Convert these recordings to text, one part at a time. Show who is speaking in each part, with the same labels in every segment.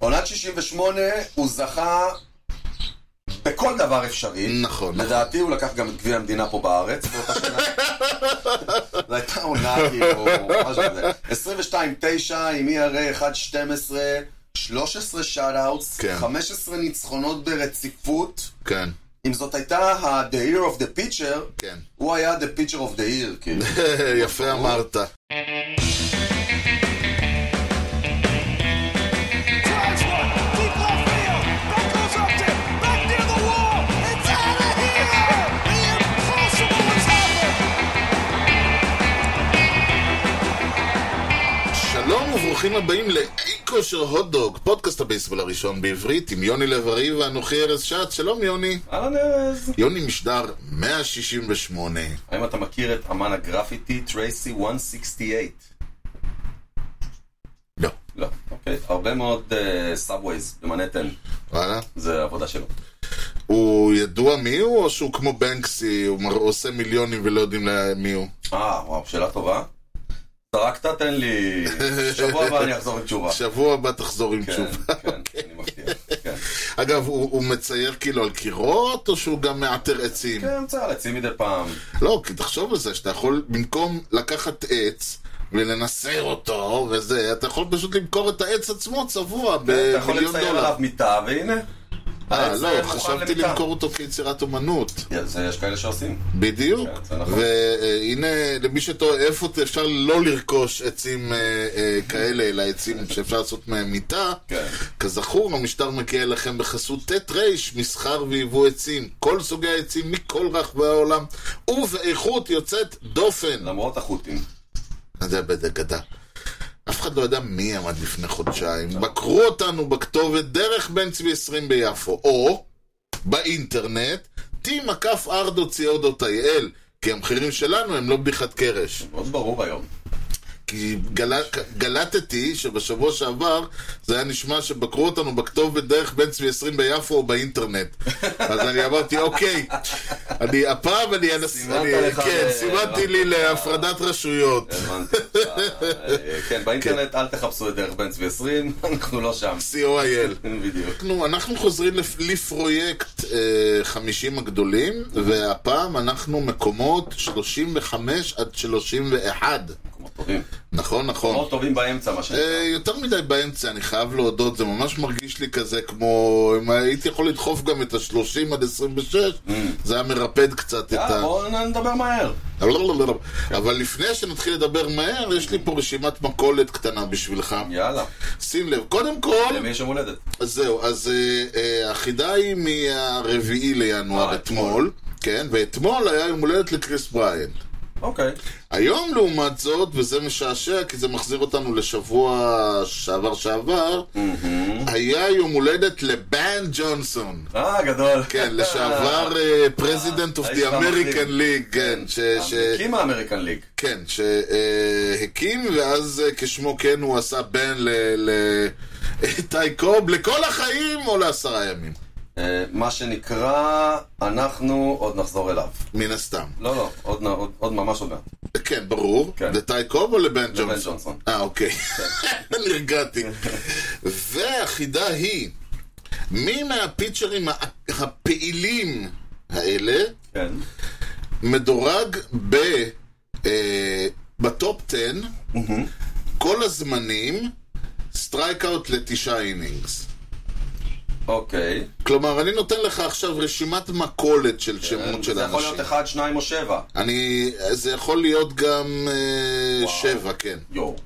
Speaker 1: עד 68 הוא זכה בכל דבר אפשרי.
Speaker 2: נכון, נכון.
Speaker 1: לדעתי הוא לקח גם את גביע המדינה פה בארץ באותה שנה. זו הייתה עונה כאילו, משהו כזה. 22-9 עם E ERA 1-12, 13 שאט-אוטס,
Speaker 2: כן.
Speaker 1: 15 ניצחונות ברציפות.
Speaker 2: כן,
Speaker 1: אם זאת הייתה ה-The Year of the Pitcher,
Speaker 2: כן.
Speaker 1: הוא היה The Pitcher of the Year, כאילו.
Speaker 2: יפה אמרת.
Speaker 3: Drives one, deep left field. That goes up there, back near the wall. It's out of here! The impossible has happened.
Speaker 2: שלום וברוכים הבאים לאי כושר הוטדוג, פודקאסט הבייסבול הראשון בעברית עם יוני לב-ארי ואנוכי ארז שץ. שלום יוני.
Speaker 1: אהלן ארז.
Speaker 2: יוני משדר 168.
Speaker 1: האם אתה מכיר את אמן הגרפיטי טרייסי 168?
Speaker 2: לא.
Speaker 1: לא. אוקיי. הרבה מאוד סאבווייז במנהטן,
Speaker 2: וואלה.
Speaker 1: זה העבודה שלו.
Speaker 2: הוא ידוע מי הוא או שהוא כמו בנקסי, הוא מר- עושה מיליונים ולא יודעים לה- מי הוא?
Speaker 1: אה, וואו, שאלה טובה. זרקת, תן לי... שבוע הבא אני אחזור עם תשובה.
Speaker 2: שבוע הבא תחזור עם
Speaker 1: כן,
Speaker 2: תשובה.
Speaker 1: כן, אני מבטיח. כן.
Speaker 2: אגב, הוא הוא מצייר כאילו על קירות או שהוא גם מעטר עצים?
Speaker 1: כן, צריך להציב מדי פעם.
Speaker 2: לא, כי תחשוב על זה, שאתה יכול במקום לקחת עץ ולנסר אותו וזה, אתה יכול פשוט למכור את העץ עצמו צבוע
Speaker 1: אתה יכול
Speaker 2: במיליון
Speaker 1: לצייר
Speaker 2: דולר.
Speaker 1: עליו מיטה, והנה.
Speaker 2: אה,
Speaker 1: העץ
Speaker 2: לא,
Speaker 1: מוכן
Speaker 2: חשבתי
Speaker 1: למיטה.
Speaker 2: למכור אותו כיצירת אומנות,
Speaker 1: זה- יש כאלה שעושים.
Speaker 2: בדיוק.
Speaker 1: כן, זה נכון.
Speaker 2: והנה, למי שטועה, איפה אפשר לא לרכוש עצים אה, אה, כאלה, אלא עצים שאפשר לעשות מהם מיטה?
Speaker 1: כן.
Speaker 2: כזכור, המשטר מגיע אליכם בחסות ט' ר', מסחר ויבוא עצים. כל סוגי העצים מכל רחבי העולם, ובאיכות יוצאת דופן.
Speaker 1: למרות החות'ים.
Speaker 2: זה בדגדה. אף אחד לא ידע מי עמד לפני חודשיים. בקרו אותנו בכתובת דרך בן צבי 20 ביפו, או באינטרנט, t.ardo.co.il, כי המחירים שלנו הם לא בדיחת קרש.
Speaker 1: מאוד ברור היום.
Speaker 2: כי גל... גלטתי שבשבוע שעבר זה היה נשמע שבקרו אותנו בכתובת דרך בן צבי 20 ביפו או באינטרנט. אז אני אמרתי, אוקיי, אני, הפעם אני אנס...
Speaker 1: סימנת
Speaker 2: אני,
Speaker 1: לך אה,
Speaker 2: כן,
Speaker 1: ל-
Speaker 2: סימנתי לי להפרדת רשויות.
Speaker 1: הבנתי. אה, כן, באינטרנט אל תחפשו את דרך בן צבי 20, אנחנו לא שם.
Speaker 2: co.il.
Speaker 1: בדיוק.
Speaker 2: אנחנו, אנחנו חוזרים לפ- לפרויקט אה, 50 הגדולים, והפעם אנחנו מקומות 35 עד 31.
Speaker 1: מקומות טובים.
Speaker 2: נכון, נכון.
Speaker 1: מקומות טובים באמצע, מה שנקרא.
Speaker 2: אה, יותר מדי באמצע, אני חייב להודות, זה ממש מרגיש לי כזה כמו... אם הייתי יכול לדחוף גם את ה-30 עד 26, זה היה מרפד קצת את
Speaker 1: אה,
Speaker 2: ה...
Speaker 1: בואו נדבר מהר.
Speaker 2: לא, לא, לא, לא. אבל לפני שנתחיל לדבר מהר, יש לי פה רשימת מכולת קטנה בשבילך.
Speaker 1: יאללה.
Speaker 2: שים לב, קודם כל...
Speaker 1: למי יש יום הולדת?
Speaker 2: אז זהו, אז אה, אה, החידה היא מהרביעי לינואר
Speaker 1: אה,
Speaker 2: אתמול, כן, ואתמול היה יום הולדת לקריס בריינד.
Speaker 1: אוקיי.
Speaker 2: היום לעומת זאת, וזה משעשע כי זה מחזיר אותנו לשבוע שעבר שעבר, היה יום הולדת לבן ג'ונסון.
Speaker 1: אה, גדול.
Speaker 2: כן, לשעבר אה, פרזידנט אוף
Speaker 1: האיש
Speaker 2: די
Speaker 1: והמחרים.
Speaker 2: אמריקן ליג, כן, ש...
Speaker 1: אה,
Speaker 2: ש-
Speaker 1: הקים האמריקן ליג.
Speaker 2: כן, שהקים, ואז אה, כשמו כן הוא עשה בן לטי קוב לכל החיים או לעשרה ימים,
Speaker 1: אה, מה שנקרא, אנחנו עוד נחזור אליו.
Speaker 2: מן הסתם.
Speaker 1: לא, לא, עוד נ- עוד- עוד ממש עוד מעט.
Speaker 2: כן, ברור.
Speaker 1: כן.
Speaker 2: לטי קוב או לבן
Speaker 1: לבן
Speaker 2: ג'ונסון?
Speaker 1: ג'ונסון.
Speaker 2: אה, אוקיי. נרגעתי. והחידה היא, מי מהפיצ'רים ה- הפעילים האלה
Speaker 1: כן.
Speaker 2: מדורג ב... אה, בטופ 10, כל הזמנים, סטרייק אאוט לתשעה אינינגס.
Speaker 1: אוקיי.
Speaker 2: כלומר, אני נותן לך עכשיו רשימת מכולת של שמות של
Speaker 1: אה, זה יכול
Speaker 2: אנשים.
Speaker 1: להיות אחד, שניים או שבע.
Speaker 2: אני... זה יכול להיות גם אה, שבע, כן.
Speaker 1: יואו.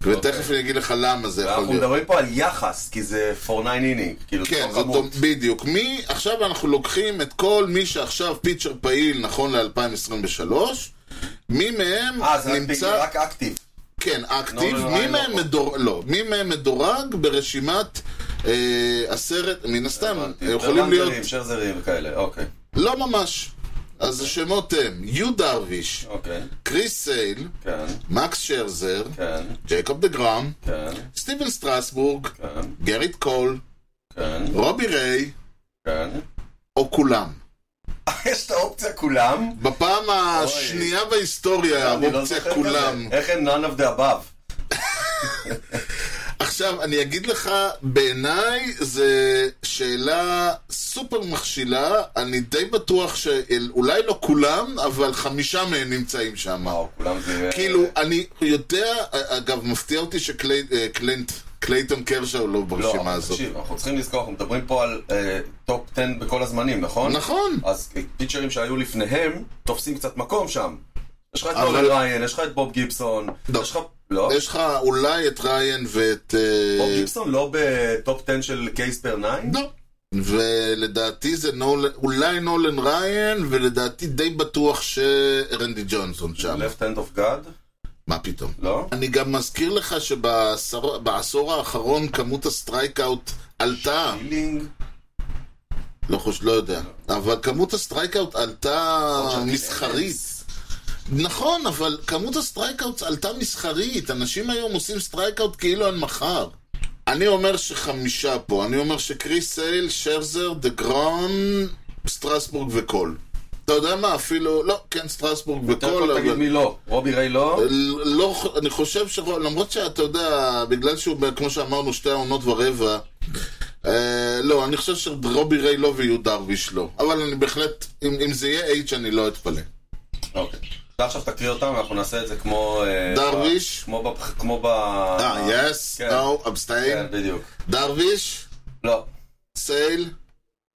Speaker 2: ותכף אני אגיד לך למה זה יכול
Speaker 1: אנחנו
Speaker 2: להיות.
Speaker 1: מדברים פה על יחס, כי זה 4-9 אינינג. כאילו, זה
Speaker 2: כן,
Speaker 1: לא
Speaker 2: זאת
Speaker 1: כמות.
Speaker 2: אומרת, בדיוק. מי, עכשיו אנחנו לוקחים את כל מי שעכשיו פיצ'ר פעיל נכון ל-2023, מי מהם
Speaker 1: אה, זה רק פעיל,
Speaker 2: נמצא,
Speaker 1: רק אקטיב.
Speaker 2: כן, אקטיב,
Speaker 1: לא, לא,
Speaker 2: מי
Speaker 1: לא,
Speaker 2: מהם
Speaker 1: לא.
Speaker 2: מדורג, לא, מי מהם מדורג ברשימת אה, עשרת, מן הסתם, אה, יכולים להיות,
Speaker 1: טרלנדרים, שרזרים וכאלה, אוקיי.
Speaker 2: לא ממש. אז השמות הם יו דרוויש,
Speaker 1: אוקיי.
Speaker 2: קריס סייל,
Speaker 1: כן,
Speaker 2: מקס שרזר,
Speaker 1: כן,
Speaker 2: ג'ייקוב דה גראם,
Speaker 1: כן,
Speaker 2: סטיבן סטרסבורג,
Speaker 1: כן,
Speaker 2: גריט קול,
Speaker 1: כן,
Speaker 2: רובי ריי,
Speaker 1: כן. אה,
Speaker 2: או כולם.
Speaker 1: יש את האופציה כולם?
Speaker 2: בפעם השנייה בהיסטוריה,
Speaker 1: אני לא
Speaker 2: האופציה
Speaker 1: זוכר
Speaker 2: כולם.
Speaker 1: כזה. איך הם none of the above?
Speaker 2: עכשיו, אני אגיד לך, בעיניי זו שאלה סופר מכשילה, אני די בטוח שאולי לא כולם, אבל חמישה מהם נמצאים שם.
Speaker 1: וואו, אה, כולם זה...
Speaker 2: כאילו, אני יודע, אגב, מפתיע אותי שקלינט, קלייטון קרשאו לא
Speaker 1: לא,
Speaker 2: ברשימה
Speaker 1: אבל
Speaker 2: הזאת.
Speaker 1: תקשיב, אנחנו צריכים לזכור, אנחנו מדברים פה על אה, טופ 10 בכל הזמנים, נכון?
Speaker 2: נכון.
Speaker 1: אז אה, פיצ'רים שהיו לפניהם, תופסים קצת מקום שם. יש לך את
Speaker 2: אבל-
Speaker 1: נולן ריין, יש לך את בוב גיבסון,
Speaker 2: לא.
Speaker 1: יש לך... לא,
Speaker 2: יש לך אולי את ריין ואת... אה,
Speaker 1: בוב גיבסון לא בטופ 10 של קייס פר 9?
Speaker 2: לא. ולדעתי זה נולן, אולי נולן ריין, ולדעתי די בטוח שרנדי ג'ונסון שם.
Speaker 1: left hand of God?
Speaker 2: מה פתאום?
Speaker 1: לא?
Speaker 2: אני גם מזכיר לך שבעשור האחרון כמות הסטרייקאוט עלתה.
Speaker 1: הילינג?
Speaker 2: לא חושב, לא יודע. אבל כמות הסטרייקאוט עלתה
Speaker 1: עוד שאת
Speaker 2: מסחרית. נכון, אבל כמות הסטרייקאוט עלתה מסחרית. אנשים היום עושים סטרייקאוט כאילו אין מחר. אני אומר שחמישה פה. אני אומר שקריס סייל, שרזר, דה גרון, סטרסבורג וקול. אתה יודע מה, אפילו... לא, כן, סטרסבורג
Speaker 1: יותר טוב
Speaker 2: וקול,
Speaker 1: תגיד
Speaker 2: אבל...
Speaker 1: מי לא. רובי ריי לא?
Speaker 2: ל- לא, ח- אני חושב ש... למרות שאתה יודע, בגלל שהוא, ב- כמו שאמרנו, שתי העונות ורבע, אה, לא, אני חושב שרובי ריי לא ויהיו דרוויש לא. אבל אני בהחלט, אם, אם זה יהיה אייץ' אני לא אתפלא. אה.
Speaker 1: אוקיי. אתה עכשיו תקריא אותם, אנחנו נעשה את זה כמו... אה,
Speaker 2: דרוויש?
Speaker 1: כמו ב... כמו ב...
Speaker 2: אה, יס,
Speaker 1: כן.
Speaker 2: נו, אבסטיין,
Speaker 1: כן, בדיוק.
Speaker 2: דרוויש,
Speaker 1: לא.
Speaker 2: סייל,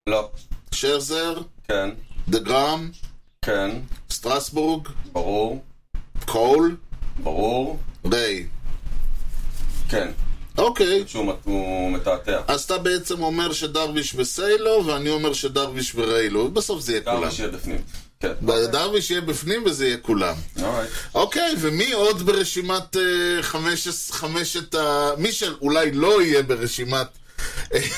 Speaker 1: לא.
Speaker 2: שרזר,
Speaker 1: כן.
Speaker 2: דה גראם,
Speaker 1: כן.
Speaker 2: סטרסבורג,
Speaker 1: ברור.
Speaker 2: קול,
Speaker 1: ברור.
Speaker 2: ריי.
Speaker 1: כן.
Speaker 2: אוקיי,
Speaker 1: שהוא מת- הוא מתעתע.
Speaker 2: אז אתה בעצם אומר שדרוויש וסייל לא, ואני אומר שדרוויש וריי לא, ובסוף זה יהיה כולם.
Speaker 1: כמה שיהיה בפנים. כן.
Speaker 2: דרוויש יהיה בפנים וזה יהיה כולם.
Speaker 1: אורייט.
Speaker 2: אוקיי, ומי עוד ברשימת אה, חמש, חמשת ה... מי שאולי לא יהיה ברשימת... אה,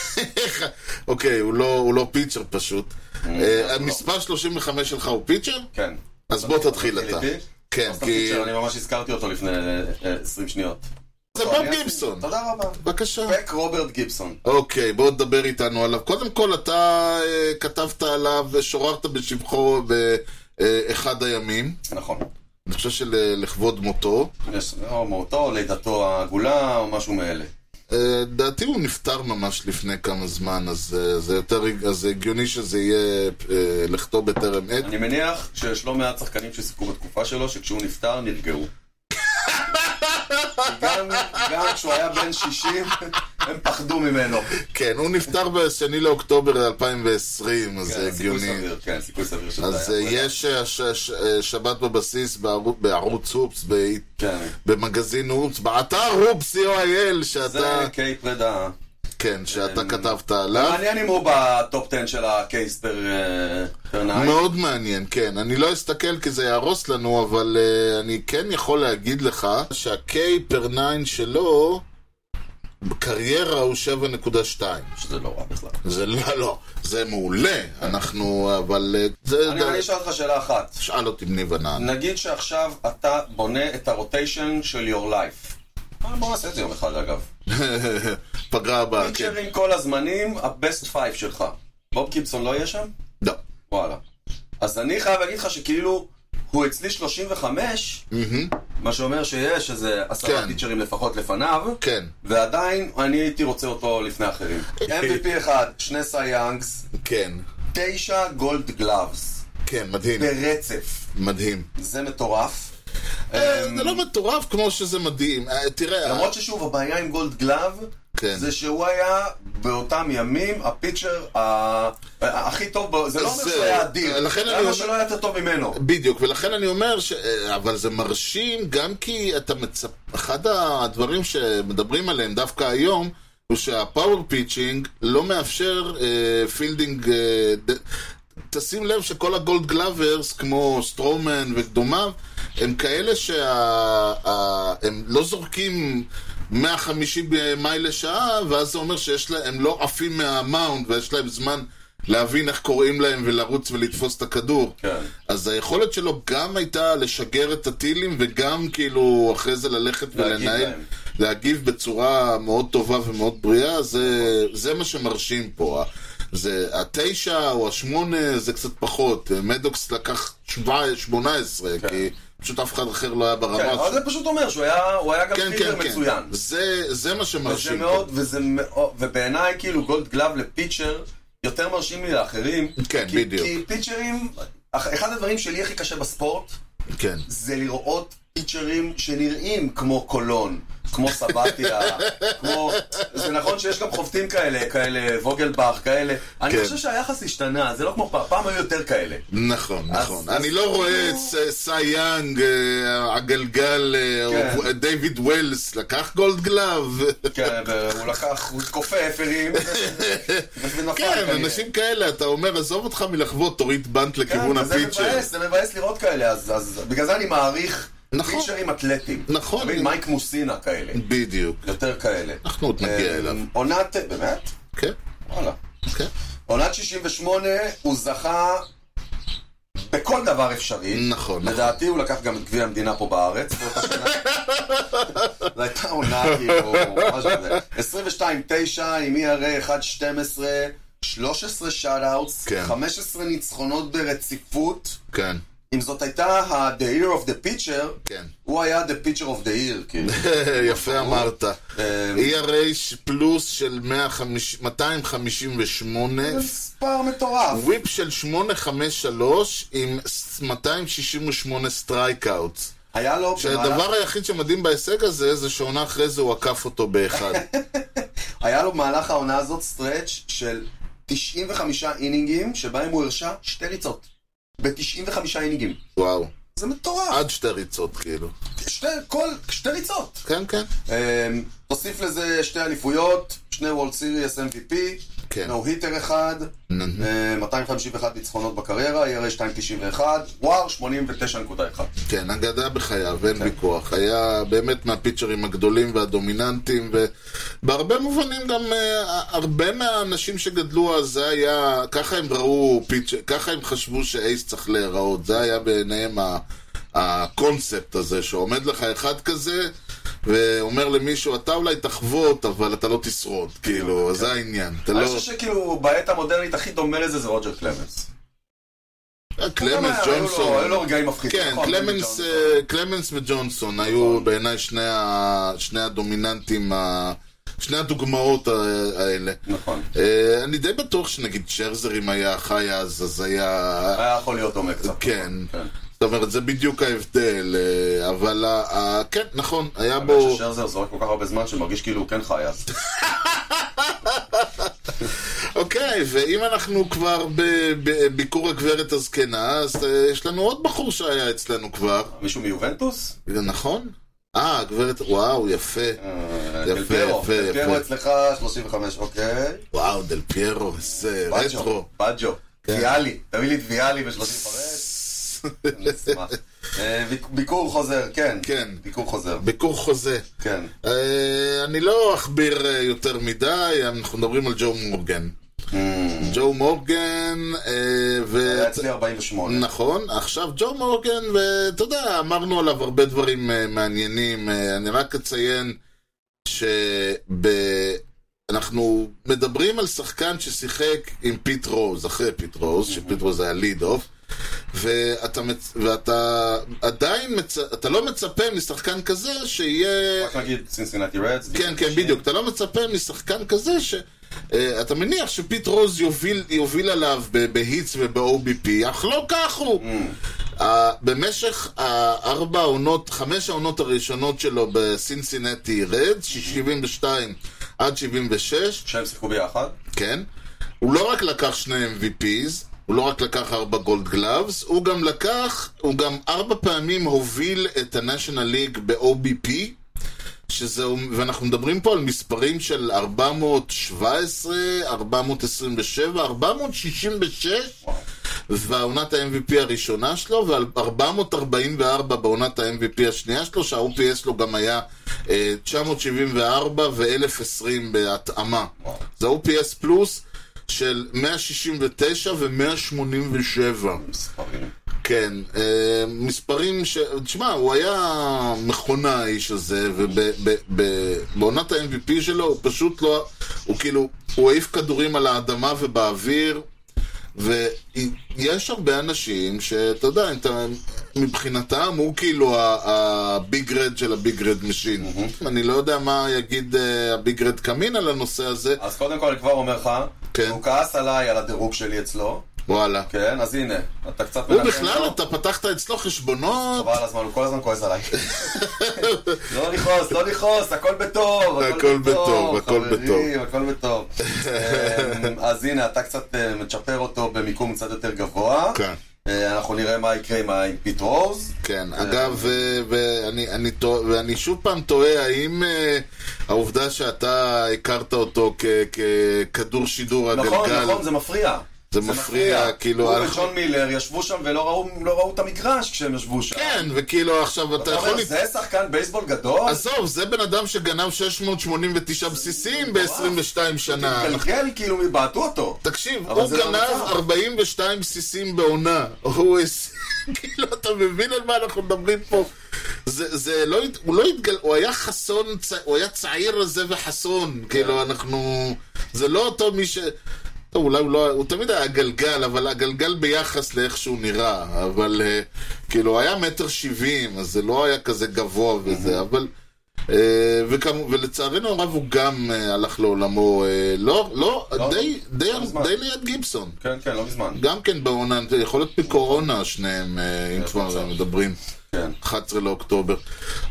Speaker 2: אוקיי, הוא לא, הוא לא פיצ'ר פשוט.
Speaker 1: לא.
Speaker 2: אה, המספר 35 שלך הוא פיצ'ר?
Speaker 1: כן.
Speaker 2: אז בוא תתחיל
Speaker 1: מתחיל
Speaker 2: אתה.
Speaker 1: איתי? אוקיי,
Speaker 2: כן,
Speaker 1: אז
Speaker 2: כי...
Speaker 1: תפקיד שאני ממש הזכרתי אותו לפני אה, 20 שניות.
Speaker 2: זה
Speaker 1: טוב,
Speaker 2: בוב
Speaker 1: אני אתחיל.
Speaker 2: גיבסון.
Speaker 1: תודה רבה.
Speaker 2: בבקשה.
Speaker 1: פק רוברט גיבסון.
Speaker 2: אוקיי, בוא תדבר איתנו עליו. קודם כל, אתה אה, כתבת עליו ושוררת בשבחו באחד הימים.
Speaker 1: נכון.
Speaker 2: אני חושב שלכבוד מותו.
Speaker 1: יש או מותו, לידתו העגולה, או משהו מאלה.
Speaker 2: אה, דעתי הוא נפטר ממש לפני כמה זמן, אז אה, זה יותר, אז זה הגיוני שזה יהיה אה, לכתוב בטרם עת.
Speaker 1: אני מניח שיש לא מעט שחקנים ששיחקו בתקופה שלו, שכשהוא נפטר נרגעו. גם גם כשהוא היה בן 60, הם פחדו ממנו.
Speaker 2: כן, הוא נפטר ב-2 לאוקטובר 2020, אז זה
Speaker 1: כן, סיכוי
Speaker 2: הגיוני.
Speaker 1: סביר, כן, סיכוי סביר שזה
Speaker 2: אז אה,
Speaker 1: היה.
Speaker 2: יש אה, ש- ש- אה, שבת בבסיס בערו- בערוץ הופס, ב-
Speaker 1: כן.
Speaker 2: במגזין הופס, באתר הופס co.il, שאתה,
Speaker 1: זה קיי פרידה.
Speaker 2: כן, שאתה
Speaker 1: אה,
Speaker 2: כתבת עליו.
Speaker 1: מעניין אם הוא בטופ 10 של הקייס פר אה, פר נאי.
Speaker 2: מאוד מעניין, כן. אני לא אסתכל כי זה יהרוס לנו, אבל uh, אני כן יכול להגיד לך שה-K פר 9 שלו, בקריירה הוא 7.2.
Speaker 1: שזה לא רע בכלל.
Speaker 2: זה לא, לא, זה מעולה. אנחנו, אבל... Uh, זה,
Speaker 1: אני לא אני אשאל אותך שאלה אחת.
Speaker 2: שאל אותי בני ונען.
Speaker 1: נגיד שעכשיו אתה בונה את הרוטיישן של your life. אה, בוא נעשה את זה יום אחד אגב.
Speaker 2: פגרה הבאה, כן.
Speaker 1: פיצ'רים כל הזמנים, ה-best five שלך. בוב קיבסון לא יהיה שם?
Speaker 2: לא.
Speaker 1: וואלה. אז אני חייב להגיד לך שכאילו, הוא אצלי 35,
Speaker 2: מהמם.
Speaker 1: מה שאומר שיש איזה עשרה
Speaker 2: כן.
Speaker 1: פיצ'רים לפחות לפניו,
Speaker 2: כן,
Speaker 1: ועדיין אני הייתי רוצה אותו לפני אחרים. MVP אחד, שני סייאנגס,
Speaker 2: כן,
Speaker 1: תשע גולד גלאבס,
Speaker 2: כן, מדהים,
Speaker 1: ברצף.
Speaker 2: מדהים.
Speaker 1: זה מטורף.
Speaker 2: אה, זה לא מטורף כמו שזה מדהים. אה, תראה,
Speaker 1: למרות ששוב, הבעיה עם גולד גלאב,
Speaker 2: כן.
Speaker 1: זה שהוא היה באותם ימים הפיצ'ר ה- ה- הכי טוב, ב- זה לא אומר
Speaker 2: זה-
Speaker 1: שהוא היה אדיר,
Speaker 2: אה, לכן אני אומר- אה,
Speaker 1: למה שלא היה יותר טוב ממנו?
Speaker 2: בדיוק, ולכן אני אומר, ש... אבל זה מרשים גם כי אתה מצפ... אחד הדברים שמדברים עליהם דווקא היום, הוא שהפאוור פיצ'ינג לא מאפשר אה, פילדינג... אה, ד... תשים לב שכל הגולד גלאברס, כמו סטרומן וקדומיו, הם כאלה שהם שה... ה- הם לא זורקים 150 מייל לשעה, ואז זה אומר שיש להם, הם לא עפים מהמאונד ויש להם זמן להבין איך קוראים להם ולרוץ ולתפוס את הכדור.
Speaker 1: כן.
Speaker 2: אז היכולת שלו גם הייתה לשגר את הטילים וגם כאילו אחרי זה ללכת
Speaker 1: להגיב
Speaker 2: ולנהל,
Speaker 1: להם.
Speaker 2: להגיב בצורה מאוד טובה ומאוד בריאה, זה, זה מה שמרשים פה. זה התשע או השמונה זה קצת פחות, מדוקס לקח שבע- שמונה עשרה,
Speaker 1: כן.
Speaker 2: כי פשוט אף אחד אחר לא היה ברמה
Speaker 1: כן, אבל
Speaker 2: הזאת.
Speaker 1: זה פשוט אומר שהוא היה, הוא היה גם
Speaker 2: כן,
Speaker 1: פילר
Speaker 2: כן, כן.
Speaker 1: מצוין.
Speaker 2: זה, לא כן. זה מה
Speaker 1: וזה
Speaker 2: שמרשים.
Speaker 1: מאוד, וזה מאוד, ובעיניי כאילו גולד גלאב לפיצ'ר יותר מרשים לי לאחרים.
Speaker 2: כן,
Speaker 1: כי,
Speaker 2: בדיוק.
Speaker 1: כי פיצ'רים, אח- אחד הדברים שלי הכי קשה בספורט,
Speaker 2: כן.
Speaker 1: זה לראות פיצ'רים שנראים כמו קולון, כמו סבתיה, כמו... זה נכון שיש גם חובטים כאלה, כאלה ווגלבך, כאלה. אני
Speaker 2: כן.
Speaker 1: חושב שהיחס השתנה, זה לא כמו פעם, פעם היו יותר כאלה.
Speaker 2: נכון,
Speaker 1: אז-
Speaker 2: נכון.
Speaker 1: אז
Speaker 2: אני לא
Speaker 1: כאילו-
Speaker 2: רואה את ס- סי יאנג, אה, הגלגל, אה,
Speaker 1: כן.
Speaker 2: או- דיוויד ווילס, לקח גולד גלאב.
Speaker 1: כן, והוא לקח, הוא כופף הרים, ונפל.
Speaker 2: כן,
Speaker 1: כנראה.
Speaker 2: אנשים כאלה, אתה אומר, עזוב אותך מלחוות, תוריד בנט לכיוון
Speaker 1: כן, וזה
Speaker 2: הפיצ'ר.
Speaker 1: מבאס, זה מבאס לראות כאלה, אז, אז בגלל זה אני מעריך
Speaker 2: נכון.
Speaker 1: פיצ'רים אתלטים.
Speaker 2: נכון.
Speaker 1: אתה מבין, מייק מוסינה כאלה,
Speaker 2: בדיוק.
Speaker 1: יותר כאלה.
Speaker 2: אנחנו עוד נגיע
Speaker 1: אה,
Speaker 2: אליו.
Speaker 1: עונת, באמת?
Speaker 2: כן,
Speaker 1: וואלה.
Speaker 2: כן.
Speaker 1: עונת 68, הוא זכה בכל דבר אפשרי.
Speaker 2: נכון, נכון.
Speaker 1: לדעתי הוא לקח גם את גביע המדינה פה בארץ באותה שנה. זו הייתה עונה כאילו, משהו כזה. 22-9 עם E ERA 1-12, 13 שאט-אוטס,
Speaker 2: כן.
Speaker 1: 15 ניצחונות ברציפות.
Speaker 2: כן,
Speaker 1: אם זאת הייתה ה-The Year of the Pitcher,
Speaker 2: כן.
Speaker 1: הוא היה The Pitcher of the Year, כאילו.
Speaker 2: יפה אמרת.
Speaker 1: אה,
Speaker 2: ERA פלוס של 150 258,
Speaker 1: זה מספר מטורף.
Speaker 2: וויפ של 853 עם 268 סטרייקאוט.
Speaker 1: היה לו במהלך-
Speaker 2: שהדבר היחיד שמדהים בהישג הזה, זה שעונה אחרי זה הוא עקף אותו באחד.
Speaker 1: היה לו במהלך העונה הזאת סטרץ' של 95 אינינגים, שבהם הוא הרשה שתי ריצות. ב-95 אינינגים.
Speaker 2: וואו.
Speaker 1: זה מטורף.
Speaker 2: עד שתי ריצות, כאילו.
Speaker 1: שתי, כל, שתי ריצות.
Speaker 2: כן, כן.
Speaker 1: אמ, תוסיף לזה שתי אליפויות, שני וולד סיריוס MVP,
Speaker 2: כן.
Speaker 1: נו היטר אחד, אה, 251 ניצחונות בקריירה, E ERA 291, וואר 89.1.
Speaker 2: כן, אגדה בחייו,
Speaker 1: כן.
Speaker 2: אין ויכוח. היה באמת מהפיצ'רים הגדולים והדומיננטיים, ובהרבה מובנים גם אה, הרבה מהאנשים שגדלו אז, זה היה, ככה הם ראו פיצ'ר, ככה הם חשבו שאייס צריך להיראות. זה היה בעיניהם ה- הקונספט הזה, שעומד לך אחד כזה, ואומר למישהו, אתה אולי תחבוט, אבל אתה לא תשרוד, כאילו, זה העניין. אתה
Speaker 1: כן, אני
Speaker 2: לא...
Speaker 1: חושב שכאילו בעת המודרנית הכי דומה לזה זה רוג'ר קלמנס. גם
Speaker 2: קלמנס,
Speaker 1: היה- היו לו-
Speaker 2: ג'ונסון.
Speaker 1: היו לו רגעים מפחידים.
Speaker 2: כן,
Speaker 1: נכון,
Speaker 2: קלמנס,
Speaker 1: ג'ונסון.
Speaker 2: אה, קלמנס וג'ונסון היו בעיניי שני, ה- שני הדומיננטים, ה- שני הדוגמאות ה- האלה.
Speaker 1: נכון.
Speaker 2: אה, אני די בטוח שנגיד שרזר אם היה חי אז, אז היה...
Speaker 1: היה יכול להיות דומה קצת.
Speaker 2: כן.
Speaker 1: כן.
Speaker 2: זאת אומרת, זה בדיוק ההבדל, אה, אבל ה- ה- כן, נכון, היה
Speaker 1: האמת
Speaker 2: בו...
Speaker 1: ששרזר זורק כל כך הרבה זמן שמרגיש כאילו הוא כן חי אז.
Speaker 2: אוקיי, ואם אנחנו כבר ב- בביקור הגברת הזקנה, אז אה, יש לנו עוד בחור שהיה אצלנו כבר,
Speaker 1: מישהו מיובנטוס?
Speaker 2: נכון? אה, הגברת, וואו, יפה.
Speaker 1: אה,
Speaker 2: יפה,
Speaker 1: דל פיירו.
Speaker 2: יפה,
Speaker 1: דל פיירו
Speaker 2: יפה.
Speaker 1: אצלך 35, אוקיי.
Speaker 2: וואו, דל פיירו, איזה
Speaker 1: בג'ו,
Speaker 2: רטרו.
Speaker 1: בג'ו.
Speaker 2: כן.
Speaker 1: ויאלי, תביא לי את ויאלי ב-35. אה, ביקור חוזר, כן.
Speaker 2: כן.
Speaker 1: ביקור חוזר,
Speaker 2: ביקור חוזה.
Speaker 1: כן.
Speaker 2: אה, אני לא אכביר אה, יותר מדי, אנחנו מדברים על ג'ו מורגן. ג'ו מורגן, אה, ו...
Speaker 1: היה אצלי 48.
Speaker 2: נכון, עכשיו ג'ו מורגן, ואתה יודע, אמרנו עליו הרבה דברים אה, מעניינים, אה, אני רק אציין שאנחנו מדברים על שחקן ששיחק עם פיט רוז, אחרי פיט רוז, שפיט רוז היה ליד אוף, ואתה, מצ... ואתה עדיין, מצ... אתה לא מצפה משחקן כזה שיהיה...
Speaker 1: רק נגיד סינסינטי רדס.
Speaker 2: כן, כן, בדיוק. אתה לא מצפה משחקן כזה ש... אה, אתה מניח שפיט רוז יוביל, יוביל עליו ב- בהיטס וב-OBP, אך לא כך הוא. Uh, במשך הארבע העונות, חמש העונות הראשונות שלו בסינסינטי רד, 72 עד 76,
Speaker 1: שהם שיחקו ביחד?
Speaker 2: כן. הוא לא רק לקח שני MVPs, הוא לא רק לקח ארבע גולד גלאבס, הוא גם לקח, הוא גם ארבע פעמים הוביל את ה-National League ב-OBP, שזה, ואנחנו מדברים פה על מספרים של 417, 427, 466,
Speaker 1: וואו.
Speaker 2: בעונת ה-MVP הראשונה שלו, ו-444 בעונת ה-MVP השנייה שלו, שה-OPS שלו גם היה אה, 974 ו-1020 בהתאמה.
Speaker 1: וואו.
Speaker 2: זה OPS פלוס של 169 ו-187.
Speaker 1: מספרים.
Speaker 2: כן, אה, מספרים ש... תשמע, הוא היה מכונה האיש הזה, ובעונת ה-MVP שלו הוא פשוט לא... הוא כאילו, הוא העיף כדורים על האדמה ובאוויר, ויש הרבה אנשים שאתה יודע, אם אתה... מבחינתם הוא כאילו ה- הביג רד של הביג רד משין. אני לא יודע מה יגיד אה, הביג רד קמין על הנושא הזה,
Speaker 1: אז קודם כל, אני כבר אומר לך,
Speaker 2: כן.
Speaker 1: הוא כעס עליי על הדירוג שלי אצלו,
Speaker 2: וואלה.
Speaker 1: כן, לא. אז הנה, אתה קצת
Speaker 2: הוא
Speaker 1: מנחם
Speaker 2: בכלל, לא
Speaker 1: לו.
Speaker 2: אתה פתחת אצלו חשבונות,
Speaker 1: חבל על הזמן, הוא כל הזמן כועס עליי. לא לכעוס, לא לכעוס, הכל בטוב.
Speaker 2: הכל בטוב, הכל
Speaker 1: חברים, הכל בטוב. אמ, אז הנה, אתה קצת אה, מצ'פר אותו במיקום קצת יותר גבוה.
Speaker 2: כן.
Speaker 1: אה, אנחנו נראה מה יקרה עם ה- עם פיט רוז.
Speaker 2: כן, אגב, אה, ואני, אני, תוה- ואני שוב פעם תוהה, האם אה, העובדה שאתה הכרת אותו כ- ככדור שידור הגלגל,
Speaker 1: נכון, נכון, זה מפריע.
Speaker 2: זה מפריע, כאילו,
Speaker 1: הוא
Speaker 2: אנחנו-
Speaker 1: וג'ון מילר ישבו שם ולא ראו- לא ראו את המגרש כשהם ישבו שם.
Speaker 2: כן, וכאילו עכשיו אתה
Speaker 1: אתה
Speaker 2: יכול...
Speaker 1: אומר,
Speaker 2: לת-
Speaker 1: נכון, זה שחקן בייסבול גדול?
Speaker 2: עזוב, זה בן אדם שגנב 689 בסיסים ב-22 שנה.
Speaker 1: התגלגל, כאילו, בעטו אותו.
Speaker 2: תקשיב,
Speaker 1: אבל
Speaker 2: הוא
Speaker 1: זה לא
Speaker 2: גנב
Speaker 1: המצב.
Speaker 2: 42 בסיסים בעונה. הוא... הס- כאילו, אתה מבין על מה אנחנו מדברים פה? זה, זה לא... הת- הוא לא התגל... הוא היה חסון, צ... הוא היה צעיר רזה וחסון.
Speaker 1: כן.
Speaker 2: כאילו, אנחנו... זה לא אותו מי ש... טוב, אולי הוא לא... הוא תמיד היה הגלגל, אבל הגלגל ביחס לאיך שהוא נראה. אבל אה, כאילו, הוא היה מטר שבעים, אז זה לא היה כזה גבוה
Speaker 1: Mm-hmm.
Speaker 2: וזה, אבל... אה, וכמו, ולצערנו הרב הוא גם אה, הלך לעולמו, אה, לא, לא,
Speaker 1: לא,
Speaker 2: די, די,
Speaker 1: לא מזמן.
Speaker 2: די ליד גיבסון.
Speaker 1: כן, כן, לא מזמן.
Speaker 2: גם כן בעונה, יכול להיות מקורונה שניהם, אה, אם כבר מדברים.
Speaker 1: כן.
Speaker 2: 11 לאוקטובר.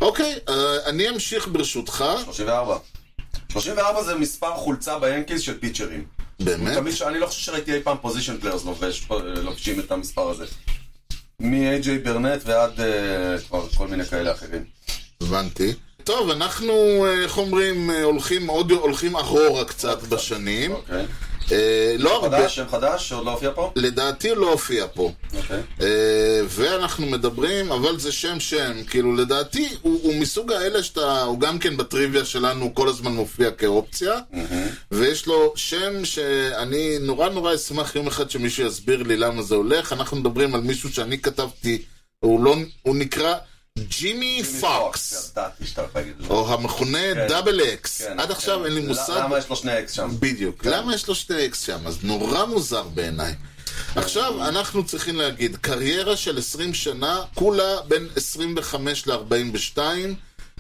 Speaker 2: אוקיי, אה, אני אמשיך ברשותך.
Speaker 1: 34. 34 זה מספר חולצה ביאנקיז של פיצ'רים.
Speaker 2: אה? באמת?
Speaker 1: תמיד ש- אני לא חושב שראיתי אי פעם פוזיישן פליירס לובש, לובשים את המספר הזה. מ-AJ ברנט ועד אה, כבר כל מיני כאלה אחרים.
Speaker 2: הבנתי. טוב, אנחנו, אה, איך אומרים, אה, הולכים עוד, הולכים אחורה קצת בשנים.
Speaker 1: אוקיי.
Speaker 2: אה, לא הרבה,
Speaker 1: חדש, שם חדש, שעוד לא הופיע פה?
Speaker 2: לדעתי לא הופיע פה.
Speaker 1: אוקיי.
Speaker 2: אה, ואנחנו מדברים, אבל זה שם שם, כאילו לדעתי הוא, הוא מסוג האלה שאתה, הוא גם כן בטריוויה שלנו הוא כל הזמן מופיע כאופציה, ויש לו שם שאני נורא נורא אשמח יום אחד שמישהו יסביר לי למה זה הולך, אנחנו מדברים על מישהו שאני כתבתי, הוא, לא, הוא נקרא ג'ימי פוקס,
Speaker 1: ידעתי שאתה הולך להגיד את זה.
Speaker 2: או המכונה
Speaker 1: כן.
Speaker 2: דאבל אקס,
Speaker 1: כן,
Speaker 2: אוקיי. עד
Speaker 1: כן.
Speaker 2: עכשיו אין לי
Speaker 1: ל-
Speaker 2: מושג
Speaker 1: למה יש לו שני אקס שם?
Speaker 2: בדיוק. למה יש לו שני אקס שם? אז נורא מוזר בעיניי. עכשיו, אנחנו צריכים להגיד, קריירה של 20 שנה, כולה בין 25 ל-42,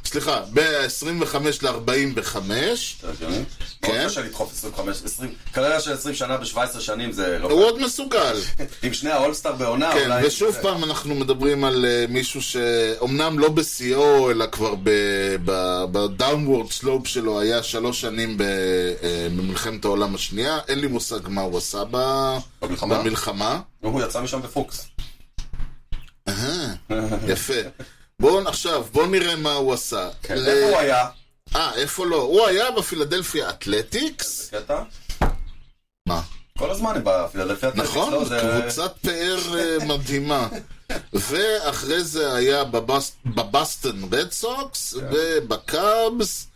Speaker 2: סליחה, בין 25 ל-45,
Speaker 1: אתה הגיוני?
Speaker 2: כן.
Speaker 1: מאוד קשה לדחוף 25, 20, קריירה של 20 שנה ב-17 שנים זה לא...
Speaker 2: הוא עוד מסוגל.
Speaker 1: עם שני האולסטאר בעונה,
Speaker 2: אוקיי. כן,
Speaker 1: אולי...
Speaker 2: ושוב פעם אנחנו מדברים על אה, מישהו שאומנם לא בשיאו, אלא כבר בדאונוורד סלופ שלו היה שלוש שנים ב- אה, במלחמת העולם השנייה, אין לי מושג מה הוא עשה ב-
Speaker 1: במלחמה?
Speaker 2: במלחמה.
Speaker 1: הוא יצא משם בפוקס.
Speaker 2: יפה. בואו עכשיו, בואו נראה מה הוא עשה. ל-
Speaker 1: כן, איפה הוא היה?
Speaker 2: כן. אה, איפה לא? הוא היה בפילדלפיה אתלטיקס?
Speaker 1: קטע?
Speaker 2: מה?
Speaker 1: כל הזמן הם בפילדלפיה.
Speaker 2: נכון,
Speaker 1: לא, זה-
Speaker 2: קבוצת פאר אה, מדהימה. ואחרי זה היה בבס- בבסטון רד סוקס,
Speaker 1: כן.
Speaker 2: ובקאבס,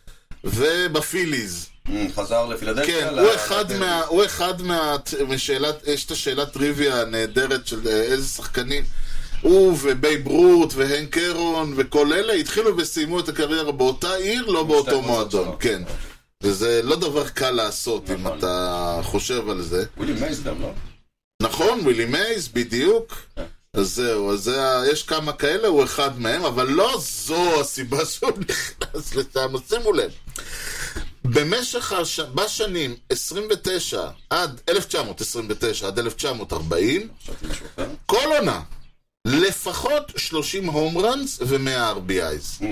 Speaker 2: ובפיליז.
Speaker 1: אמ, חזר לפילדלפיה.
Speaker 2: כן,
Speaker 1: ל-
Speaker 2: הוא אחד
Speaker 1: לדרך.
Speaker 2: מה... הוא אחד מה... משאלת... יש את השאלת טריוויה הנהדרת של אה, איזה שחקנים. הוא ובייב רוט והן קרון וכל אלה התחילו וסיימו את הקריירה באותה עיר, לא באותו
Speaker 1: קבוצות
Speaker 2: מועדון,
Speaker 1: שונות.
Speaker 2: כן. וזה לא דבר קל לעשות אם
Speaker 1: נכון.
Speaker 2: אתה חושב על זה.
Speaker 1: ווילי מייז גם, לא?
Speaker 2: נכון, ווילי מייז, בדיוק.
Speaker 1: כן.
Speaker 2: אז זהו, אז זה, ה- יש כמה כאלה, הוא אחד מהם, אבל לא זו הסיבה שהוא נכנס לשם, אז שימו לב. במשך הש... בשנים 29 עד 1929 עד 1940,
Speaker 1: חשבתי משהו אחר.
Speaker 2: כל עונה, לפחות 30 הום ראנס ו-100 RBIs.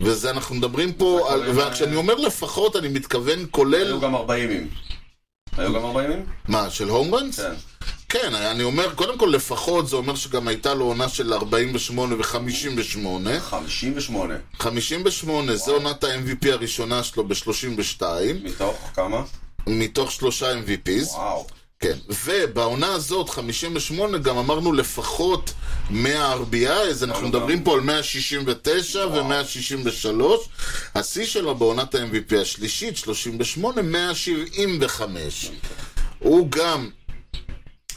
Speaker 2: וזה אנחנו מדברים פה, על...
Speaker 1: Mm. כולל- אה,
Speaker 2: וכשאני אומר לפחות, אני מתכוון כולל,
Speaker 1: היו גם 40ים. היו גם 40ים?
Speaker 2: מה, של הום ראנס?
Speaker 1: כן.
Speaker 2: כן, אני אומר, קודם כל לפחות, זה אומר שגם הייתה לו עונה של 48 ו-58.
Speaker 1: 58.
Speaker 2: 58 זה עונת ה-MVP הראשונה שלו ב-32,
Speaker 1: מתוך כמה?
Speaker 2: מתוך שלושה MVPs.
Speaker 1: וואו.
Speaker 2: כן. ובעונה הזאת, 58, גם אמרנו לפחות 100 RBI, אז אנחנו מדברים פה על 169 ו-163. השיא שלו בעונת ה-MVP השלישית, 38, 175. הוא גם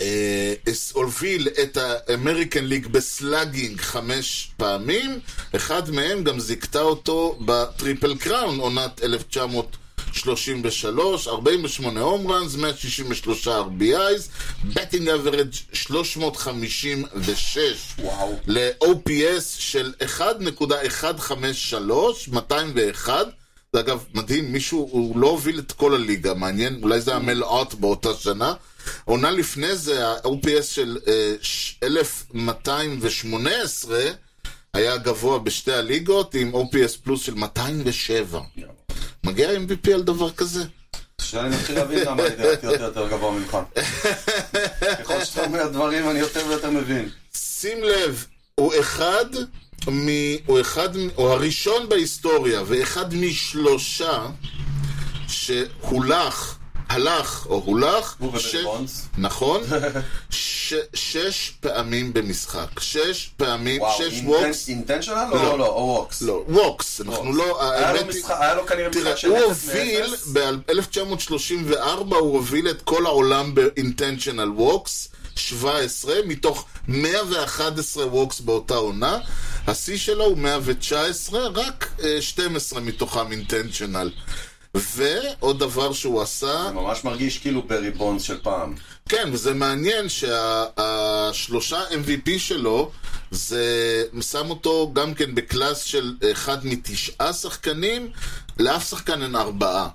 Speaker 2: אה, הס- הוביל את האמריקן ליג בסלאגינג חמש פעמים, אחד מהם גם זיכתה אותו בטריפל קראון, עונת 1900. 33, 48 הום ראנס, 163 RBIs, בטינג אברג' 356.
Speaker 1: וואו.
Speaker 2: ל-OPS של 1.153, 201. זה אגב מדהים, מישהו, הוא לא הוביל את כל הליגה, מעניין, אולי זה היה מל אוט באותה שנה. עונה לפני זה, ה-OPS של אה, ש- 1218 היה גבוה בשתי הליגות, עם OPS פלוס של 207. מגיע MVP על דבר כזה?
Speaker 1: עכשיו אני מתחיל להבין למה אני דעתי יותר יותר גבוה ממך. ככל שאתה אומר דברים, אני יותר ויותר מבין.
Speaker 2: שים לב, הוא אחד מ... הוא אחד... מ- הוא הראשון בהיסטוריה, ואחד משלושה שהולך, הלך או הולך,
Speaker 1: הוא וברבונס.
Speaker 2: נכון, ש... שש פעמים במשחק. שש פעמים,
Speaker 1: וואו,
Speaker 2: שש ווקס.
Speaker 1: אינטנשיונל או לא? או ווקס?
Speaker 2: לא, ווקס, אנחנו לא...
Speaker 1: היה לו
Speaker 2: האמת היא-
Speaker 1: משחק- היה לו כנראה
Speaker 2: תראה,
Speaker 1: משחק של
Speaker 2: הוא
Speaker 1: 0
Speaker 2: הוביל,
Speaker 1: מ-0.
Speaker 2: ב-1934 הוא הוביל את כל העולם ב-intentional walks, 17, מתוך 111 walks באותה עונה. השיא שלו הוא 119, רק אה, 12 מתוכם intentional. ועוד דבר שהוא עשה,
Speaker 1: זה ממש מרגיש כאילו ברי בונדס של פעם.
Speaker 2: כן, וזה מעניין שהשלושה MVP שלו, זה שם אותו גם כן בקלאס של אחד מתשעה שחקנים, לאף שחקן אין ארבעה.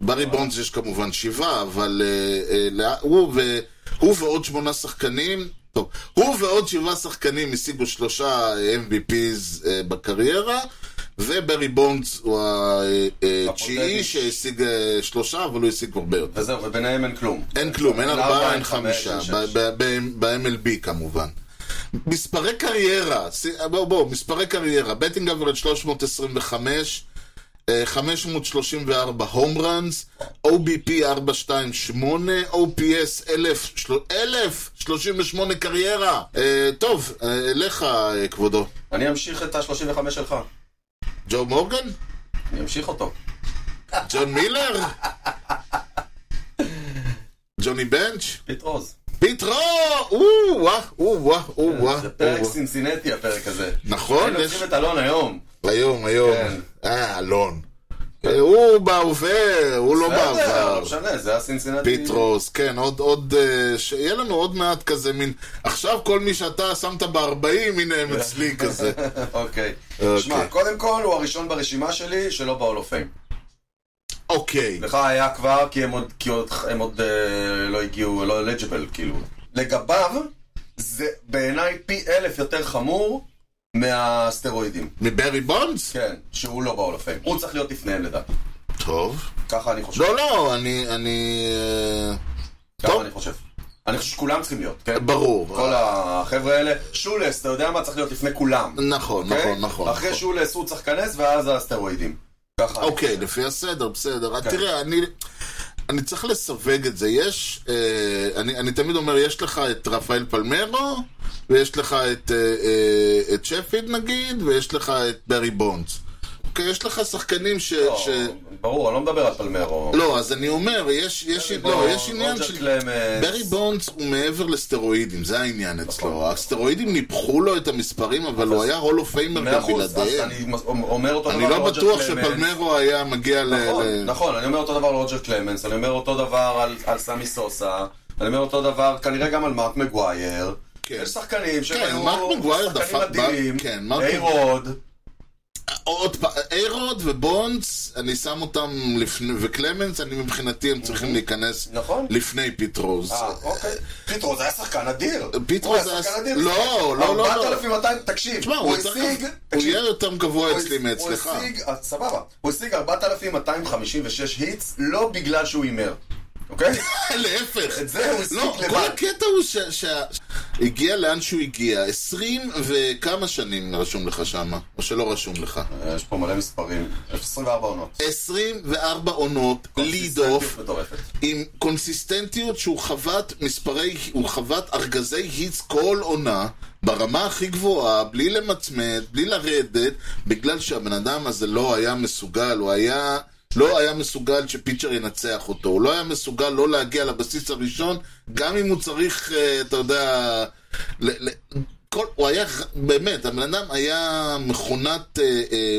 Speaker 2: ברי בונדס יש כמובן שבעה, אבל אה, אה, לא- הוא, ו, הוא ועוד שמונה שחקנים, טוב, הוא ועוד שבעה שחקנים השיגו שלושה MVPs אה, בקריירה, וברי בונדס הוא התשיעי
Speaker 1: הפוטנטי.
Speaker 2: שהשיג אה, שלושה, אבל הוא השיג הרבה יותר.
Speaker 1: וזהו, וביניהם אין כלום.
Speaker 2: אין כלום, אין ארבעה, אין חמישה,
Speaker 1: אין שש.
Speaker 2: ב- ב- ב- ב-MLB כמובן. מספרי קריירה, ס- בואו, בואו, מספרי קריירה, בטינג אברד 325, אה, 534 הום ראנס, OBP 428, OPS 1000, של- 1038 קריירה. אה, טוב, אה, אליך אה, כבודו.
Speaker 1: אני אמשיך את ה-35 שלך.
Speaker 2: ג'ו מורגן?
Speaker 1: אני אמשיך אותו.
Speaker 2: ג'ון מילר? ג'וני בנץ'?
Speaker 1: פיט רוז.
Speaker 2: פיטרו! או וואה, או וואה, או וואה.
Speaker 1: כן, זה פרק
Speaker 2: או, וואה.
Speaker 1: סינסינטי הפרק הזה.
Speaker 2: נכון,
Speaker 1: היינו
Speaker 2: יש...
Speaker 1: צריכים את אלון היום.
Speaker 2: היום, היום.
Speaker 1: כן.
Speaker 2: אה, אלון. אה, הוא בהווה, הוא לא
Speaker 1: בסדר,
Speaker 2: בעבר.
Speaker 1: לא משנה, זה הסינסינטי.
Speaker 2: פיטרוס, כן, עוד, עוד, אה, שיהיה לנו עוד מעט כזה מין, עכשיו כל מי שאתה שמת ב-40, הנה הם אצלי כזה.
Speaker 1: אוקיי.
Speaker 2: אוקיי.
Speaker 1: שמע, קודם כל הוא הראשון ברשימה שלי שלא ב-all of fame.
Speaker 2: אוקיי,
Speaker 1: לך היה כבר, כי הם עוד, כי עוד, הם עוד אה, לא הגיעו, לא אלג'יבל, כאילו. לגביו, זה בעיניי פי אלף יותר חמור מהסטרואידים.
Speaker 2: מברי בונדס?
Speaker 1: כן, שהוא לא ב-all of fame. הוא צריך להיות לפניהם לדעתי.
Speaker 2: טוב.
Speaker 1: ככה אני חושב.
Speaker 2: לא, לא, אני, אני... אה,
Speaker 1: ככה
Speaker 2: טוב.
Speaker 1: אני חושב. אני חושב שכולם צריכים להיות, כן?
Speaker 2: אה, ברור.
Speaker 1: כל החבר'ה האלה. שולס, אתה יודע מה? צריך להיות לפני כולם.
Speaker 2: נכון,
Speaker 1: אוקיי?
Speaker 2: נכון, נכון.
Speaker 1: אחרי
Speaker 2: נכון.
Speaker 1: שולס הוא צריך להיכנס, ואז הסטרואידים. ככה. אני
Speaker 2: אוקיי, לפי הסדר, בסדר.
Speaker 1: כן.
Speaker 2: תראה, אני... אני צריך לסווג את זה, יש, אה, אני, אני תמיד אומר, יש לך את רפאל פלמרו, ויש לך את, אה, אה, את שפיד נגיד, ויש לך את ברי בונדס. אוקיי, יש לך שחקנים ש...
Speaker 1: לא,
Speaker 2: ש...
Speaker 1: ברור, אני לא מדבר על פלמרו.
Speaker 2: לא, אז אני אומר, יש, יש, לא, יש עניין של... ברי
Speaker 1: ברי
Speaker 2: בונדס הוא מעבר לסטרואידים, זה העניין
Speaker 1: נכון.
Speaker 2: אצלו. הסטרואידים ניפחו לו את המספרים, אבל הוא היה הולו פיימר
Speaker 1: מאה
Speaker 2: גם
Speaker 1: אחוז, אז
Speaker 2: בלעדיהם.
Speaker 1: אני מס- אומר אותו דבר
Speaker 2: אני לא
Speaker 1: על רוג'ר
Speaker 2: בטוח
Speaker 1: קלמנס.
Speaker 2: שפלמרו היה מגיע ל... ל-
Speaker 1: נכון, נכון, אני אומר אותו דבר על רוג'ר קלמנס, אני אומר אותו דבר על- על סמי סוסה, אני אומר אותו דבר כנראה גם על מרק מגווייר.
Speaker 2: כן.
Speaker 1: יש שחקנים שהם
Speaker 2: כן,
Speaker 1: היו
Speaker 2: מרק מגווייר
Speaker 1: שחקנים
Speaker 2: דפק-
Speaker 1: מדהימים,
Speaker 2: כן, מרק-
Speaker 1: איירוד,
Speaker 2: עוד פעם, איירוד ובונדס, אני שם אותם לפני, וקלמנס, אני מבחינתי הם צריכים להיכנס
Speaker 1: נכון?
Speaker 2: לפני פיטרוז.
Speaker 1: אה, אוקיי. פיטרו זה היה שחקן אדיר.
Speaker 2: פיטרו
Speaker 1: הוא
Speaker 2: זה היה
Speaker 1: שחקן
Speaker 2: ש-
Speaker 1: אדיר.
Speaker 2: לא, לא, לא,
Speaker 1: 4,200, תקשיב,
Speaker 2: תשמע,
Speaker 1: הוא
Speaker 2: הוא יותר
Speaker 1: השיג...
Speaker 2: גב- הוא
Speaker 1: תקשיב,
Speaker 2: יהיה יותר גבוה אצלי
Speaker 1: הוא-
Speaker 2: מאצלך.
Speaker 1: הוא השיג, אה, סבבה, הוא השיג 4,256 היטס, לא בגלל שהוא הימר, אוקיי?
Speaker 2: אה, להפך.
Speaker 1: את זה הוא
Speaker 2: לא,
Speaker 1: השיג
Speaker 2: כל
Speaker 1: לבד.
Speaker 2: הקטע הוא ש- שה... הגיע לאן שהוא הגיע, עשרים וכמה שנים רשום לך שמה, או שלא רשום לך.
Speaker 1: אה, יש פה מלא מספרים, יש 24 עונות.
Speaker 2: 24 עונות,
Speaker 1: אוקיי,
Speaker 2: ליד אוף,
Speaker 1: קונסיסטנטיות מטורפת.
Speaker 2: עם קונסיסטנטיות שהוא חבט מספרי, הוא חבט ארגזי היטס כל עונה, ברמה הכי גבוהה, בלי למצמד, בלי לרדת, בגלל שהבן אדם הזה לא היה מסוגל, הוא היה... לא היה מסוגל שפיצ'ר ינצח אותו, הוא לא היה מסוגל לא להגיע לבסיס הראשון, גם אם הוא צריך, אה, אתה יודע, ל- ל- כל, הוא היה, באמת, הבן אדם היה מכונת אה, אה,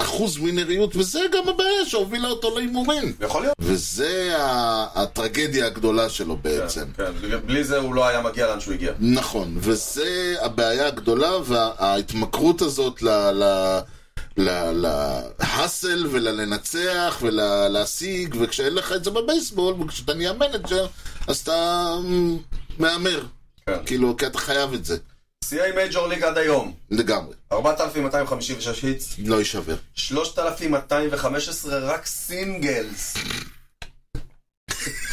Speaker 2: אחוז ווינריות, וזה גם הבעיה שהובילה אותו להימורים.
Speaker 1: יכול להיות.
Speaker 2: וזה ה- הטרגדיה הגדולה שלו בעצם.
Speaker 1: כן, בלי זה הוא לא היה מגיע לאן שהוא הגיע.
Speaker 2: נכון, וזה הבעיה הגדולה, וההתמכרות הזאת ל... ל... ל- להאסל וללנצח ולהשיג, וכשאין לך את זה בבייסבול, וכשאתה נהיה מנג'ר, אז אתה מ, מהמר.
Speaker 1: כן.
Speaker 2: כאילו, כי אתה חייב את זה,
Speaker 1: שיאי מייג'ור ליג עד היום,
Speaker 2: לגמרי.
Speaker 1: 4,256 היטס,
Speaker 2: לא יישבר.
Speaker 1: 3,215 רק סינגלס.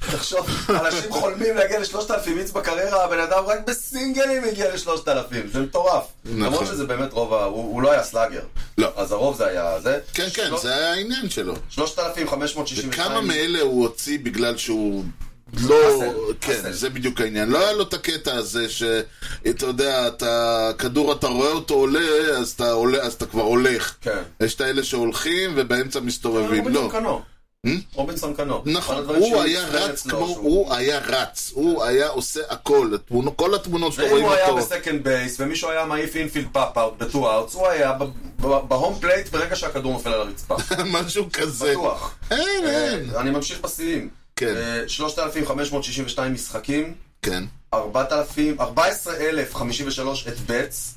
Speaker 1: תחשוב, אנשים חולמים להגיע ל-3,000 איץ בקריירה, הבן אדם רק בסינגלים הגיע ל-3,000, זה מטורף.
Speaker 2: נכון.
Speaker 1: למרות שזה באמת רוב ה... הוא הוא לא היה סלאגר.
Speaker 2: לא.
Speaker 1: אז לא. הרוב זה היה זה.
Speaker 2: כן, כן,
Speaker 1: שלוש-
Speaker 2: זה היה העניין שלו.
Speaker 1: 3,562.
Speaker 2: כמה מאלה הוא הוציא בגלל שהוא לא...
Speaker 1: חסל,
Speaker 2: כן,
Speaker 1: חסל.
Speaker 2: זה בדיוק העניין. לא היה לו את הקטע הזה שאתה יודע, אתה... כדור, אתה רואה אותו עולה, אז אתה, עולה, אז אתה כבר הולך.
Speaker 1: כן.
Speaker 2: יש את האלה שהולכים ובאמצע מסתובבים.
Speaker 1: רובינסון
Speaker 2: לא.
Speaker 1: קנו. רובינסון קנו.
Speaker 2: נכון,
Speaker 1: כל הדברים
Speaker 2: הוא
Speaker 1: שהוא
Speaker 2: היה
Speaker 1: הצטיין
Speaker 2: רץ
Speaker 1: אצלו,
Speaker 2: כמו,
Speaker 1: שהוא-
Speaker 2: הוא היה רץ, הוא היה עושה הכל, התמונות- כל התמונות שאתה
Speaker 1: ואם
Speaker 2: רואים
Speaker 1: הוא היה
Speaker 2: אותו,
Speaker 1: בסקנד בייס, ומישהו היה מעיף אינפילד פאפ-אאוט בטו-אאוטס, הוא היה ב- ב- בהום פלייט ברגע שהכדור נופל על הרצפה.
Speaker 2: כן. משהו כזה,
Speaker 1: בטוח.
Speaker 2: אין, אין,
Speaker 1: אה, אני ממשיך בשיאים.
Speaker 2: כן.
Speaker 1: אה, 3,562 משחקים,
Speaker 2: כן,
Speaker 1: 4,000 14,053 את בטס,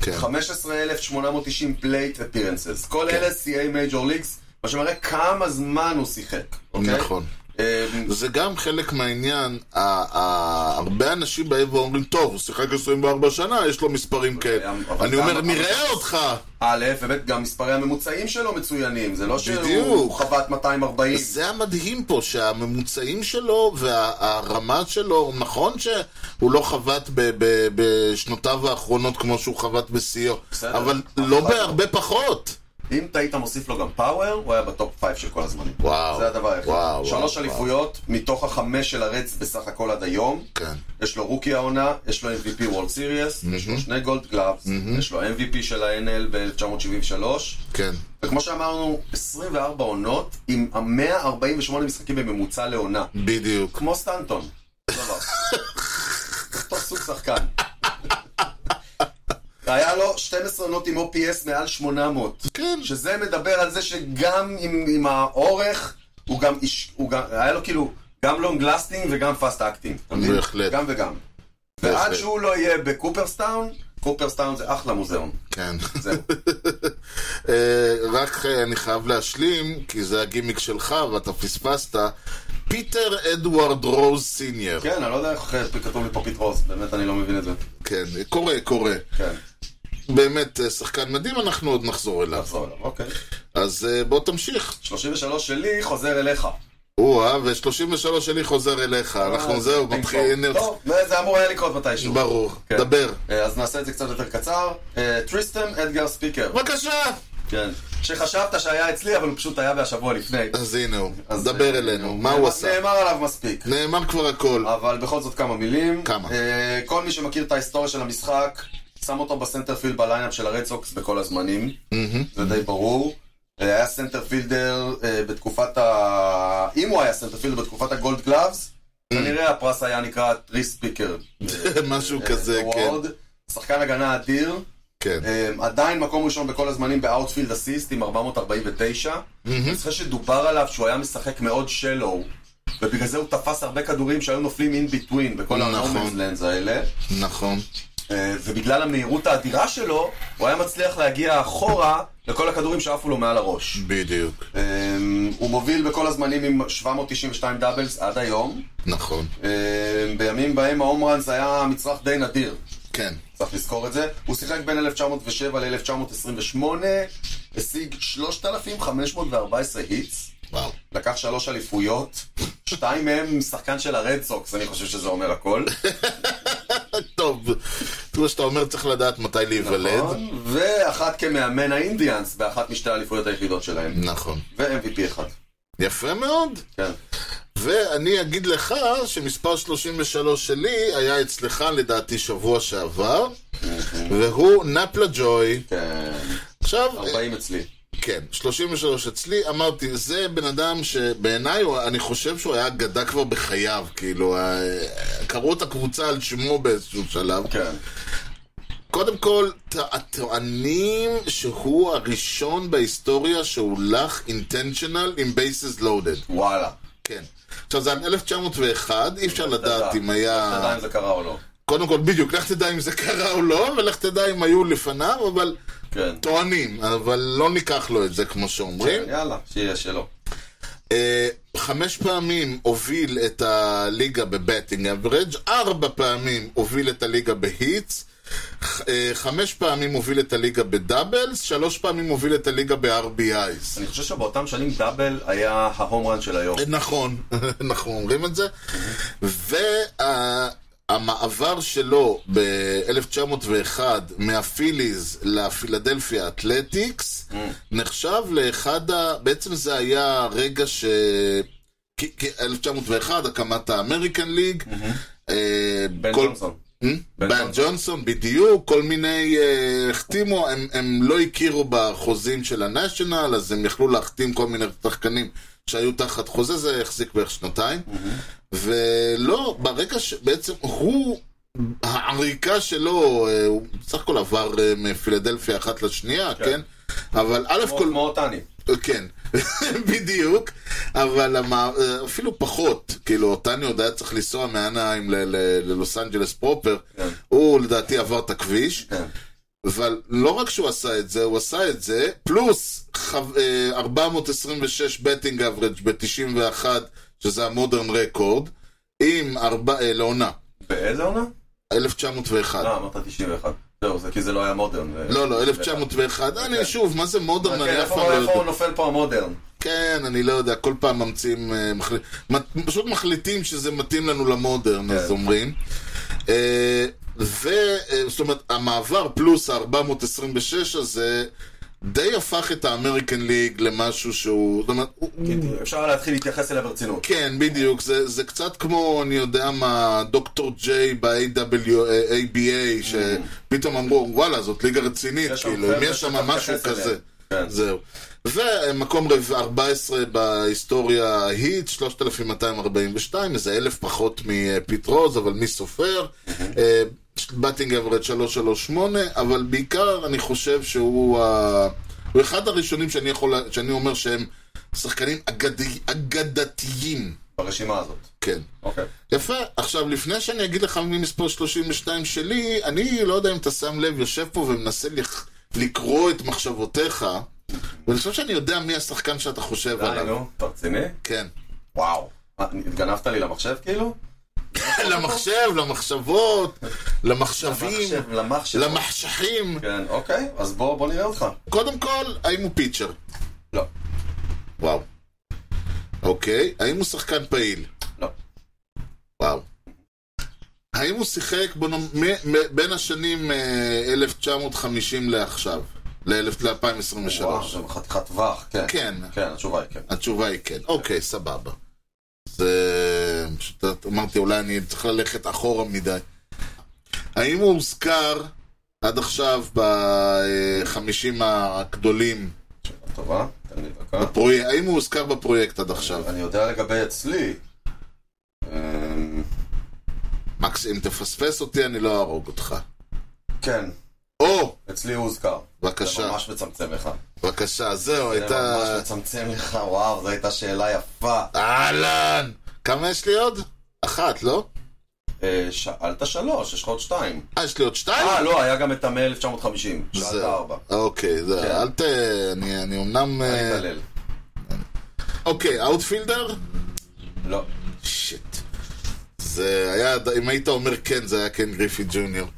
Speaker 2: כן,
Speaker 1: 15,890 פלייט אפירנסס. כל אלה CA מייג'ור ליגס, מה שמראה כמה זמן הוא שיחק. אוקיי?
Speaker 2: נכון.
Speaker 1: אה,
Speaker 2: זה גם חלק מהעניין, ה- ה- הרבה אנשים באים ואומרים, טוב, הוא שיחק 24 שנה, יש לו מספרים כאלה.
Speaker 1: אבל
Speaker 2: אני
Speaker 1: גם-
Speaker 2: אומר,
Speaker 1: אבל-
Speaker 2: נראה אותך.
Speaker 1: א', באמת גם מספרי הממוצעים שלו מצוינים, זה לא שהוא
Speaker 2: בדיוק.
Speaker 1: חבט 240.
Speaker 2: זה המדהים פה, שהממוצעים שלו והרמה שלו, נכון שהוא לא חבט ב- ב- בשנותיו האחרונות כמו שהוא חבט בשיאו,
Speaker 1: בסדר.
Speaker 2: אבל לא
Speaker 1: אבל-
Speaker 2: בהרבה פחות.
Speaker 1: אם אתה היית מוסיף לו גם פאוור, הוא היה בטופ 5 של כל הזמנים.
Speaker 2: וואו.
Speaker 1: זה הדבר היחיד.
Speaker 2: וואו, וואו,
Speaker 1: שלוש
Speaker 2: וואו.
Speaker 1: אליפויות מתוך החמש של הרדס בסך הכל עד היום.
Speaker 2: כן.
Speaker 1: יש לו רוקי העונה, יש לו MVP World Series, יש לו שני גולד גלאבס, יש לו MVP של ה-NL ב-1973.
Speaker 2: כן.
Speaker 1: וכמו שאמרנו, 24 עונות עם 148 משחקים בממוצע לעונה.
Speaker 2: בדיוק.
Speaker 1: כמו סטנטון. אותו דבר. אותו סוג שחקן. היה לו 12 עונות עם OPS מעל 800.
Speaker 2: כן.
Speaker 1: שזה מדבר על זה שגם עם, עם האורך, הוא גם, איש, הוא גם, היה לו כאילו, גם לונג לסטינג וגם פאסט אקטינג. אתה מבין?
Speaker 2: בהחלט.
Speaker 1: גם וגם.
Speaker 2: בהחלט.
Speaker 1: ועד שהוא לא יהיה בקופרסטאון, קופרסטאון זה אחלה מוזיאון.
Speaker 2: כן.
Speaker 1: זהו.
Speaker 2: אה, רק אה, אני חייב להשלים, כי זה הגימיק שלך ואתה פספסת. פיטר אדוארד רוז סיניור.
Speaker 1: כן, אני לא יודע איך אה, כתוב לי פה פטרוס, באמת אני לא מבין את זה.
Speaker 2: כן, קורה, קורה.
Speaker 1: כן,
Speaker 2: באמת אה, שחקן מדהים, אנחנו עוד נחזור אליו.
Speaker 1: נחזור אליו, אוקיי.
Speaker 2: אז אה, בוא תמשיך.
Speaker 1: 33 שלי חוזר אליך.
Speaker 2: או-אה, ו-33 שלי חוזר אליך. אנחנו זהו,
Speaker 1: פינג
Speaker 2: מתחיל...
Speaker 1: פונג.
Speaker 2: הנה,
Speaker 1: אה, טוב, זה אמור היה לקרות מתישהו.
Speaker 2: ברור.
Speaker 1: כן.
Speaker 2: דבר.
Speaker 1: אה, אז נעשה את זה קצת יותר קצר. אה, טריסטם אדגר ספיקר.
Speaker 2: בבקשה!
Speaker 1: כן. שחשבת שהיה אצלי, אבל הוא פשוט היה בשבוע לפני.
Speaker 2: אז הנה הוא.
Speaker 1: אז,
Speaker 2: דבר
Speaker 1: אה,
Speaker 2: אלינו, מה הוא עשה?
Speaker 1: נאמר עליו מספיק.
Speaker 2: נאמר כבר הכל.
Speaker 1: אבל בכל זאת כמה מילים.
Speaker 2: כמה?
Speaker 1: אה, כל מי שמכיר את ההיסטוריה של המשחק, שם אותו בסנטרפילד בליינאפ של הרד סוקס בכל הזמנים. זה די ברור. אה, היה סנטרפילדר אה, בתקופת ה... אם הוא היה סנטרפילדר בתקופת הגולד גלאבס,
Speaker 2: Mm.
Speaker 1: כנראה הפרס היה נקרא טריס ספיקר.
Speaker 2: משהו
Speaker 1: אה,
Speaker 2: כזה, כן.
Speaker 1: וורד, שחקן הגנה אדיר,
Speaker 2: כן.
Speaker 1: אמ, עדיין מקום ראשון בכל הזמנים באאוטפילד אסיסט עם 449. אני חושב שדובר עליו שהוא היה משחק מאוד שלו, ובגלל זה הוא תפס הרבה כדורים שהיו נופלים אין ביטווין בכל
Speaker 2: נכון.
Speaker 1: הנורמנזלנדס האלה.
Speaker 2: נכון.
Speaker 1: אה, ובגלל המהירות האדירה שלו, הוא היה מצליח להגיע אחורה לכל הכדורים שעפו לו מעל הראש.
Speaker 2: בדיוק.
Speaker 1: אמ, הוא מוביל בכל הזמנים עם 792 דאבלס עד היום.
Speaker 2: נכון.
Speaker 1: אמ, בימים בהם ההום ראנס היה מצרך די נדיר.
Speaker 2: כן.
Speaker 1: צריך לזכור את זה. הוא שיחק בין 1907 ל-1928, השיג 3,514 היטס,
Speaker 2: וואו.
Speaker 1: לקח שלוש אליפויות, שתיים מהם עם שחקן של הרד סוקס, אני חושב שזה אומר הכל.
Speaker 2: טוב, כמו שאתה אומר, צריך לדעת מתי להיוולד.
Speaker 1: נכון? ואחת כמאמן האינדיאנס באחת משתי האליפויות היחידות שלהם.
Speaker 2: נכון.
Speaker 1: ו-MVP אחד.
Speaker 2: יפה מאוד.
Speaker 1: כן.
Speaker 2: ואני אגיד לך שמספר 33 שלי היה אצלך לדעתי שבוע שעבר, והוא נפלה ג'וי.
Speaker 1: כן.
Speaker 2: עכשיו,
Speaker 1: 40 אצלי.
Speaker 2: כן, 33 אצלי, אמרתי, זה בן אדם שבעיניי, הוא- אני חושב שהוא היה אגדה כבר בחייו, כאילו, אה, קראו את הקבוצה על שמו באיזשהו שלב.
Speaker 1: כן.
Speaker 2: קודם כל, ט- טוענים שהוא הראשון בהיסטוריה שהולך אינטנשיונל עם בייסס לואודד.
Speaker 1: וואלה.
Speaker 2: כן. עכשיו זה על 1901, אי אפשר לדעת אם
Speaker 1: אתה
Speaker 2: היה...
Speaker 1: יודע אם זה קרה או לא.
Speaker 2: קודם כל, בדיוק, לך תדע אם זה קרה או לא, ולך תדע אם היו לפניו, אבל
Speaker 1: כן.
Speaker 2: טוענים, אבל לא ניקח לו את זה כמו שאומרים.
Speaker 1: יאללה, שיהיה שלא.
Speaker 2: אה, חמש פעמים הוביל את הליגה בבטינג אברג', ארבע פעמים הוביל את הליגה בהיטס, ח- אה, חמש פעמים הוביל את הליגה בדאבלס, שלוש פעמים הוביל את הליגה ב-RBIs.
Speaker 1: אני חושב שבאותם שנים דאבל היה ההום רן של היום.
Speaker 2: נכון, אנחנו אומרים את זה. והמעבר שלו ב-1901 מהפיליז לפילדלפיה אתלטיקס נחשב לאחד ה... בעצם זה היה הרגע ש... כי- כי 1901, הקמת האמריקן ליג. אה,
Speaker 1: בן
Speaker 2: כל-
Speaker 1: ג'ונסון.
Speaker 2: Hmm?
Speaker 1: בן
Speaker 2: בן
Speaker 1: ג'ונסון.
Speaker 2: ג'ונסון, בדיוק, כל מיני אה, החתימו, הם, הם לא הכירו בחוזים של הנשיונל, אז הם יכלו להחתים כל מיני שחקנים שהיו תחת חוזה, זה החזיק בערך שנתיים.
Speaker 1: Mm-hmm.
Speaker 2: ולא, ברגע שבעצם הוא, העריקה שלו, אה, הוא בסך הכל עבר אה, מפילדלפיה אחת לשנייה, כן? אבל א'
Speaker 1: כמו
Speaker 2: כל...
Speaker 1: כמו אותני.
Speaker 2: כן, בדיוק, אבל המע... אפילו פחות, כאילו, אותני עוד היה צריך לנסוע מהנהיים ל- ל- ללוס אנג'לס פרופר,
Speaker 1: כן.
Speaker 2: הוא לדעתי עבר את הכביש,
Speaker 1: כן.
Speaker 2: אבל לא רק שהוא עשה את זה, הוא עשה את זה, פלוס חו... אה, 426 בטינג אברג' ב-91, שזה המודרן רקורד, עם ארבע... אה, לעונה,
Speaker 1: באיזה עונה?
Speaker 2: 1901.
Speaker 1: אה, אמרת 91. זהו, זה כי זה לא היה מודרן. זה-
Speaker 2: לא, לא, 1901, אני שוב, מה זה מודרן,
Speaker 1: כן,
Speaker 2: אני אף
Speaker 1: איפה
Speaker 2: פעם לא יודע.
Speaker 1: איפה הוא נופל פה המודרן?
Speaker 2: כן, אני לא יודע, כל פעם ממציאים, אה, מחל... מ- פשוט מחליטים שזה מתאים לנו למודרן,
Speaker 1: כן.
Speaker 2: אז אומרים. אה, ו... אה, זאת אומרת, המעבר פלוס ה-426 הזה די הפך את האמריקן ליג למשהו שהוא... זאת אומרת, הוא... הוא-
Speaker 1: כי אפשר להתחיל להתייחס אליה ברצינות.
Speaker 2: כן, בדיוק, זה, זה קצת כמו, אני יודע מה, דוקטור ג'יי אה, ב-ABA, שפתאום אמרו, וואלה, זאת ליגה רצינית,
Speaker 1: Mm. יש שם
Speaker 2: כאילו, אם
Speaker 1: חבר'ה
Speaker 2: יש שם
Speaker 1: שאתה
Speaker 2: משהו
Speaker 1: מתייחס
Speaker 2: כזה.
Speaker 1: אליה. כן.
Speaker 2: זהו. ומקום רב- 14 בהיסטוריה ההיט, 3,242, איזה אלף פחות מפיט רוז, אבל מי סופר? אה, בטינג אברד 338, אבל בעיקר אני חושב שהוא ה- הוא אחד הראשונים שאני יכול, לה- שאני אומר שהם שחקנים אגדי- אגדתיים.
Speaker 1: ברשימה הזאת.
Speaker 2: כן.
Speaker 1: אוקיי.
Speaker 2: יפה, עכשיו לפני שאני אגיד לך מי מספר 32 שלי, אני לא יודע אם אתה שם לב, יושב פה ומנסה לכ... לקרוא את מחשבותיך, ואני חושב שאני יודע מי השחקן שאתה חושב
Speaker 1: די,
Speaker 2: עליו.
Speaker 1: נו, אתה רציני?
Speaker 2: כן.
Speaker 1: וואו. מה, התגנבת לי למחשב כאילו?
Speaker 2: למחשב, למחשבות, למחשבים,
Speaker 1: למחשב, למחשב.
Speaker 2: למחשכים.
Speaker 1: כן, אוקיי, אז בוא בוא נראה אותך.
Speaker 2: קודם כל, האם הוא פיצ'ר?
Speaker 1: לא,
Speaker 2: וואו. אוקיי, האם הוא שחקן פעיל?
Speaker 1: לא.
Speaker 2: וואו. האם הוא שיחק בוא נאמר, מ- מ- בין השנים אה, 1950 לעכשיו?
Speaker 1: וואו,
Speaker 2: ל-2023?
Speaker 1: זה חתיכת טווח, כן.
Speaker 2: כן,
Speaker 1: כן, התשובה היא כן.
Speaker 2: התשובה היא כן. אוקיי, סבבה. זה... פשוט אמרתי, אולי אני צריך ללכת אחורה מדי. האם הוא הוזכר עד עכשיו בחמישים הגדולים?
Speaker 1: שאלה טובה, תן לי דקה.
Speaker 2: בפרויק... האם הוא הוזכר בפרויקט עד עכשיו?
Speaker 1: אני יודע לגבי אצלי. אמ,
Speaker 2: מקס, אם תפספס אותי, אני לא אהרוג אותך.
Speaker 1: כן,
Speaker 2: או!
Speaker 1: אצלי הוא הוזכר. זה
Speaker 2: בבקשה,
Speaker 1: ממש מצמצם לך.
Speaker 2: בבקשה, זהו,
Speaker 1: זה
Speaker 2: הייתה...
Speaker 1: ממש מצמצם לך, וואו, זו הייתה שאלה יפה.
Speaker 2: אהלן! כמה יש לי עוד? אחת, לא?
Speaker 1: אה, שאלת שלוש, יש לך עוד שתיים.
Speaker 2: אה, יש לי עוד שתיים?
Speaker 1: אה, לא, היה גם את המאה 1950. שאלת
Speaker 2: זהו.
Speaker 1: ארבע.
Speaker 2: אוקיי, זהו,
Speaker 1: כן.
Speaker 2: אל ת... אני אני אומנם...
Speaker 1: אני
Speaker 2: אה,
Speaker 1: מתעלל.
Speaker 2: אוקיי, אאוטפילדר?
Speaker 1: לא.
Speaker 2: שיט. זה היה, אם היית אומר כן, זה היה כן גריפי ג'וניור.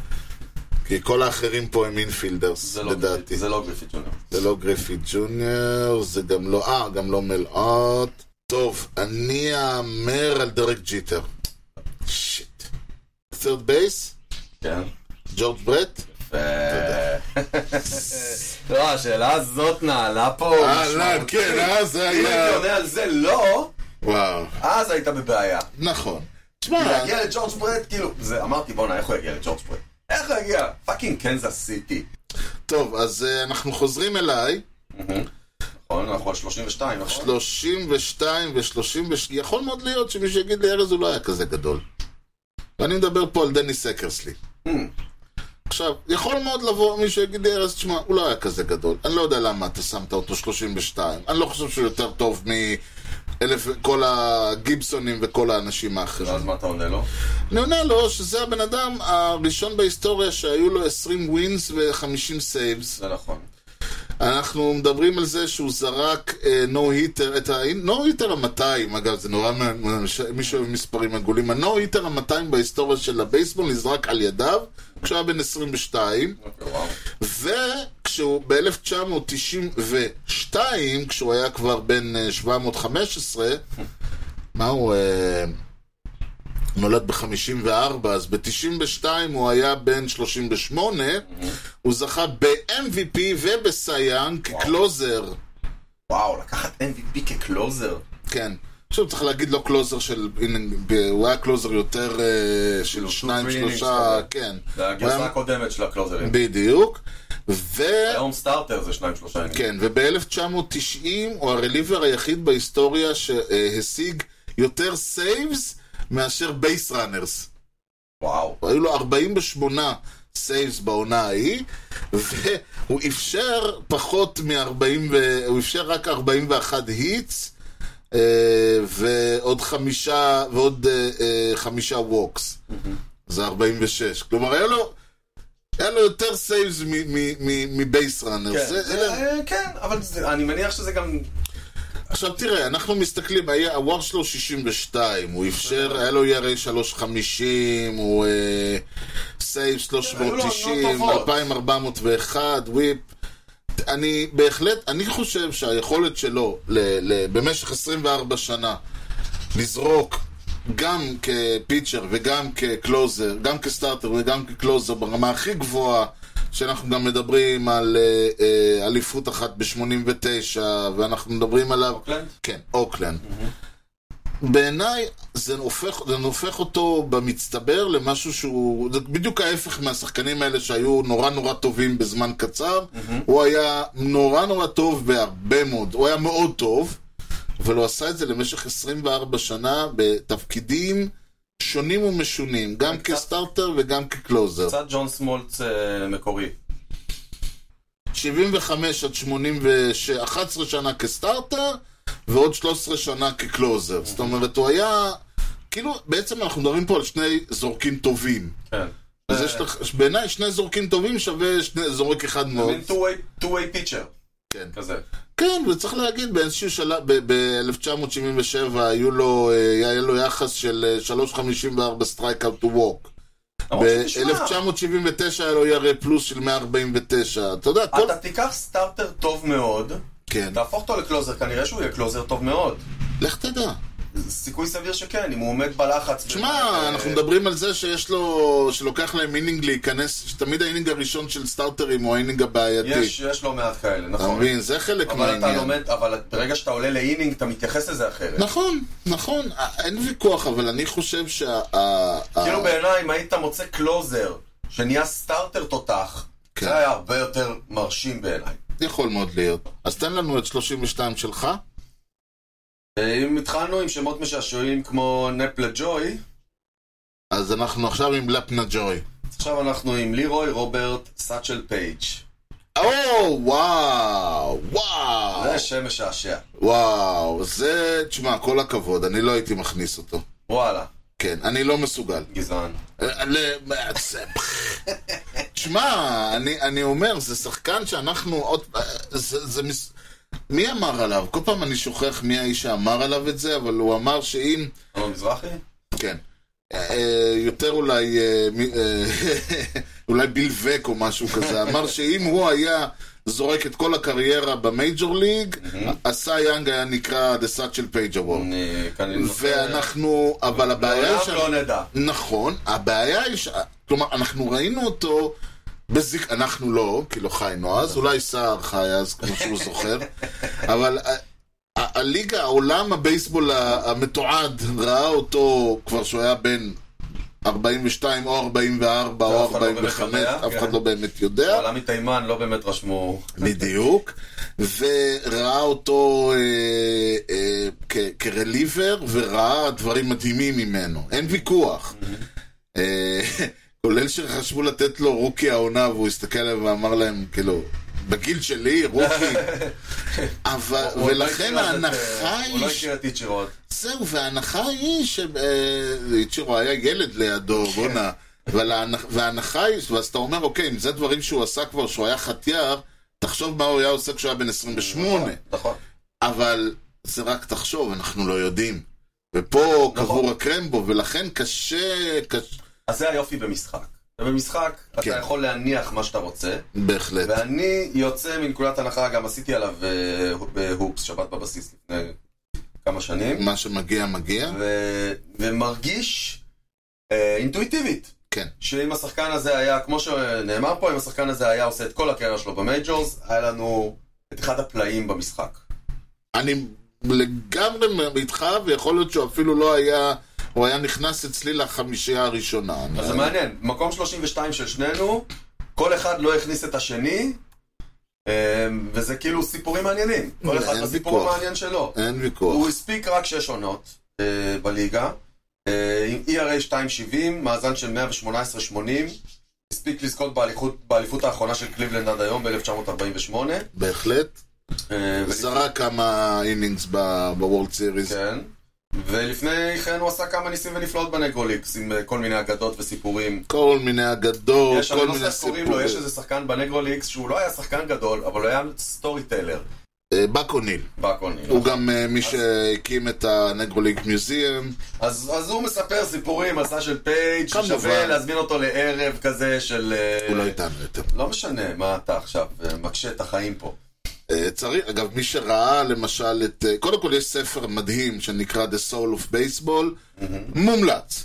Speaker 2: כי כל האחרים פה הם אינפילדרס,
Speaker 1: זה לא
Speaker 2: לדעתי.
Speaker 1: גריפי- זה לא גריפי ג'וניור.
Speaker 2: זה לא גריפי ג'וניור, זה גם לא... אה, גם לא מלאות. טוב, אני אאמר על דרק ג'יטר. שיט. third בייס?
Speaker 1: כן.
Speaker 2: ג'ורג' ברט?
Speaker 1: אה, לא, השאלה הזאת נעלה פה.
Speaker 2: אהלן,
Speaker 1: משמעותית.
Speaker 2: כן, אה, זה
Speaker 1: אם הייתי
Speaker 2: היה...
Speaker 1: עונה על זה לא,
Speaker 2: וואו,
Speaker 1: אז היית בבעיה.
Speaker 2: נכון. תשמע,
Speaker 1: להגיע לג'ורג' ברט, כאילו, זה, אמרתי, בואנה, איך הוא יגיע לג'ורג' ברט? איך הוא יגיע? פאקינג קנזס סיטי.
Speaker 2: טוב, אז אה, אנחנו חוזרים אליי.
Speaker 1: נכון, אנחנו על 32, נכון?
Speaker 2: 32 ו-33, יכול מאוד להיות שמי שיגיד לי ארז הוא לא היה כזה גדול. ואני מדבר פה על דני סקרסלי. עכשיו, יכול מאוד לבוא מישהו יגיד לי, ארז, תשמע, הוא לא היה כזה גדול. אני לא יודע למה אתה שמת אותו 32. אני לא חושב שהוא יותר טוב מ... אלף, כל הגיבסונים וכל האנשים האחרים.
Speaker 1: ואז מה אתה עונה לו?
Speaker 2: אני עונה לו שזה הבן אדם הראשון בהיסטוריה שהיו לו 20 ווינס ו-50 סייבס.
Speaker 1: זה נכון.
Speaker 2: אנחנו מדברים על זה שהוא זרק נו היטר, את ה-נו היטר ה-200, אגב, זה נורא מעניין, ש- מי שאוהב מספרים עגולים, הנו היטר ה-200 בהיסטוריה של הבייסבול נזרק על ידיו כשהוא היה בן 22,
Speaker 1: אוקיי, וואו.
Speaker 2: וכשהוא ב-1992, כשהוא היה כבר בן אה, 715, מה הוא... אה, נולד ב-54, אז ב-92 הוא היה בן 38, הוא זכה ב-MVP ובסייאן כקלוזר.
Speaker 1: וואו, לקחת MVP כקלוזר.
Speaker 2: כן. עכשיו צריך להגיד לא קלוזר של... הנה, ב- הוא היה קלוזר יותר אה, של
Speaker 1: כאילו,
Speaker 2: שניים,
Speaker 1: two, three
Speaker 2: שלושה,
Speaker 1: innings כזה.
Speaker 2: כן.
Speaker 1: זה
Speaker 2: הוא
Speaker 1: הגרסה
Speaker 2: היה-
Speaker 1: הקודמת של הקלוזרים.
Speaker 2: בדיוק. ו...
Speaker 1: היום סטארטר זה שניים שלושה ימים.
Speaker 2: כן, וב-1990 הוא הרליבר היחיד בהיסטוריה שהשיג יותר סייבס מאשר בייס ראנרס.
Speaker 1: וואו.
Speaker 2: היו לו 48 סייבס בעונה ההיא, והוא אפשר פחות מ-40, ו... הוא אפשר רק 41 היטס, אה, ועוד חמישה, ועוד אה, אה, חמישה ווקס. זה 46. כלומר, היה לו... היה לו יותר סייבס מבייס ראנר.
Speaker 1: כן, זה- כן, אבל זה- אני מניח שזה גם...
Speaker 2: עכשיו תראה, אנחנו מסתכלים, היה- הוואר שלו 62, הוא אפשר, היה לו ERA 350, הוא אה, סייב
Speaker 1: היו לו עונות
Speaker 2: 390,
Speaker 1: טובות.
Speaker 2: 2401, וויפ. אני בהחלט, אני חושב שהיכולת שלו ל, ל, במשך 24 שנה לזרוק גם כפיצ'ר וגם כקלוזר, גם כסטארטר וגם כקלוזר ברמה הכי גבוהה, שאנחנו גם מדברים על אה, אה, אליפות אחת ב-89, ואנחנו מדברים עליו...
Speaker 1: אוקלנד?
Speaker 2: כן, אוקלנד. בעיניי זה הופך, זה הופך אותו במצטבר למשהו שהוא, זה בדיוק ההפך מהשחקנים האלה שהיו נורא נורא טובים בזמן קצר. הוא היה נורא נורא טוב בהרבה מאוד, הוא היה מאוד טוב, אבל הוא עשה את זה למשך 24 שנה בתפקידים שונים ומשונים, גם
Speaker 1: קצת-
Speaker 2: כסטארטר וגם כקלוזר.
Speaker 1: קצת ג'ון סמולץ אה, מקורי.
Speaker 2: 75 עד 86, 11 שנה כסטארטר, ועוד 13 שנה כקלוזר. זאת אומרת, הוא היה... כאילו, בעצם אנחנו מדברים פה על שני זורקים טובים.
Speaker 1: כן.
Speaker 2: אז יש לך, בעיניי שני זורקים טובים שווה שני, זורק אחד מאוד.
Speaker 1: מין two-way- two-way pitcher.
Speaker 2: כן.
Speaker 1: כזה.
Speaker 2: כן, וצריך להגיד, באיזשהו שלב, ב-1977 היו לו, אה, היה לו יחס של אה, 3.54 סטרייק אאוט טו ווק.
Speaker 1: למרות שתשמע,
Speaker 2: ב-1979 היה לו ירא פלוס של 149. אתה יודע, כל...
Speaker 1: אתה תיקח סטארטר טוב מאוד,
Speaker 2: כן.
Speaker 1: תהפוך אותו לקלוזר, כנראה שהוא יהיה קלוזר טוב מאוד.
Speaker 2: לך תדע.
Speaker 1: סיכוי סביר שכן, אם הוא עומד בלחץ.
Speaker 2: תשמע,
Speaker 1: אה,
Speaker 2: אנחנו מדברים על זה שיש לו, שלוקח להם אינינג להיכנס, שתמיד האינינג הראשון של סטארטרים הוא האינינג
Speaker 1: יש,
Speaker 2: הבעייתי.
Speaker 1: יש לא מעט כאלה,
Speaker 2: אתה
Speaker 1: נכון.
Speaker 2: מבין? זה חלק
Speaker 1: אבל אתה
Speaker 2: מהעניין.
Speaker 1: לומד, אבל ברגע שאתה עולה לאינינג, אתה מתייחס לזה אחרת.
Speaker 2: נכון, נכון, אה, אין ויכוח, אבל אני חושב שה... ה- ה-
Speaker 1: כאילו בעיניי, אם היית מוצא קלוזר, שנהיה סטארטר תותח,
Speaker 2: כן.
Speaker 1: זה היה הרבה יותר מרשים בעיניי.
Speaker 2: יכול מאוד להיות. אז תן לנו את 32 שלך.
Speaker 1: אם התחלנו עם שמות משעשעים כמו נפלה ג'וי,
Speaker 2: אז אנחנו עכשיו עם לפנה ג'וי.
Speaker 1: עכשיו אנחנו עם לירוי רוברט סאצ'ל פייג'.
Speaker 2: או, וואו, וואו,
Speaker 1: זה שם משעשע.
Speaker 2: וואו, זה, תשמע, כל הכבוד, אני לא הייתי מכניס אותו.
Speaker 1: וואלה,
Speaker 2: כן, אני לא מסוגל.
Speaker 1: גזען.
Speaker 2: ל- זה- תשמע, אני, אני אומר, זה שחקן שאנחנו עוד... זה, זה מס... מי אמר עליו? כל פעם אני שוכח מי האיש שאמר עליו את זה, אבל הוא אמר שאם...
Speaker 1: אלון מזרחי?
Speaker 2: כן. אה, יותר אולי... אה, מי- אה, אולי ביל וק או משהו כזה. אמר שאם הוא היה זורק את כל הקריירה במייג'ור ליג,
Speaker 1: Mm-hmm.
Speaker 2: עשה יאנג היה נקרא The Satchel Page Award.
Speaker 1: אני כנראה...
Speaker 2: ואנחנו... אבל הבעיה היא
Speaker 1: לעולם
Speaker 2: שאנחנו-
Speaker 1: Mm-hmm. לא נדע.
Speaker 2: נכון, הבעיה היא ש... כלומר, אנחנו ראינו אותו בזיק... אנחנו לא, כי לא חיינו אז, אולי סער חי אז, כמו שהוא זוכר, אבל ה- ה- הליגה, העולם הבייסבול ה- המתועד ראה אותו כבר שהוא היה בן 42 או 44 או
Speaker 1: ואף אחד לא באמת
Speaker 2: 45,
Speaker 1: יודע,
Speaker 2: אף אחד
Speaker 1: כן.
Speaker 2: לא באמת יודע.
Speaker 1: עלה מתימן, לא באמת רשמו...
Speaker 2: בדיוק, וראה אותו אה, אה, כ- כרליבר, וראה דברים מדהימים ממנו, אין ויכוח. אה, כולל שחשבו לתת לו רוקי העונה, והוא הסתכל עליהם ואמר להם, כאילו, בגיל שלי, רוקי. אבל,
Speaker 1: הוא עוד לא
Speaker 2: ולכן
Speaker 1: הכיר אז את,
Speaker 2: ההנחה
Speaker 1: אה, הוא לא
Speaker 2: היא... ש-
Speaker 1: הכיר את איצ'ירו עוד.
Speaker 2: זהו, וההנחה היא ש... אה, איצ'ירו היה ילד לידו, בואנה. אבל ההנח- וההנחה היא, ואז אתה אומר, אוקיי, אם זה דברים שהוא עשה כבר, שהוא היה חטיאר, תחשוב מה הוא היה עושה כשהוא היה בן 28.
Speaker 1: נכון.
Speaker 2: אבל זה רק תחשוב, אנחנו לא יודעים. ופה
Speaker 1: נכון.
Speaker 2: קבור הקרמבו, ולכן קשה, קש...
Speaker 1: אז זה היופי במשחק. ובמשחק אתה
Speaker 2: כן.
Speaker 1: יכול להניח מה שאתה רוצה,
Speaker 2: בהחלט.
Speaker 1: ואני יוצא מנקודת הנחה, גם עשיתי עליו אה, בהופס, שבת בבסיס לפני כמה שנים,
Speaker 2: מה שמגיע, מגיע.
Speaker 1: ו- ומרגיש אה, אינטואיטיבית.
Speaker 2: כן.
Speaker 1: שאם השחקן הזה היה, כמו שנאמר פה, אם השחקן הזה היה עושה את כל הקריירה שלו במייג'ורס, היה לנו את אחד הפלאים במשחק.
Speaker 2: אני לגמרי איתך, ויכול להיות שהוא אפילו לא היה, הוא היה נכנס אצלי לחמישייה הראשונה. אני-
Speaker 1: אז זה מעניין, מקום 32 של שנינו, כל אחד לא הכניס את השני, אה, וזה כאילו סיפורים מעניינים. כל אחד
Speaker 2: אין
Speaker 1: בסיפור
Speaker 2: ויכוח.
Speaker 1: המעניין שלו.
Speaker 2: אין
Speaker 1: הוא
Speaker 2: ויכוח.
Speaker 1: הספיק רק שש עונות אה, בליגה, אה, עם ERA 2.70, מאזן של 118-80, הספיק לזכות באליכות- באליפות האחרונה של קליבלנד עד היום ב-1948.
Speaker 2: בהחלט.
Speaker 1: אה,
Speaker 2: זרק כמה אינינגס בוורלד סיריס.
Speaker 1: כן. ולפני כן הוא עשה כמה ניסים ונפלאות בנגרוליקס, עם אה, כל מיני אגדות וסיפורים.
Speaker 2: כל מיני אגדות,
Speaker 1: יש, אני
Speaker 2: כל
Speaker 1: לא יודע
Speaker 2: מיני
Speaker 1: איך קוראים לו,
Speaker 2: סיפורים.
Speaker 1: יש איזה שחקן בנגרוליקס שהוא לא היה שחקן גדול, אבל הוא היה סטורי טלר,
Speaker 2: אה, באק אוניל.
Speaker 1: בקוני.
Speaker 2: הוא גם אה, מי שהקים את הנגרוליג מיוזיאם.
Speaker 1: אז, אז הוא מספר סיפורים, מסע של פייג'
Speaker 2: כמובן.
Speaker 1: ששווה להזמין אותו לערב כזה של... אה,
Speaker 2: הוא לא איתנו יותר.
Speaker 1: לא משנה מה אתה עכשיו, אה, מקשה את החיים פה.
Speaker 2: אה, צריך, אגב, מי שראה למשל את... אה, קודם כל יש ספר מדהים שנקרא The Soul of Baseball, מומלץ.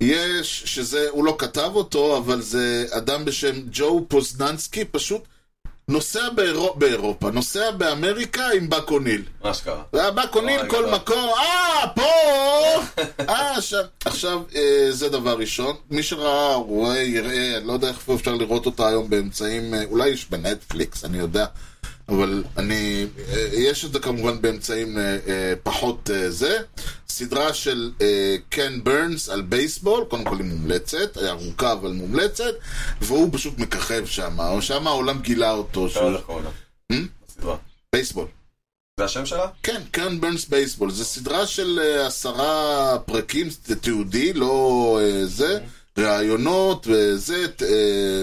Speaker 2: יש, שזה, הוא לא כתב אותו, אבל זה אדם בשם ג'ו פוזננסקי, פשוט נוסע באירו- באירופה, נוסע באמריקה עם באק אוניל.
Speaker 1: מה שקרה.
Speaker 2: והבא קונים
Speaker 1: אוי,
Speaker 2: אה, כל
Speaker 1: גדול.
Speaker 2: מקום, אה, פה! אה, שם. עכשיו, אה, זה דבר ראשון. מי שראה, רואה, יראה, אני לא יודע איך אפשר לראות אותה היום באמצעים, אה, אולי יש בנטפליקס, אני יודע. אבל אני, אה, יש את זה כמובן באמצעים אה, אה, פחות אה, זה. סדרה של אה, קן ברנס על בייסבול, קודם כל היא מומלצת, היא ארוכה אבל מומלצת, והוא פשוט מככב שם, או שם העולם גילה אותו,
Speaker 1: לא
Speaker 2: שהוא
Speaker 1: הולך לעולם.
Speaker 2: Hmm?
Speaker 1: בסדרה.
Speaker 2: בייסבול.
Speaker 1: זה השם שלה?
Speaker 2: כן, קרן ברנס בייסבול. זו סדרה של אה, עשרה פרקים, זה תיעודי, לא אה, זה, ראיונות וזה, ת- אה,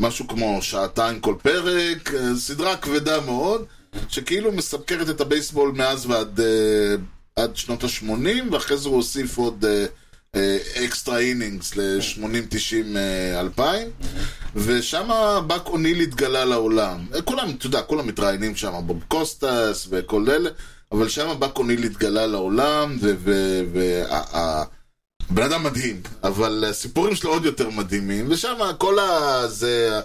Speaker 2: משהו כמו שעתיים כל פרק, אה, סדרה כבדה מאוד, שכאילו מסקרת את הבייסבול מאז ועד אה, עד שנות ה-80, ואחרי זה הוא הוסיף עוד אה, אה, אקסטרה אינינגס ל-80, 90, אה, 2000, ושם באק אוניל התגלה לעולם. אה, כולם, אתה יודע, כולם מתראיינים שם, בוב קוסטס וכל אלה, אבל שם באק אוניל התגלה לעולם, והבן אדם מדהים, אבל הסיפורים שלו עוד יותר מדהימים, ושם כל ה... זה...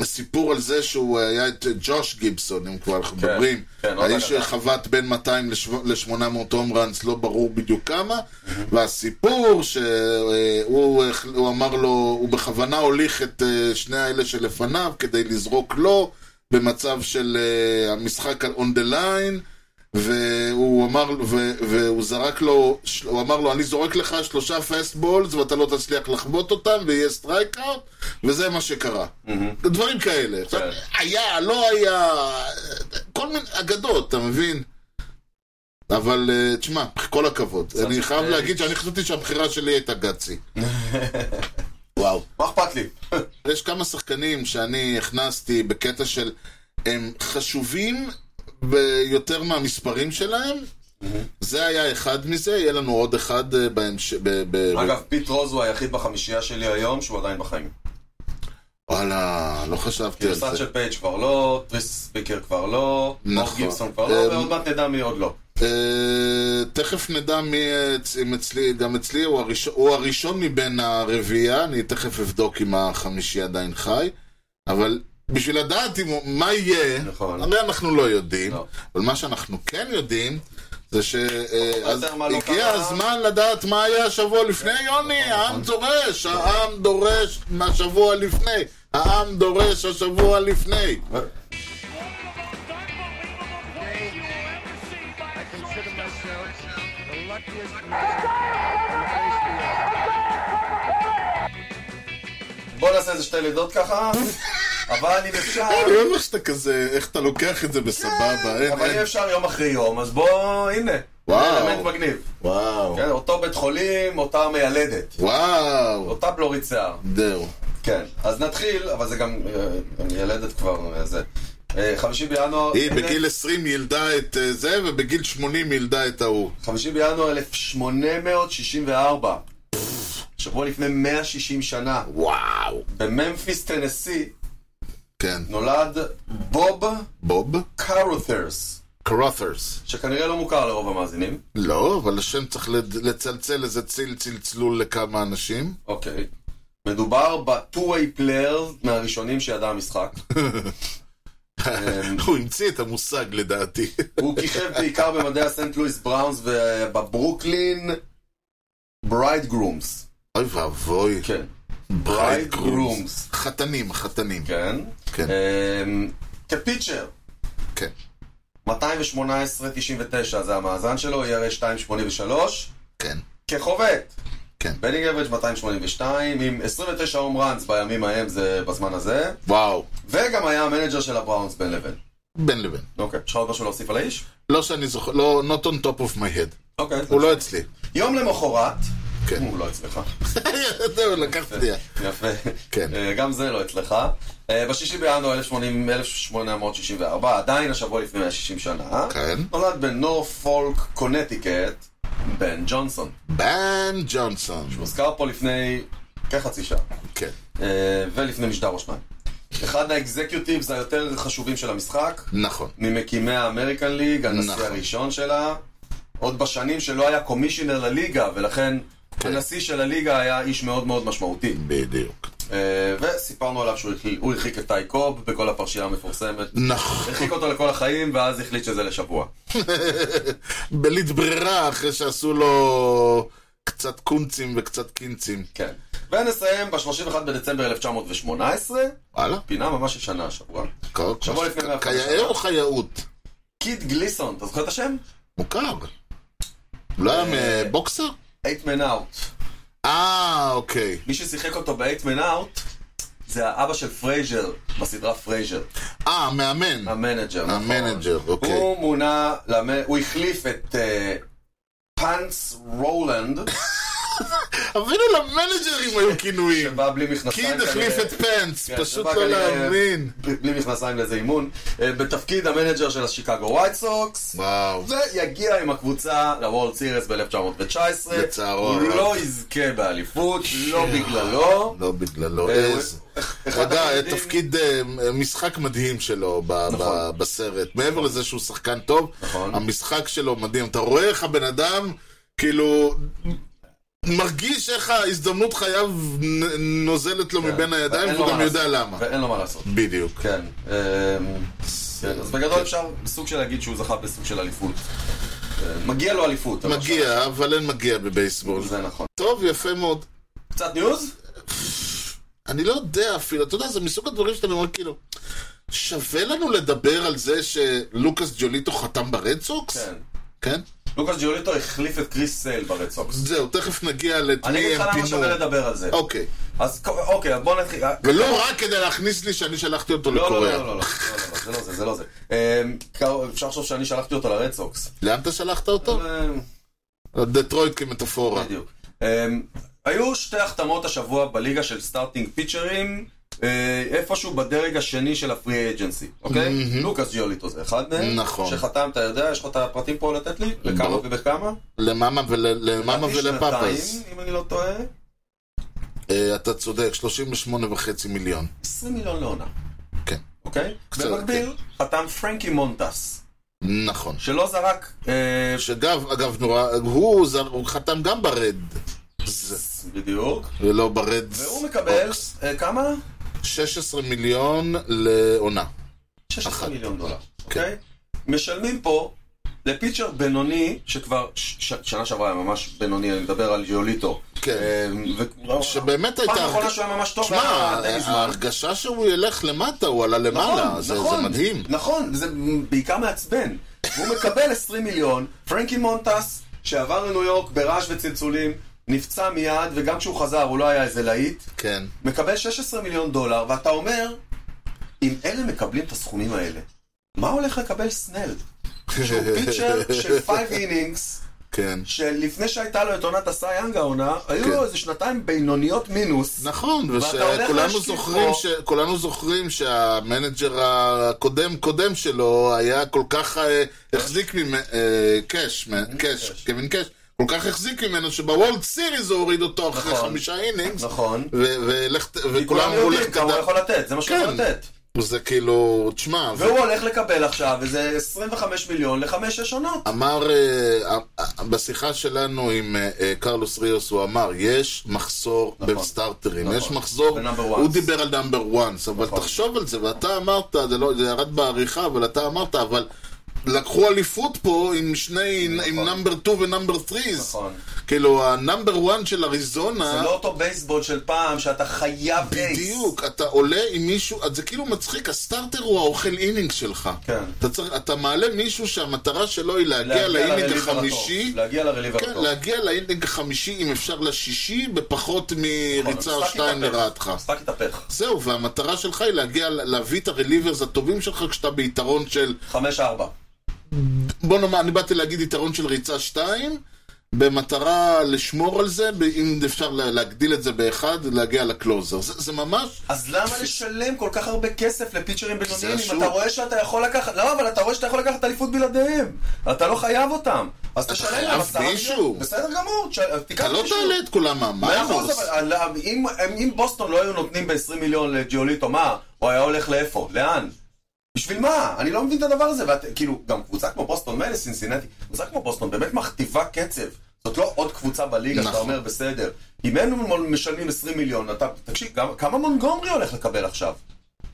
Speaker 2: הסיפור על זה שהוא היה את ג'וש גיבסון, אם כבר אנחנו
Speaker 1: כן,
Speaker 2: מדברים.
Speaker 1: כן, עוד
Speaker 2: האיש
Speaker 1: אגדה.
Speaker 2: שחבט בין 200 ל-800 הום ראנס, לא ברור בדיוק כמה. והסיפור שהוא אה, הוא אמר לו, הוא בכוונה הוליך את אה, שני האלה שלפניו כדי לזרוק לו במצב של אה, המשחק על on the line. והוא אמר, ו, והוא זרק לו, של- הוא אמר לו, אני זורק לך שלושה פסטבולס ואתה לא תצליח לחבוט אותם ויהיה סטרייקאוט, וזה מה שקרה. דברים כאלה. עכשיו,
Speaker 1: כן.
Speaker 2: היה, לא היה, כל מיני אגדות, אתה מבין? אבל אה, תשמע, כל הכבוד. אני חייב
Speaker 1: אה,
Speaker 2: להגיד שאני חשבתי שהבחירה שלי הייתה גצי. וואו.
Speaker 1: מה אכפת לי?
Speaker 2: יש כמה שחקנים שאני הכנסתי בקטע של הם חשובים ביותר מהמספרים שלהם. זה היה אחד מזה, יהיה לנו עוד אחד אה, בהמש... ב- ב-
Speaker 1: אגב, פיט רוז הוא היחיד בחמישייה שלי היום שהוא עדיין בחיים.
Speaker 2: וואלה, לא חשבתי על
Speaker 1: גרסת
Speaker 2: כן, זה.
Speaker 1: של פייג' כבר לא, טריס ספיקר כבר לא, אור
Speaker 2: נכון.
Speaker 1: גיבסון כבר
Speaker 2: אה,
Speaker 1: לא, ועוד מעט נדע מי עוד לא.
Speaker 2: אה, תכף נדע מי אצ- אם אצלי, גם אצלי הוא הראשון, הוא הראשון מבין הרביעייה, אני תכף אבדוק אם החמישי עדיין חי, אבל בשביל לדעת אם, הוא- מה יהיה,
Speaker 1: נכון.
Speaker 2: הרי אנחנו לא יודעים,
Speaker 1: לא.
Speaker 2: אבל מה שאנחנו כן יודעים, זה
Speaker 1: יותר מה לא
Speaker 2: שהגיע
Speaker 1: קרה.
Speaker 2: הזמן לדעת מה היה השבוע לפני, יוני,
Speaker 1: נכון.
Speaker 2: העם דורש, העם דורש מהשבוע לפני, העם דורש השבוע לפני.
Speaker 4: I consider myself the luckiest man. in the face of the earth.
Speaker 1: בוא נעשה איזה שתי לידות ככה, אבל אם אפשר,
Speaker 2: אני אוהב איך שאתה כזה, איך אתה לוקח את זה בסבבה, אין,
Speaker 1: אבל אם
Speaker 2: אין.
Speaker 1: אפשר יום אחרי יום, אז בוא, הנה.
Speaker 2: וואו.
Speaker 1: זה אלמנט מגניב.
Speaker 2: וואו,
Speaker 1: כן, אותו בית חולים, אותה מיילדת.
Speaker 2: וואו,
Speaker 1: אותה בלורית שיער.
Speaker 2: זהו.
Speaker 1: כן. אז נתחיל, אבל זה גם... אה, מיילדת כבר, אה, זה. אה, חמישי בינואר...
Speaker 2: היא בגיל 20 ילדה את אה, זה, ובגיל 80 ילדה את ההוא.
Speaker 1: חמישי בינואר 1864. שבוע לפני 160 שנה,
Speaker 2: וואו.
Speaker 1: בממפיס, טנסי,
Speaker 2: כן.
Speaker 1: נולד בוב
Speaker 2: בוב?
Speaker 1: קארות'רס,
Speaker 2: קרות'רס.
Speaker 1: שכנראה לא מוכר לרוב המאזינים.
Speaker 2: לא, אבל השם צריך לד- לצלצל איזה ציל צלצלול לכמה אנשים.
Speaker 1: אוקיי. מדובר ב-2-way player מהראשונים שידע המשחק.
Speaker 2: הוא המציא את המושג לדעתי.
Speaker 1: הוא כיכב בעיקר במדעי הסנט לואיס בראונס ובברוקלין ברייד גרומס.
Speaker 2: אוי ואבוי.
Speaker 1: כן.
Speaker 2: ברייד
Speaker 1: Bridegrooms.
Speaker 2: גרומס. חתנים, חתנים.
Speaker 1: כן.
Speaker 2: כן.
Speaker 1: אמ, כפיצ'ר,
Speaker 2: כן.
Speaker 1: 218-99 זה המאזן שלו, E ERA 283.
Speaker 2: כן.
Speaker 1: כחובט,
Speaker 2: כן.
Speaker 1: בנינג אברג' 282, עם 29 הום ראנס בימים ההם זה בזמן הזה,
Speaker 2: וואו.
Speaker 1: וגם היה המנג'ר של הבראונס בן לבן.
Speaker 2: בין לבין.
Speaker 1: אוקיי, יש לך עוד משהו להוסיף על האיש?
Speaker 2: לא שאני זוכר, לא, not on top of my head.
Speaker 1: אוקיי.
Speaker 2: הוא לא אצלי.
Speaker 1: יום למחרת,
Speaker 2: כן.
Speaker 1: הוא לא אצלך.
Speaker 2: זהו, לקחת לי.
Speaker 1: יפה.
Speaker 2: כן.
Speaker 1: אה, גם זה לא אצלך. אה, בשישי בינואר 1080 1864, עדיין השבוע לפני 160 שנה,
Speaker 2: כן.
Speaker 1: נולד בנורפולק, קונטיקט, בן ג'ונסון.
Speaker 2: בן ג'ונסון.
Speaker 1: הוזכר פה לפני כחצי שעה,
Speaker 2: כן.
Speaker 1: אה, ולפני משדר או שניים. אחד האקזקיוטיבס היותר חשובים של המשחק,
Speaker 2: נכון.
Speaker 1: ממקימי האמריקן ליג, הנשיא
Speaker 2: נכון.
Speaker 1: הראשון שלה, עוד בשנים שלא היה קומישיונר לליגה, ולכן
Speaker 2: כן.
Speaker 1: הנשיא של הליגה היה איש מאוד מאוד משמעותי.
Speaker 2: בדיוק.
Speaker 1: אה, וסיפרנו עליו שהוא הרחיק- הוא הרחיק את טי קוב בכל הפרשייה המפורסמת.
Speaker 2: נכון.
Speaker 1: הרחיק אותו לכל החיים, ואז החליט שזה לשבוע.
Speaker 2: בלית ברירה, אחרי שעשו לו קצת קונצים וקצת קינצים.
Speaker 1: כן. ונסיים ב-31 בדצמבר 1918,
Speaker 2: וואלה.
Speaker 1: פינה ממש ישנה השבוע.
Speaker 2: כל-
Speaker 1: שבוע לפני מאה חמישים.
Speaker 2: כיאה או חייאות?
Speaker 1: קיד גליסון, אתה זוכר את השם?
Speaker 2: מוכר. לא
Speaker 1: אה,
Speaker 2: היה מבוקסר?
Speaker 1: אייטמן אאוט.
Speaker 2: אה, אוקיי.
Speaker 1: מי ששיחק אותו באייטמן אאוט, זה האבא של פרייזר, בסדרה פרייזר.
Speaker 2: אה, מאמן.
Speaker 1: המנג'ר. נכון.
Speaker 2: המנג'ר, אוקיי.
Speaker 1: הוא מונה, למ- הוא החליף את אה, פאנס רולנד,
Speaker 2: אפילו למנג'רים היו כינויים.
Speaker 1: שבא בלי מכנסיים.
Speaker 2: קיד החליף
Speaker 1: כנראה.
Speaker 2: את פנס,
Speaker 1: כן,
Speaker 2: פשוט
Speaker 1: שבא
Speaker 2: לא
Speaker 1: כנראה
Speaker 2: להאמין.
Speaker 1: בלי- בלי מכנסיים לאיזה אימון. אה, בתפקיד המנג'ר של השיקגו ווייט סוקס.
Speaker 2: וואו.
Speaker 1: ויגיע עם הקבוצה לוולד סירס ב-1919.
Speaker 2: לצערו
Speaker 1: הוא
Speaker 2: הרב.
Speaker 1: לא יזכה באליפות, לא בגללו.
Speaker 2: לא בגללו,
Speaker 1: אה,
Speaker 2: איזה.
Speaker 1: אחד
Speaker 2: רגע,
Speaker 1: התפקידים-
Speaker 2: תפקיד אה, משחק מדהים שלו ב- ב- בסרט. מעבר לזה שהוא שחקן טוב,
Speaker 1: נכון.
Speaker 2: המשחק שלו מדהים. אתה רואה איך הבן אדם, כאילו, מרגיש איך ההזדמנות חייו נ- נוזלת לו מבין הידיים,
Speaker 1: אה, ואין כן. לו
Speaker 2: והוא
Speaker 1: מה
Speaker 2: גם יודע
Speaker 1: לעשות.
Speaker 2: למה.
Speaker 1: ואין לו מה לעשות.
Speaker 2: בדיוק.
Speaker 1: כן. אמ, כן, אז בגדול אפשר סוג של להגיד שהוא זכה בסוג של אליפות. אה, מגיע לו אליפות. אבל
Speaker 2: מגיע, אבל אין מגיע בבייסבול.
Speaker 1: זה נכון.
Speaker 2: טוב, יפה מאוד.
Speaker 1: קצת ניוז?
Speaker 2: אני לא יודע אפילו, אתה יודע, זה מסוג הדברים שאתה אומר כאילו, שווה לנו לדבר על זה שלוקאס ג'וליטו חתם ברד סוקס?
Speaker 1: כן.
Speaker 2: כן?
Speaker 1: לוקאס ג'וליטו החליף את קריס סייל ברד סוקס.
Speaker 2: זהו, תכף נגיע לאת
Speaker 1: אני
Speaker 2: מי
Speaker 1: אגיד לך
Speaker 2: הם
Speaker 1: למה
Speaker 2: פינו.
Speaker 1: שווה לדבר על זה.
Speaker 2: אוקיי.
Speaker 1: אז ק- אוקיי, אז בוא נתחיל.
Speaker 2: ולא רק כדי להכניס לי שאני שלחתי אותו
Speaker 1: לא, לא, לא, לא, לא,
Speaker 2: לקוריאה.
Speaker 1: לא, לא, לא, זה לא זה, זה לא זה. אמ, כ- אפשר לחשוב שאני שלחתי אותו לרד סוקס.
Speaker 2: לאן אתה שלחת אותו?
Speaker 1: אמ,
Speaker 2: לדטרויט כמטאפורה.
Speaker 1: בדיוק. אמ, היו שתי החתמות השבוע בליגה של סטארטינג פיצ'רים, אה, איפשהו בדרג השני של הפרי אג'נסי, אוקיי? לוקאס ג'יוליטו זה אחד מהם.
Speaker 2: נכון.
Speaker 1: שחתם, אתה יודע, יש לך את הפרטים פה לתת לי? לכמה
Speaker 2: ברור.
Speaker 1: ובכמה?
Speaker 2: למאמה ול- למאמה
Speaker 1: לדעתי
Speaker 2: ולפאפס.
Speaker 1: שנתיים, אם אני לא טועה.
Speaker 2: אה, אתה צודק, 38 וחצי מיליון.
Speaker 1: 20 מיליון לעונה,
Speaker 2: כן.
Speaker 1: אוקיי?
Speaker 2: קצת,
Speaker 1: במקביל, חתם פרנקי מונטס,
Speaker 2: נכון.
Speaker 1: שלא זרק... אה,
Speaker 2: שגב, אגב, נורא, הוא זר- הוא חתם גם ברד,
Speaker 1: בדיוק.
Speaker 2: ולא ברד.
Speaker 1: והוא מקבל,
Speaker 2: סוקס.
Speaker 1: אה, כמה?
Speaker 2: 16 מיליון לעונה.
Speaker 1: 16
Speaker 2: אחת. כן.
Speaker 1: מיליון דולר, אוקיי? משלמים פה לפיצ'ר בינוני, שכבר ש- ש- שנה שעברה היה ממש בינוני, אני מדבר על יוליטו.
Speaker 2: כן. שבאמת הייתה...
Speaker 1: אה, פעם אחרונה שהוא היה ממש טוב, אה,
Speaker 2: שמע, אה,
Speaker 1: היה די מזמן.
Speaker 2: ההרגשה שהוא ילך למטה, הוא עלה למעלה. זה זה מדהים.
Speaker 1: נכון, זה בעיקר מעצבן. והוא מקבל 20 מיליון, פרנקי מונטס, שעבר לניו יורק ברעש וצלצולים, נפצע מיד, וגם כשהוא חזר הוא לא היה איזה להיט,
Speaker 2: כן.
Speaker 1: מקבל 16 מיליון דולר, ואתה אומר, אם אלה מקבלים את הסכומים האלה, מה הולך לקבל סנל? שהוא פיצ'ר של 5 אינינגס,
Speaker 2: כן.
Speaker 1: שלפני שהייתה לו את עונת הסייאנג העונה, היו
Speaker 2: כן.
Speaker 1: לו איזה שנתיים בינוניות מינוס.
Speaker 2: נכון,
Speaker 1: ואתה הולך
Speaker 2: וכולנו
Speaker 1: להשקיף
Speaker 2: זוכרים,
Speaker 1: פה.
Speaker 2: ש... כולנו זוכרים שהמנג'ר הקודם קודם שלו היה כל כך אה, החזיק ממנו, אה, קאש, מ- קאש,
Speaker 1: קאש.
Speaker 2: קווין קאש, כל כך החזיק ממנו שבוולד סיריס הוא הוריד אותו אחרי
Speaker 1: נכון.
Speaker 2: חמישה אינינגס,
Speaker 1: נכון.
Speaker 2: ו- ולך ת-
Speaker 1: כי כולם
Speaker 2: וכולם הוא
Speaker 1: יודעים
Speaker 2: הולך
Speaker 1: כמה הוא
Speaker 2: קדם,
Speaker 1: יכול לתת, זה מה שהוא
Speaker 2: כן.
Speaker 1: יכול לתת.
Speaker 2: זה כאילו, תשמע, זה-
Speaker 1: והוא הולך לקבל עכשיו איזה 25 מיליון לחמש-שש עונות.
Speaker 2: אמר, אה, אה, אה, בשיחה שלנו עם אה, אה, קרלוס ריוס, הוא אמר, יש מחסור
Speaker 1: נכון,
Speaker 2: בסטארטרים,
Speaker 1: נכון.
Speaker 2: יש מחסור,
Speaker 1: ב-number
Speaker 2: הוא
Speaker 1: ones.
Speaker 2: דיבר על נאמבר וואנס, אבל
Speaker 1: נכון.
Speaker 2: תחשוב על זה, ואתה אמרת, זה לא- זה ירד בעריכה, אבל אתה אמרת, אבל לקחו אליפות פה עם שני, עם
Speaker 1: נכון.
Speaker 2: נאמבר 2 ונאמבר 3,
Speaker 1: נכון.
Speaker 2: כאילו הנאמבר 1 של
Speaker 1: זה
Speaker 2: אריזונה,
Speaker 1: לא אותו בייסבול של פעם, שאתה חייב בייס.
Speaker 2: בדיוק, אתה עולה עם מישהו, אז זה כאילו מצחיק, הסטארטר הוא האוכל אינינג שלך.
Speaker 1: כן.
Speaker 2: אתה, צריך, אתה מעלה מישהו שהמטרה שלו היא
Speaker 1: להגיע
Speaker 2: להגיע לאינינג
Speaker 1: לרליבר הטוב.
Speaker 2: החמישי,
Speaker 1: להגיע לרליבר
Speaker 2: כן,
Speaker 1: הטוב.
Speaker 2: להגיע לאינינג החמישי, אם אפשר לשישי, בפחות מריצה או
Speaker 1: המשחק
Speaker 2: שתיים
Speaker 1: התהפך.
Speaker 2: לרעתך.
Speaker 1: המשחק התהפך.
Speaker 2: זהו, והמטרה שלך היא להגיע, להביא את הרליברס הטובים שלך כשאתה ביתרון של,
Speaker 1: חמש-ארבע.
Speaker 2: בוא נאמר, אני באתי להגיד יתרון של ריצה שתיים, במטרה לשמור על זה, ב- אם אפשר לה- להגדיל את זה באחד, להגיע לקלוזר. זה, זה ממש...
Speaker 1: אז למה לשלם כל כך הרבה כסף לפיצ'רים בינוניים אם
Speaker 2: השוק.
Speaker 1: אתה רואה שאתה יכול לקחת... לא, אבל אתה רואה שאתה יכול לקחת אליפות בלעדיהם. אתה לא חייב אותם. אז תשלם
Speaker 2: חייב
Speaker 1: להם עשרה
Speaker 2: מישהו.
Speaker 1: מיליון. בסדר גמור, תש- תיקח
Speaker 2: אתה
Speaker 1: מישהו.
Speaker 2: לא תעלה את כולם
Speaker 1: מאה אחוז,
Speaker 2: מהמיינוס.
Speaker 1: אבל אה, אם- אם- אם בוסטון לא היו נותנים ב-20 מיליון לג'יוליטו, מה? הוא היה הולך לאיפה? לאן? בשביל מה? אני לא מבין את הדבר הזה. ואת, כאילו, גם קבוצה כמו בוסטון, מילא סינסינטי, קבוצה כמו בוסטון באמת מכתיבה קצב. זאת לא עוד קבוצה בליגה שאתה
Speaker 2: נכון.
Speaker 1: אומר, בסדר. אם הם משלמים 20 מיליון, אתה, תקשיב, גם, כמה מונגומרי הולך לקבל עכשיו?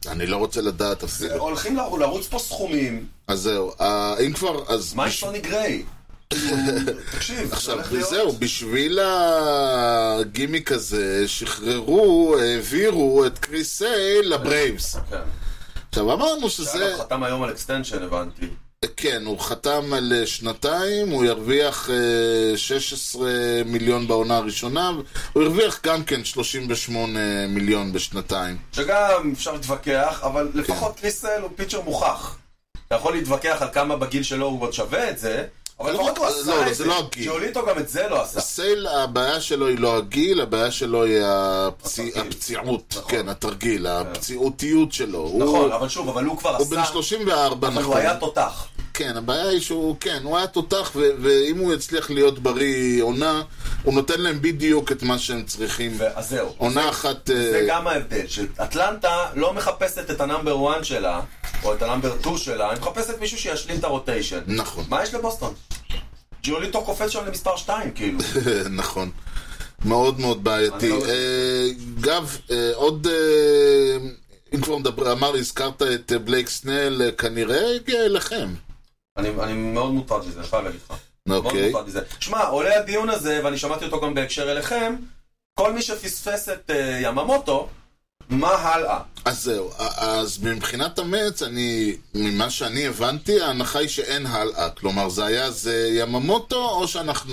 Speaker 2: אני לא רוצה לדעת אפילו.
Speaker 1: הולכים לר- לרוץ פה סכומים,
Speaker 2: אז זהו, אה, אם כבר, אז...
Speaker 1: מה עם
Speaker 2: בש-
Speaker 1: סוני גריי? תקשיב, זה
Speaker 2: עכשיו,
Speaker 1: הולך להיות...
Speaker 2: זהו, בשביל הגימיק הזה, שחררו, העבירו את קריס סייל לברייבס.
Speaker 1: כן.
Speaker 2: עכשיו, אמרנו שזה...
Speaker 1: זה... נכון. חתם היום על אקסטנשן, הבנתי.
Speaker 2: כן, הוא חתם על אה, שנתיים, הוא ירוויח אה, 16 מיליון בעונה הראשונה, הוא הרוויח גם כן 38 מיליון בשנתיים.
Speaker 1: אה. שגם אפשר להתווכח, אבל לפחות קריסל הוא פיצ'ר מוכח. אתה יכול להתווכח על כמה בגיל שלו הוא עוד שווה את זה, אבל
Speaker 2: לא,
Speaker 1: לפחות הוא
Speaker 2: לא,
Speaker 1: עשה
Speaker 2: לא,
Speaker 1: את
Speaker 2: זה לא הגיל.
Speaker 1: ג'וליטו גם את זה לא עשה.
Speaker 2: סייל, הבעיה שלו היא לא הגיל, הבעיה שלו היא הפצי...
Speaker 1: התרגיל.
Speaker 2: הפציעות,
Speaker 1: נכון.
Speaker 2: כן, התרגיל, הפציעותיות שלו.
Speaker 1: נכון,
Speaker 2: הוא-
Speaker 1: אבל שוב, אבל הוא כבר
Speaker 2: הוא בן
Speaker 1: עשה,
Speaker 2: 34,
Speaker 1: אבל הוא
Speaker 2: נכון.
Speaker 1: היה תותח.
Speaker 2: כן, הבעיה היא שהוא, כן, הוא היה תותח, ו- ואם הוא יצליח להיות בריא עונה, הוא נותן להם בדיוק את מה שהם צריכים.
Speaker 1: אז זהו.
Speaker 2: עונה אחת...
Speaker 1: זה
Speaker 2: אה,
Speaker 1: גם ההבדל, שאטלנטה לא מחפשת את הנאמבר 1 שלה, או את הנאמבר 2 שלה, היא מחפשת מישהו שישלים את הרוטיישן.
Speaker 2: נכון.
Speaker 1: מה יש לבוסטון? ג'וליטו קופץ שם למספר 2, כאילו.
Speaker 2: נכון. מאוד מאוד בעייתי.
Speaker 1: אני לא-
Speaker 2: אה, גב, אה, עוד... אה, אם כבר מדבר, אמר, הזכרת את אה, בלייק סנל, אה, כנראה הגיע אליכם.
Speaker 1: אני אני מאוד מוטרד מזה, אני חייב להגיד לך. מאוד
Speaker 2: אוקיי.
Speaker 1: מוטרד מזה. שמע, עולה הדיון הזה, ואני שמעתי אותו גם בהקשר אליכם, כל מי שפספס את אה, יממוטו, מה הלאה?
Speaker 2: אז זהו. א- אז מבחינת המץ, אני... ממה שאני הבנתי, ההנחה היא שאין הלאה. כלומר, זה היה זה יממוטו, או שאנחנו...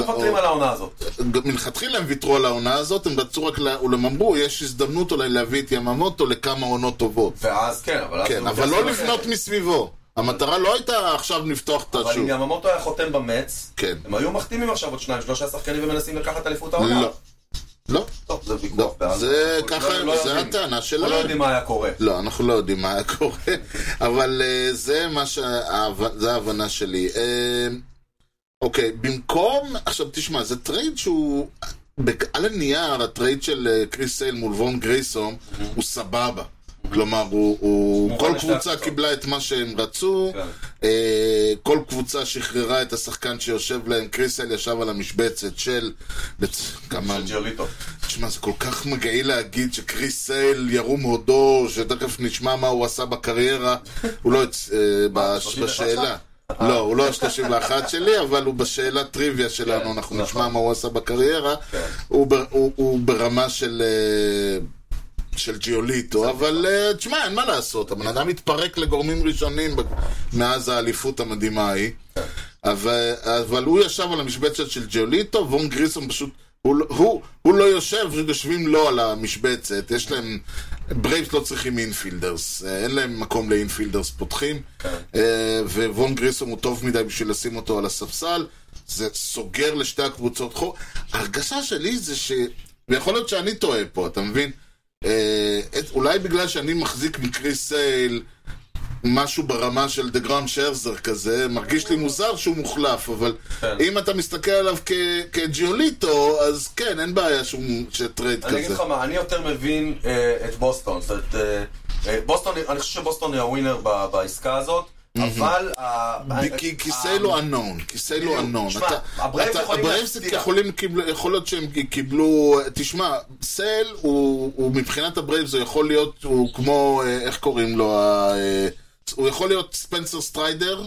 Speaker 1: לא מוותרים
Speaker 2: או-
Speaker 1: על העונה הזאת.
Speaker 2: גם מלכתחילה הם ויתרו על העונה הזאת, הם רצו רק, לה- הם אמרו, יש הזדמנות אולי להביא את יממוטו לכמה עונות טובות.
Speaker 1: ואז כן, אבל... אז
Speaker 2: כן,
Speaker 1: הוא
Speaker 2: אבל
Speaker 1: מתייחס
Speaker 2: לא
Speaker 1: לזה.
Speaker 2: לבנות מסביבו. המטרה לא הייתה עכשיו לפתוח את
Speaker 1: אבל אם
Speaker 2: השוק.
Speaker 1: יממוטו היה חותם במץ,
Speaker 2: כן.
Speaker 1: הם היו מחתימים עכשיו עוד שניים, שלושה שחקנים ומנסים לקחת אליפות העונה.
Speaker 2: לא. לא.
Speaker 1: טוב, זה ויכוח
Speaker 2: לא.
Speaker 1: בעד.
Speaker 2: זה
Speaker 1: אנחנו
Speaker 2: ככה,
Speaker 1: לא
Speaker 2: זה
Speaker 1: יודעים.
Speaker 2: הטענה
Speaker 1: אנחנו לא
Speaker 2: שלהם.
Speaker 1: יודעים מה היה קורה.
Speaker 2: לא, אנחנו לא יודעים מה היה קורה, אבל אה, זה מה ש... ההב- זה ההבנה שלי. אה, אוקיי, במקום... עכשיו תשמע, זה טרייד שהוא... בק- על הנייר, הטרייד של אה, קריס סייל מול וון גרייסום הוא סבבה. כלומר, הוא, הוא,
Speaker 1: מובן
Speaker 2: כל
Speaker 1: לשתי
Speaker 2: קבוצה
Speaker 1: הקבוצות.
Speaker 2: קיבלה את מה שהם רצו,
Speaker 1: כן.
Speaker 2: אה, כל קבוצה שחררה את השחקן שיושב להם, קריס סייל ישב על המשבצת של... לצ- כמה-
Speaker 1: של ג'יוליטו.
Speaker 2: תשמע, זה כל כך מגעיל להגיד שקריס סייל ירום הודו, שתכף נשמע מה הוא עשה בקריירה, הוא לא יצ... אה, בש...
Speaker 1: 31
Speaker 2: בשאלה. לא, הוא לא ה-31 שלי, אבל הוא בשאלה טריוויה שלנו,
Speaker 1: כן,
Speaker 2: אנחנו
Speaker 1: נכון.
Speaker 2: נשמע מה הוא עשה בקריירה.
Speaker 1: כן.
Speaker 2: הוא, בר... הוא, הוא ברמה של... אה, של ג'יוליטו, אבל אה, תשמע, אין מה לעשות, הבן אדם התפרק לגורמים ראשונים ב- מאז האליפות המדהימה ההיא. אבל, אבל הוא ישב על המשבצת של ג'וליטו, וון גריסון פשוט... הוא, לא- הוא, הוא לא יושב, פשוט יושבים לו על המשבצת. יש להם... ברייבס לא צריכים אינפילדרס. אה, אין להם מקום לאינפילדרס פותחים. אה, ווון גריסון הוא טוב מדי בשביל לשים אותו על הספסל. זה סוגר לשתי הקבוצות חור. ההרגשה שלי זה ש... ויכול להיות שאני טועה פה, אתה מבין? אה, את- אולי בגלל שאני מחזיק מקריס סייל משהו ברמה של דה גראם שרזר כזה, מרגיש לי מוזר שהוא מוחלף, אבל
Speaker 1: כן.
Speaker 2: אם אתה מסתכל עליו כ- כג'יוליטו, אז כן, אין בעיה שהוא שטרייד
Speaker 1: אני אגיד
Speaker 2: כזה.
Speaker 1: לך מה, אני יותר מבין אה, את בוסטון. זאת אומרת, אה, אה, בוסטון, אני חושב שבוסטון היא הווינר ב- בעסקה הזאת, אבל... אה, ה-
Speaker 2: ב- כי
Speaker 1: אה,
Speaker 2: לא כיסאילו אנון, כיסאילו
Speaker 1: בדיוק.
Speaker 2: אנון.
Speaker 1: שמע, הברייבס יכולים להפתיע.
Speaker 2: יכולים, קיבל- יכול להיות שהם קיבלו, תשמע, סייל הוא הוא מבחינת הברייבס, הוא יכול להיות, הוא כמו, אה, איך קוראים לו, ה- אה, הוא יכול להיות ספנסר סטריידר,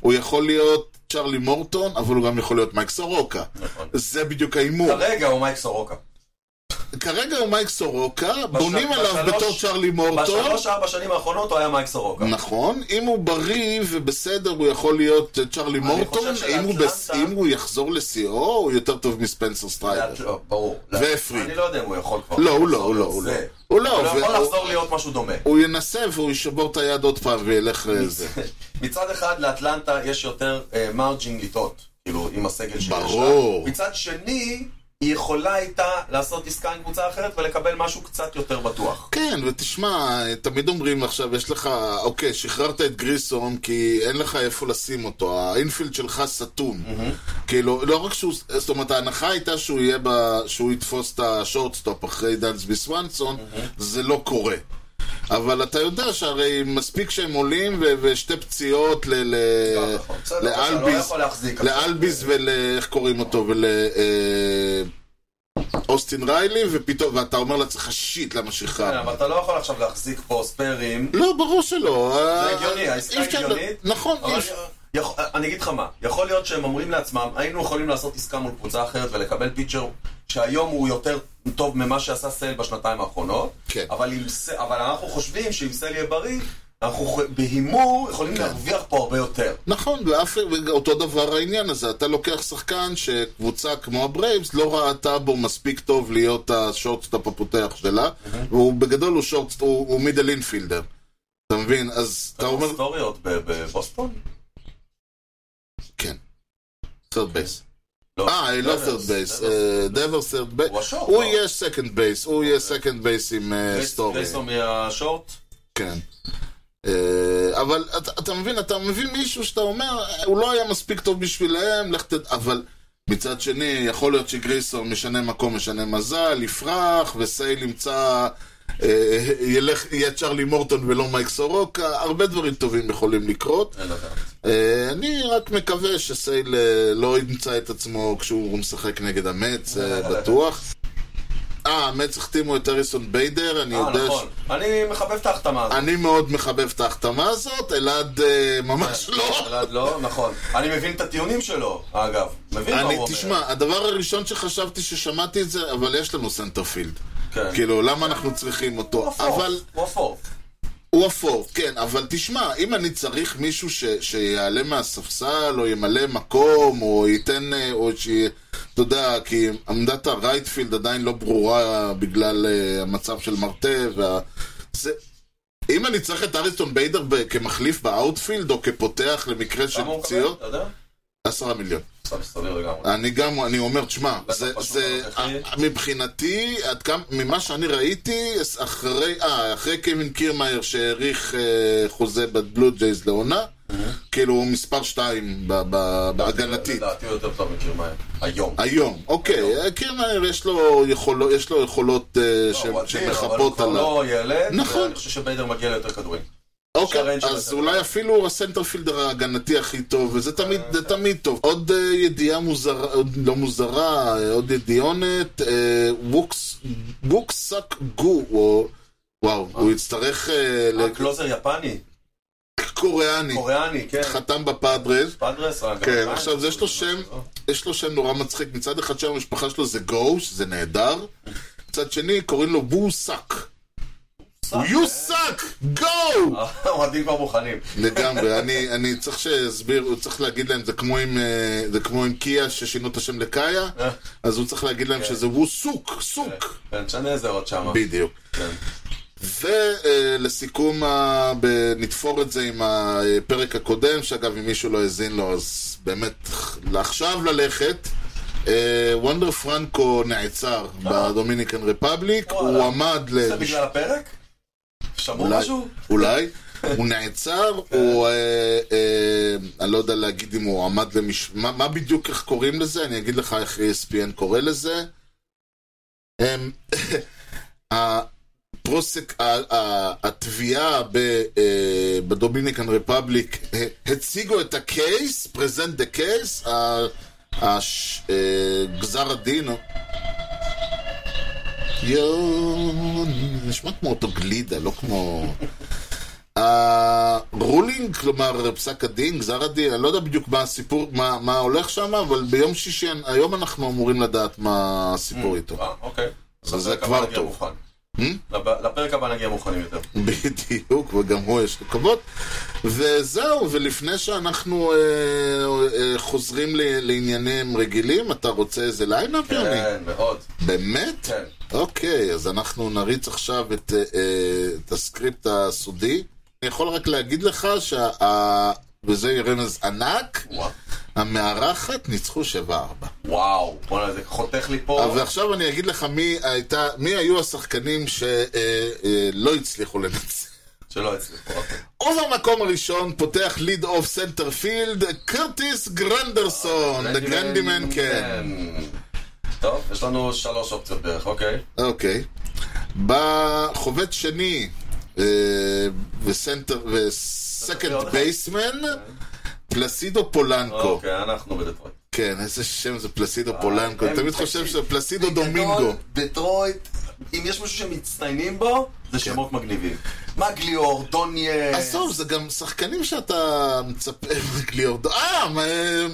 Speaker 2: הוא יכול להיות צ'רלי מורטון, אבל הוא גם יכול להיות מייק סורוקה.
Speaker 1: נכון.
Speaker 2: זה בדיוק ההימור.
Speaker 1: כרגע הוא מייק סורוקה.
Speaker 2: כרגע הוא מייק סורוקה, בונים עליו
Speaker 1: בשלוש-
Speaker 2: בתור צ'רלי מורטון.
Speaker 1: בשלוש-ארבע שנים האחרונות הוא היה מייק סורוקה.
Speaker 2: נכון, אם הוא בריא ובסדר, הוא יכול להיות אה, צ'רלי מורטון,
Speaker 1: חושב
Speaker 2: אם הוא, בס...
Speaker 1: שלאטלנטה-
Speaker 2: אם הוא יחזור לשיאו, הוא יותר טוב מספנסר סטריידר.
Speaker 1: לאט- לא, ברור.
Speaker 2: והפריד.
Speaker 1: אני לא יודע אם הוא יכול כבר.
Speaker 2: לא, הוא לא, הוא לא, הוא לא.
Speaker 1: זה.
Speaker 2: הוא לא,
Speaker 1: הוא יכול
Speaker 2: והוא-
Speaker 1: לחזור להיות משהו דומה.
Speaker 2: הוא לא ינסה והוא ישבור את היד עוד פעם וילך לזה.
Speaker 1: מצד אחד לאטלנטה יש יותר מרג'ינג לטעות, כאילו, עם הסגל שיש לה.
Speaker 2: ברור.
Speaker 1: מצד שני, היא יכולה הייתה לעשות עסקה עם קבוצה אחרת ולקבל משהו קצת יותר בטוח.
Speaker 2: כן, ותשמע, תמיד אומרים עכשיו, יש לך, אוקיי, שחררת את גריסום כי אין לך איפה לשים אותו, האינפילד שלך סתום. כאילו, לא רק שהוא, זאת אומרת, ההנחה הייתה שהוא יהיה ב... שהוא יתפוס את השורטסטופ אחרי דנסבי סוונסון, זה לא קורה. אבל אתה יודע שהרי מספיק שהם עולים ו- ושתי פציעות ל...
Speaker 1: לא,
Speaker 2: ל-
Speaker 1: נכון. בסדר, אתה לא
Speaker 2: לאלביס,
Speaker 1: יכול להחזיק.
Speaker 2: לאלביס ול... איך קוראים אותו? ול... אה, אוסטין ריילי, ופתאום, ואתה אומר לעצמך, שיט, למה שחררת?
Speaker 1: כן, אבל אתה לא יכול עכשיו להחזיק פה ספיירים.
Speaker 2: לא, ברור שלא. אה,
Speaker 1: זה הגיוני, העסקה
Speaker 2: אי אפשר-
Speaker 1: הגיונית.
Speaker 2: נכון,
Speaker 1: אבל
Speaker 2: אי
Speaker 1: אני-
Speaker 2: אפשר-
Speaker 1: יכול- אני אגיד לך מה, יכול להיות שהם אומרים לעצמם, היינו יכולים לעשות עסקה מול קבוצה אחרת ולקבל פיצ'ר שהיום הוא יותר טוב ממה שעשה סל בשנתיים האחרונות,
Speaker 2: כן.
Speaker 1: אבל אם ס- אבל אנחנו חושבים שאם סל יהיה בריא, אנחנו ח- בהימור יכולים
Speaker 2: כן.
Speaker 1: להרוויח פה הרבה יותר.
Speaker 2: נכון, ואף אותו דבר העניין הזה, אתה לוקח שחקן שקבוצה כמו הברייבס לא ראתה בו מספיק טוב להיות השורטסטופ הפותח שלה, והוא בגדול הוא שורטסטופ, הוא הוא מידל אינפילדר. אתה מבין? אז אתה
Speaker 1: לא,
Speaker 2: אומר,
Speaker 1: היסטוריות ב- בבוסטון?
Speaker 2: כן. third base.
Speaker 1: לא.
Speaker 2: אה, לא third base, אה, דבר third
Speaker 1: הוא
Speaker 2: base.
Speaker 1: השורט,
Speaker 2: הוא
Speaker 1: לא?
Speaker 2: יהיה second base, הוא יהיה second base עם אה,
Speaker 1: גרייס-
Speaker 2: סטורי.
Speaker 1: גרייסון מהשורט?
Speaker 2: כן. אה, אבל אתה, אתה מבין, אתה מביא מישהו שאתה אומר, הוא לא היה מספיק טוב בשבילם, לך תד... אבל מצד שני, יכול להיות שגריסון משנה מקום, משנה מזל, יפרח, וסייל ימצא, אה, ילך, יהיה צ'רלי מורטון ולא מייק סורוקה, הרבה דברים טובים יכולים לקרות.
Speaker 1: אין לדעת.
Speaker 2: אה, אני רק מקווה שסייל אה, לא ימצא את עצמו כשהוא משחק נגד המץ, אה, בטוח. אה, המץ החתימו את אריסון ביידר, אני
Speaker 1: אה,
Speaker 2: יודע... ש-
Speaker 1: נכון. אני מחבב את ההחתמה הזאת.
Speaker 2: אני מאוד מחבב את ההחתמה הזאת, אלעד אה, ממש לא.
Speaker 1: אלעד לא, נכון. אני מבין את הטיעונים שלו, אגב. מבין מה אה, הוא
Speaker 2: אני,
Speaker 1: אומר.
Speaker 2: תשמע, הדבר הראשון שחשבתי ששמעתי את זה, אבל יש לנו סנטרפילד.
Speaker 1: כן.
Speaker 2: כאילו, למה אנחנו צריכים אותו?
Speaker 1: הוא אפור,
Speaker 2: אבל
Speaker 1: הוא אפור.
Speaker 2: הוא אפור, כן, אבל תשמע, אם אני צריך מישהו ש, שיעלה מהספסל, או ימלא מקום, או ייתן, אה, או ש... אתה יודע, כי עמדת הרייטפילד עדיין לא ברורה בגלל uh, המצב של מרטה, וה... זה... אם אני צריך את אריסטון ביידר ב... כמחליף באאוטפילד, או כפותח למקרה של
Speaker 1: כמה הוא מקבל?
Speaker 2: פציעות,
Speaker 1: אתה יודע?
Speaker 2: עשרה מיליון.
Speaker 1: סביר, סביר לגמרי.
Speaker 2: אני גם, אני אומר, תשמע,
Speaker 1: בטח
Speaker 2: זה,
Speaker 1: בשוק
Speaker 2: זה, אה,
Speaker 1: הנוכחי.
Speaker 2: מבחינתי, עד כמה, ממה שאני ראיתי, אחרי, אה, אחרי קווין קירמאייר שהאריך אה, חוזה בבלו ג'ייז לעונה,
Speaker 1: אה.
Speaker 2: כאילו הוא מספר שתיים ב- ב- בהגנתית.
Speaker 1: לדעתי הוא יותר טוב מקרמיים. לא, היום.
Speaker 2: היום, אוקיי, אה, קירמאייר יש לו יכולות, יש לו יכולות אה,
Speaker 1: לא,
Speaker 2: ש-
Speaker 1: הוא אדיר, אבל הוא
Speaker 2: שמחפות
Speaker 1: כבר
Speaker 2: עליו.
Speaker 1: לא ילד,
Speaker 2: נכון.
Speaker 1: ואני חושב שביידר מגיע ליותר כדורים.
Speaker 2: אוקיי,
Speaker 1: שהרנג' של
Speaker 2: אז
Speaker 1: הסנטר.
Speaker 2: אולי אפילו הסנטרפילדר ההגנתי הכי טוב, וזה תמיד, זה תמיד טוב. עוד אה, ידיעה מוזרה, עוד לא מוזרה, אה, עוד ידיעונת, אה, ווקס- ווקסק גו, או- וואו, הוא יצטרך אה,
Speaker 1: הקלוזר יפני,
Speaker 2: לקוריאני,
Speaker 1: אה. קוריאני, כן.
Speaker 2: חתם בפאדרס.
Speaker 1: פדרס, אה, גם
Speaker 2: כן,
Speaker 1: יפני. אה,
Speaker 2: עכשיו, זה יש לו שם- יש לו שם נורא מצחיק, מצד אחד שם המשפחה שלו זה גו, שזה נהדר, מצד שני קוראים לו ווסק.
Speaker 1: אה.
Speaker 2: You suck! Go!
Speaker 1: האוהדים אה, כבר מוכנים.
Speaker 2: לגמרי, אני, אני צריך שיסביר, צריך להגיד להם, זה כמו עם, אה, זה כמו עם קיה ששינו את השם לקאיה,
Speaker 1: אה.
Speaker 2: אז הוא צריך להגיד להם שזה הוא סוק, סוק.
Speaker 1: כן, תשנה איזה עוד שמה.
Speaker 2: בדיוק. אה,
Speaker 1: כן.
Speaker 2: ולסיכום, נתפור את זה עם הפרק הקודם, שאגב, אם מישהו לא האזין לו, אז באמת, לעכשיו ללכת. אה, וונדר פרנקו נעצר בדומיניקן רפבליק,
Speaker 1: אה. וואלה.
Speaker 2: הוא עמד ל...
Speaker 1: זה בגלל הפרק? שמעו
Speaker 2: אולי,
Speaker 1: משהו?
Speaker 2: אולי. הוא נעצר, הוא... אה, אה, אני לא יודע להגיד אם הוא עמד למש... מה, מה בדיוק, איך קוראים לזה? אני אגיד לך איך E ESPN קורא לזה. הם... הפרוסק... ה- ה- התביעה ב- אה, בדומיניקן רפבליק אה, הציגו את הקייס, פרזנט דה קייס, אה, גזר הדין. יואו, נשמע כמו אותו גלידה, לא כמו... הרולינג, כלומר פסק הדין, גזר הדין, אני לא יודע בדיוק מה הסיפור, מה, מה הולך שם, אבל ביום שישי, היום אנחנו אמורים לדעת מה הסיפור איתו.
Speaker 1: אה, אוקיי. אז
Speaker 2: זה
Speaker 1: לפרק
Speaker 2: כבר
Speaker 1: הבא נגיע
Speaker 2: טוב.
Speaker 1: מוכן. לפ- לפרק הבא נגיע מוכנים יותר.
Speaker 2: בדיוק, וגם הוא יש לו כבוד. וזהו, ולפני שאנחנו אה, אה, חוזרים ל- לעניינים רגילים, אתה רוצה איזה ליינאפ, יוני?
Speaker 1: כן, מאוד.
Speaker 2: באמת?
Speaker 1: כן.
Speaker 2: אוקיי, אז אנחנו נריץ עכשיו את, אה, אה, את הסקריפט הסודי. אני יכול רק להגיד לך שה... ה- וזה יהיה רמז ענק,
Speaker 1: וואו.
Speaker 2: המארחת ניצחו 7-4.
Speaker 1: וואו, בוא'נה, זה חותך לי פה.
Speaker 2: ועכשיו אני אגיד לך מי, הייתה, מי היו השחקנים שלא לא הצליחו לנצח.
Speaker 1: שלא הצליחו.
Speaker 2: אה,
Speaker 1: אוקיי.
Speaker 2: ובמקום הראשון פותח ליד אוף סנטר פילד, קרטיס
Speaker 1: אה,
Speaker 2: גרנדרסון, דה גרנדימן כן.
Speaker 1: טוב, יש לנו שלוש אופציות בערך, אוקיי.
Speaker 2: אוקיי. בחובץ שני, אה, וסנטר, וסקנד
Speaker 1: עוד אחד.
Speaker 2: בייסמן, פלסידו פולנקו.
Speaker 1: אוקיי, אנחנו בדטרויט.
Speaker 2: כן, איזה שם זה פלסידו פולנקו.
Speaker 1: הם-
Speaker 2: אני תמיד חושב שזה פלסידו דומינגו.
Speaker 1: בגדול, דטרויט, אם יש מישהו שמצטיינים בו,
Speaker 2: כן.
Speaker 1: זה שמות מגניבים. מגליאור, דוניאל.
Speaker 2: עזוב, זה גם שחקנים שאתה מצפה מגליאורדו. אה, מה-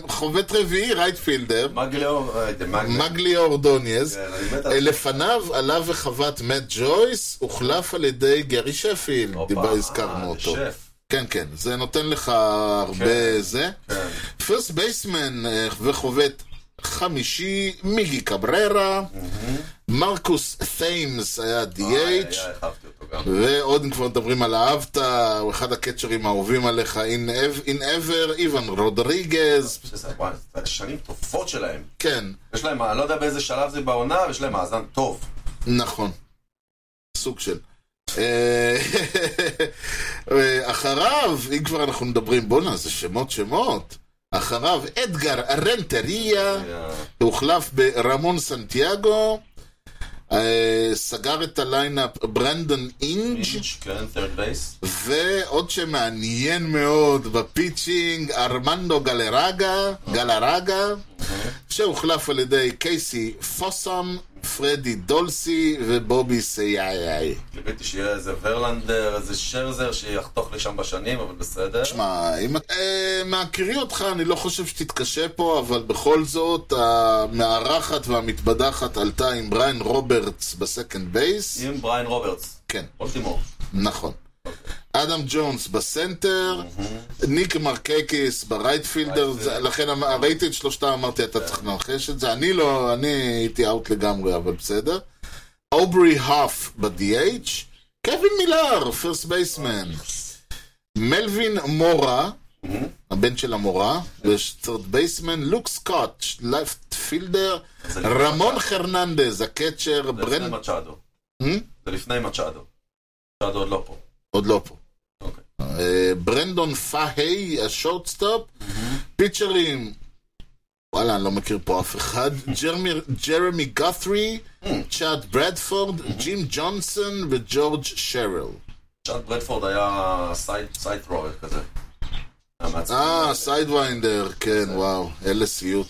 Speaker 2: חובט רביעי, רייטפילדר.
Speaker 1: מגליאור, אה, זה מגליאור.
Speaker 2: מגלי אורדוניאז.
Speaker 1: כן, אני מת על
Speaker 2: אה,
Speaker 1: זה.
Speaker 2: לפניו עלה וחוות מאט ג'ויס, הוחלף על ידי גרי שפילד,
Speaker 1: הופה,
Speaker 2: דיבר-
Speaker 1: אה,
Speaker 2: הזכרנו
Speaker 1: זה
Speaker 2: אותו.
Speaker 1: שף.
Speaker 2: כן, כן, זה נותן לך הרבה זה.
Speaker 1: כן.
Speaker 2: פרסט בייסמן וחובט חמישי, מיגי קבררה, מרקוס תיימס היה
Speaker 1: איי,
Speaker 2: DH,
Speaker 1: איי, אה, אהבתי אותו גם.
Speaker 2: ועוד אם כבר מדברים על אהבת, הוא אחד הקצ'רים האהובים עליך, אין אבר, איוון רודריגז,
Speaker 1: שזה, וואי, זה שנים טובות שלהם.
Speaker 2: כן,
Speaker 1: יש להם, אני לא יודע באיזה שלב זה בעונה, אבל יש להם מאזן טוב.
Speaker 2: נכון. סוג של. אה, אה, אחריו, אם כבר אנחנו מדברים, בואנה, זה שמות שמות. אחריו, אדגר רנטריה,
Speaker 1: אה,
Speaker 2: הוחלף ברמון סנטיאגו, אה, סגר את הליינאפ ברנדון אינג'
Speaker 1: אינץ', כן, third base.
Speaker 2: ועוד שמעניין מאוד בפיצ'ינג, ארמנדו גלרגה, גלרגה, שהוחלף על ידי קייסי פוסם, פרדי דולסי ובובי סייאיי.
Speaker 1: קיוויתי שיהיה איזה ורלנדר, איזה שרזר שיחתוך לי שם בשנים, אבל בסדר.
Speaker 2: תשמע, אם... אה, מהכירי אותך, אני לא חושב שתתקשה פה, אבל בכל זאת, המארחת והמתבדחת עלתה עם בריין רוברטס בסקנד בייס.
Speaker 1: עם בריין רוברטס.
Speaker 2: כן.
Speaker 1: אולטימור.
Speaker 2: נכון. אדם ג'ונס בסנטר, ניק מרקקיס ברייטפילדר, זה- לכן אמ- ראיתי את שלושתם, אמרתי, אתה צריך לנחש את זה. אני לא, אני הייתי אאוט לגמרי, אבל בסדר. אוברי האף ב-DH, קווין מילר, פרסט בייסמן. מלווין מורה, הבן של המורה, וסרט בייסמן, לוק סקוט, לפט פילדר,
Speaker 1: זה לפני
Speaker 2: רמון חרננדז, הקצ'ר,
Speaker 1: זה לפני
Speaker 2: ברנד...
Speaker 1: מצ'אדו.
Speaker 2: Hmm?
Speaker 1: זה לפני מצ'אדו. מצ'אדו עוד לא פה.
Speaker 2: עוד לא פה.
Speaker 1: אוקיי.
Speaker 2: אה, ברנדון פאהיי, השורטסטופ, פיצ'רים, וואלה, אני לא מכיר פה אף אחד, ג'רמי- ג'רמי גות'רי, צ'אט ברדפורד, ג'ים ג'ונסון וג'ורג' שרל.
Speaker 1: צ'אד ברדפורד היה סייד- סייד טרובר כזה. היה מעצבן.
Speaker 2: אה, סיידוויינדר, כן, וואו, אלה סיוט.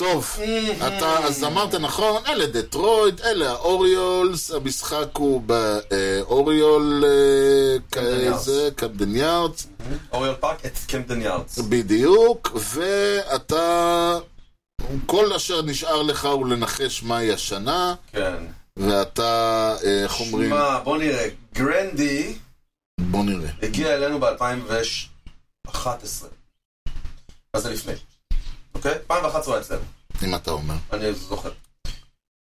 Speaker 2: טוב,
Speaker 1: אה,
Speaker 2: אתה אז אמרת נכון, אלה דטרויד, אלה האוריולס, המשחק הוא באוריול אה,
Speaker 1: קמדן יארדס.
Speaker 2: כאיזה, קמדן יארדס.
Speaker 1: אוריול פארק את קמפטן יארדס.
Speaker 2: בדיוק, ואתה... כל אשר נשאר לך הוא לנחש מהי השנה,
Speaker 1: כן.
Speaker 2: ואתה, אה, איך אומרים?
Speaker 1: שמע, בוא נראה. גרנדי
Speaker 2: בוא נראה.
Speaker 1: הגיע אלינו ב-2011. אז זה לפני. אוקיי? 2011 הוא היה אצלנו,
Speaker 2: אם אתה אומר.
Speaker 1: אני זוכר.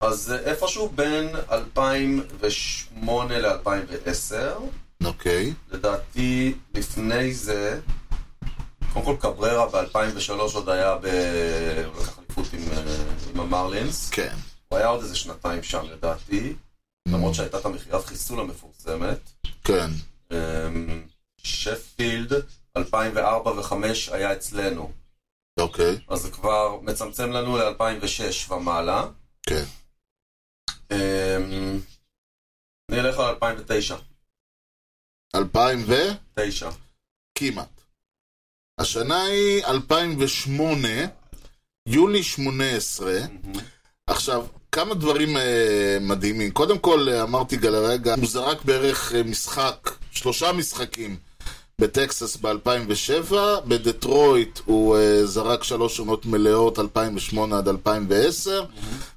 Speaker 1: אז אה, איפשהו בין 2008 ל-2010,
Speaker 2: אוקיי.
Speaker 1: לדעתי לפני זה, קודם כל קבררה ב-2003 עוד היה ב... הוא לקח אליפות עם, אה, עם המרלינס.
Speaker 2: כן.
Speaker 1: הוא היה עוד איזה שנתיים שם לדעתי, למרות שהייתה את המכירת חיסול המפורסמת.
Speaker 2: כן.
Speaker 1: אמ, שפילד, 2004 ו-2005 היה אצלנו,
Speaker 2: אוקיי.
Speaker 1: אז זה כבר מצמצם לנו ל-2006 ומעלה.
Speaker 2: כן.
Speaker 1: אמ, אני אלך על 2009.
Speaker 2: אלפיים ו?
Speaker 1: תשע.
Speaker 2: כמעט. השנה היא 2008, יוני 18.
Speaker 1: אוקיי.
Speaker 2: עכשיו, כמה דברים אה, מדהימים. קודם כל, אה, אמרתי גלרגע, הוא זרק בערך אה, משחק, שלושה משחקים בטקסס ב-2007, בדטרויט הוא אה, זרק שלוש עונות מלאות, 2008 עד 2010,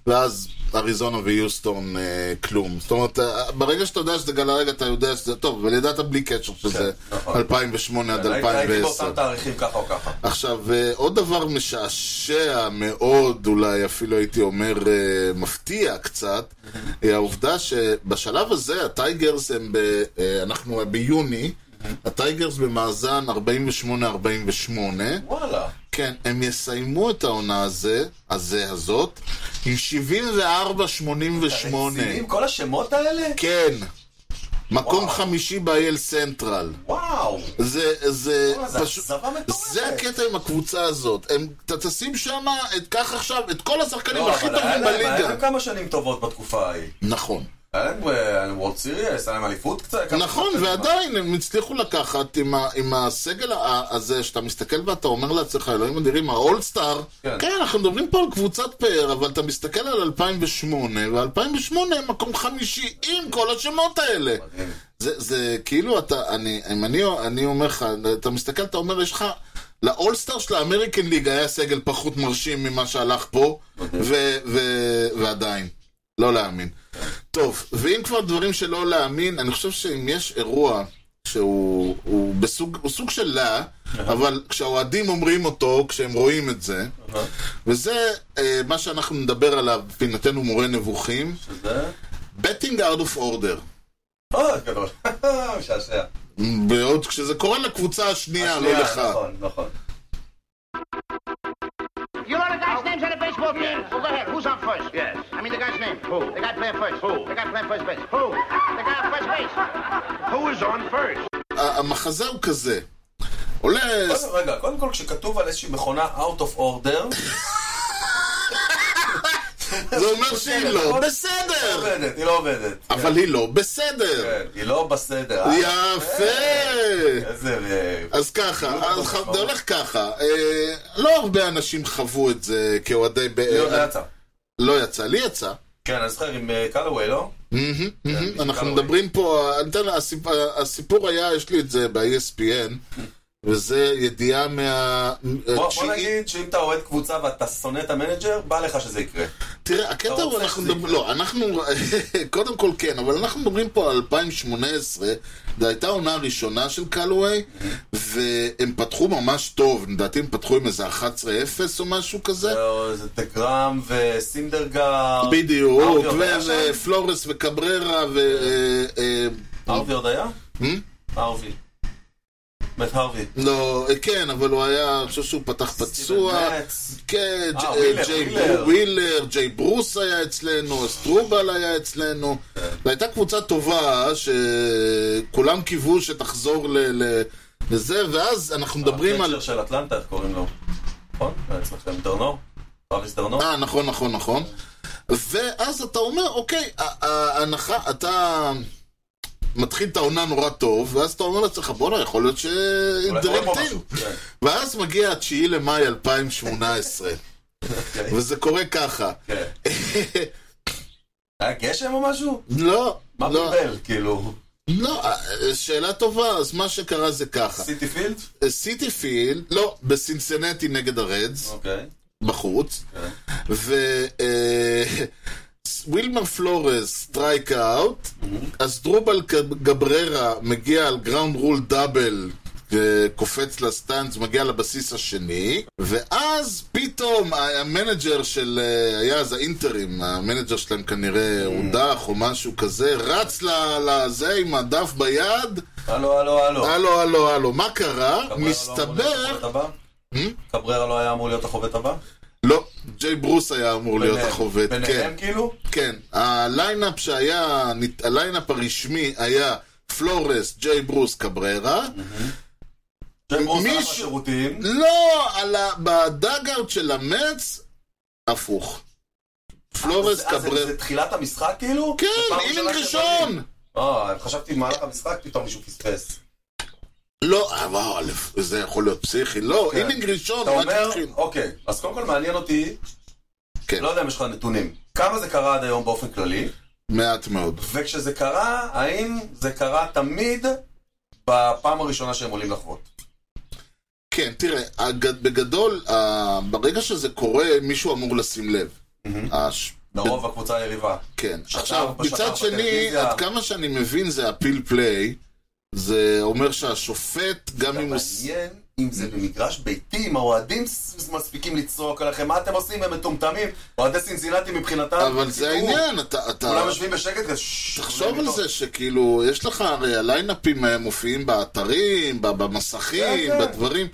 Speaker 2: ואז אריזונה ויוסטון אה, כלום. זאת אומרת, אה, ברגע שאתה יודע שזה גלרגע, אתה יודע שזה טוב, אבל ידעת בלי קשר שזה
Speaker 1: כן, נכון.
Speaker 2: 2008 עד
Speaker 1: הייתי
Speaker 2: 2010.
Speaker 1: באותם תאריכים ככה או ככה.
Speaker 2: עכשיו, אה, עוד דבר משעשע מאוד, אולי אפילו הייתי אומר אה, מפתיע קצת, היא העובדה שבשלב הזה הטייגרס הם ב... אה, אנחנו ביוני, הטייגרס במאזן 48-48,
Speaker 1: וואלה.
Speaker 2: כן, הם יסיימו את העונה הזה, הזה הזאת, עם 74-88.
Speaker 1: רציני? כל השמות האלה?
Speaker 2: כן, מקום
Speaker 1: וואו.
Speaker 2: חמישי ב-IL סנטרל.
Speaker 1: וואו.
Speaker 2: זה, זה,
Speaker 1: וואלה, לא, זה
Speaker 2: פשוט...
Speaker 1: אכזבה מטורפת.
Speaker 2: זה הקטע עם הקבוצה הזאת. הם, אתה תשים שם, את- קח עכשיו, את כל השחקנים
Speaker 1: לא,
Speaker 2: הכי
Speaker 1: אבל היה
Speaker 2: טובים
Speaker 1: להם- היה
Speaker 2: בליגה.
Speaker 1: להם כמה שנים טובות בתקופה ההיא.
Speaker 2: נכון.
Speaker 1: היה להם אה, היה להם וורד סיריאס, היה להם אליפות קצת. כמה
Speaker 2: נכון,
Speaker 1: שנים.
Speaker 2: ועדיין הם הצליחו לקחת עם, ה, עם הסגל ה- הזה, שאתה מסתכל ואתה אומר לעצמך, אלוהים אדירים, האולסטאר,
Speaker 1: כן.
Speaker 2: כן. כן, אנחנו מדברים פה על קבוצת פאר, אבל אתה מסתכל על 2008, ו-2008 הם מקום חמישי עם כל השמות האלה.
Speaker 1: מדהים.
Speaker 2: זה, זה כאילו אתה, אני, אם אני, אני אומר לך, אתה מסתכל, אתה אומר, יש לך, לאולסטאר של האמריקן ליג היה סגל פחות מרשים ממה שהלך פה, ו, ו, ועדיין, לא להאמין. טוב, ואם כבר דברים שלא להאמין, אני חושב שאם יש אירוע שהוא הוא בסוג, הוא סוג של לה, אבל כשהאוהדים אומרים אותו, כשהם רואים את זה, וזה אה, מה שאנחנו נדבר עליו, פינתנו מורה נבוכים,
Speaker 1: שזה?
Speaker 2: betting out of order.
Speaker 1: אה, גדול. משעשע.
Speaker 2: בעוד כשזה קורה לקבוצה השנייה, לא
Speaker 1: שנייה,
Speaker 2: לך.
Speaker 1: נכון, נכון.
Speaker 5: You know the guy's names on the baseball team? Well, go ahead. Who's on first? Yes. I mean the guy's name. Who? The guy playing first. Who? The guy playing first base. Who? The guy on first base. Who is on first?
Speaker 2: ה- המחזה הוא כזה. עולה...
Speaker 1: קודם- רגע, קודם כל כשכתוב על איזושהי מכונה out of order,
Speaker 2: זה אומר שהיא לא
Speaker 1: היא
Speaker 2: בסדר!
Speaker 1: לא עובדת, היא לא עובדת.
Speaker 2: אבל היא לא בסדר!
Speaker 1: כן, היא לא בסדר. אה?
Speaker 2: יפה!
Speaker 1: איזה... אה,
Speaker 2: אז ככה, אז ח-
Speaker 1: משמעות.
Speaker 2: זה הולך ככה, אה, לא הרבה אנשים חוו את זה כאוהדי... ב-
Speaker 1: לא, זה
Speaker 2: אה,
Speaker 1: יצא.
Speaker 2: לא יצא, לי יצא.
Speaker 1: כן, אני זוכר עם אה, קלווי, לא?
Speaker 2: מהמם, מהמם.
Speaker 1: כן,
Speaker 2: אנחנו
Speaker 1: קלווי.
Speaker 2: מדברים פה, אני אתן לה, הסיפ- הסיפור היה, יש לי את זה ב-ESPN, וזה ידיעה מה...
Speaker 1: בוא בוא
Speaker 2: התשיעית-
Speaker 1: נגיד שאם אתה אוהד קבוצה ואתה שונא את המנג'ר, בא לך שזה יקרה.
Speaker 2: תראה, הקטע
Speaker 1: אתה
Speaker 2: הוא,
Speaker 1: רוצה
Speaker 2: אנחנו
Speaker 1: שזה
Speaker 2: מדברים, לא, אנחנו, קודם כל כן, אבל אנחנו מדברים פה על 2018, זו הייתה העונה הראשונה של קלווי, והם פתחו ממש טוב, לדעתי הם פתחו עם איזה 11-0 או משהו כזה.
Speaker 1: זהו, אה, זה דגרם וסינדרגר.
Speaker 2: בדיוק,
Speaker 1: ארבי עוד היה שם?
Speaker 2: ופלורס וקבררה ו... אה, אה,
Speaker 1: ארווי עוד היה?
Speaker 2: Hmm?
Speaker 1: ארווי. מת הרווי.
Speaker 2: לא, אה, כן, אבל הוא היה, אני חושב שהוא פתח פצוע.
Speaker 1: סטיבן נץ.
Speaker 2: כן,
Speaker 1: אה,
Speaker 2: ג'-
Speaker 1: ווילר,
Speaker 2: אה, ג'יי
Speaker 1: ווילר.
Speaker 2: ברו- ווילר, ג'יי ברוס היה אצלנו, סטרובל היה אצלנו. זו הייתה קבוצה טובה, שכולם קיוו שתחזור ל... ל- לזה, ואז אנחנו מדברים על...
Speaker 1: המנג'ר אה, כן, של אטלנטה, איך קוראים לו? נכון? היה אצלכם דרנו? פאביס דרנו?
Speaker 2: אה, נכון, נכון, נכון. ואז אתה אומר, אוקיי, ה- ההנחה, אתה מתחיל את העונה נורא טוב, ואז אתה אומר לעצמך, בואנה, יכול להיות ש...
Speaker 1: אולי קורה פה
Speaker 2: דרקטין.
Speaker 1: משהו. כן.
Speaker 2: ואז מגיע התשיעי למאי 2018, וזה קורה ככה.
Speaker 1: כן. היה גשם או משהו?
Speaker 2: לא,
Speaker 1: מה
Speaker 2: לא,
Speaker 1: בלבל, כאילו?
Speaker 2: לא, אה, שאלה טובה, אז מה שקרה זה ככה.
Speaker 1: סיטי פילד?
Speaker 2: אה, סיטי פילד, לא, בסינסנטי נגד הרדס,
Speaker 1: אוקיי.
Speaker 2: בחוץ,
Speaker 1: כן.
Speaker 2: ו... אה, ווילמר פלורס סטרייק אאוט, אז דרובל גבררה מגיע על גראונד רול דאבל. אה, קופץ לסטאנץ, מגיע לבסיס השני, ואז פתאום ה- המנג'ר של, אה, היה אז האינטרים, המנג'ר שלהם כנראה הודח או משהו כזה, רץ ל- לזה עם הדף ביד,
Speaker 1: הלו, הלו, הלו.
Speaker 2: הלו, הלו, הלו, מה
Speaker 1: קבררה
Speaker 2: קרה?
Speaker 1: לא אמור להיות
Speaker 2: אה, מסתבר...
Speaker 1: החובט הבא? קבררה לא היה אמור להיות החובט הבא?
Speaker 2: לא, ג'יי ברוס היה אמור להיות
Speaker 1: ביניהם.
Speaker 2: החובט, כן.
Speaker 1: ביניהם כאילו?
Speaker 2: כן, הליינאפ שהיה, נת- הליינאפ הרשמי היה פלורס, ג'יי ברוס, קבררה.
Speaker 1: שהם עוזרים
Speaker 2: מישהו-
Speaker 1: לשירותים.
Speaker 2: לא, על ה- בדאגארט של המץ, הפוך. פלורס,
Speaker 1: אז- אז אה, זה-
Speaker 2: לא, קבררה.
Speaker 1: זה תחילת המשחק כאילו?
Speaker 2: כן,
Speaker 1: זה פעם
Speaker 2: אינינג
Speaker 1: ראשונה שהם
Speaker 2: ראשון!
Speaker 1: עולים. אה, חשבתי במהלך המשחק פתאום מישהו פספס.
Speaker 2: לא, אה, וואו, אלף, זה יכול להיות פסיכי, לא,
Speaker 1: כן.
Speaker 2: אינינג ראשון,
Speaker 1: אתה
Speaker 2: רק
Speaker 1: אומר,
Speaker 2: התחיל.
Speaker 1: אוקיי, אז קודם כל מעניין אותי,
Speaker 2: כן.
Speaker 1: לא יודע אם יש לך נתונים, כמה זה קרה עד היום באופן כללי,
Speaker 2: מעט מאוד.
Speaker 1: וכשזה קרה, האם זה קרה תמיד בפעם הראשונה שהם עולים לחוות?
Speaker 2: כן, תראה, הג- בגדול, ה- ברגע שזה קורה, מישהו אמור לשים לב. הש-
Speaker 1: לרוב הקבוצה היריבה.
Speaker 2: כן.
Speaker 1: שת"פ,
Speaker 2: עכשיו,
Speaker 1: שת"פ
Speaker 2: מצד שני,
Speaker 1: בטלוויזיה.
Speaker 2: עד כמה שאני מבין זה הפיל פליי, זה אומר שהשופט, גם אם הוא... ס-
Speaker 1: מעניין אם זה במגרש ביתי, אם האוהדים ס- מספיקים לצעוק עליכם, מה אתם עושים? הם מטומטמים. אוהדי סינצינטי מבחינתם.
Speaker 2: אבל זה
Speaker 1: תראו,
Speaker 2: העניין, אתה... אתה-
Speaker 1: כולם יושבים בשקט כזה, "ששש",
Speaker 2: תחשוב
Speaker 1: כולם
Speaker 2: על
Speaker 1: מתוך-
Speaker 2: זה שכאילו, יש לך הרי הליינאפים אה, מופיעים באתרים, ב- במסכים,
Speaker 1: כן, כן.
Speaker 2: בדברים,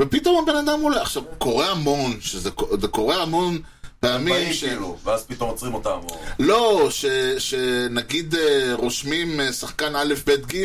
Speaker 2: ופתאום הבן אדם עולה. עכשיו, קורה המון, שזה ק- זה קורה המון פעמים
Speaker 1: באים
Speaker 2: ש...
Speaker 1: כאילו, ואז פתאום עוצרים אותם. או-
Speaker 2: לא, ש, שנגיד אה, רושמים אה, שחקן א', ב', ג',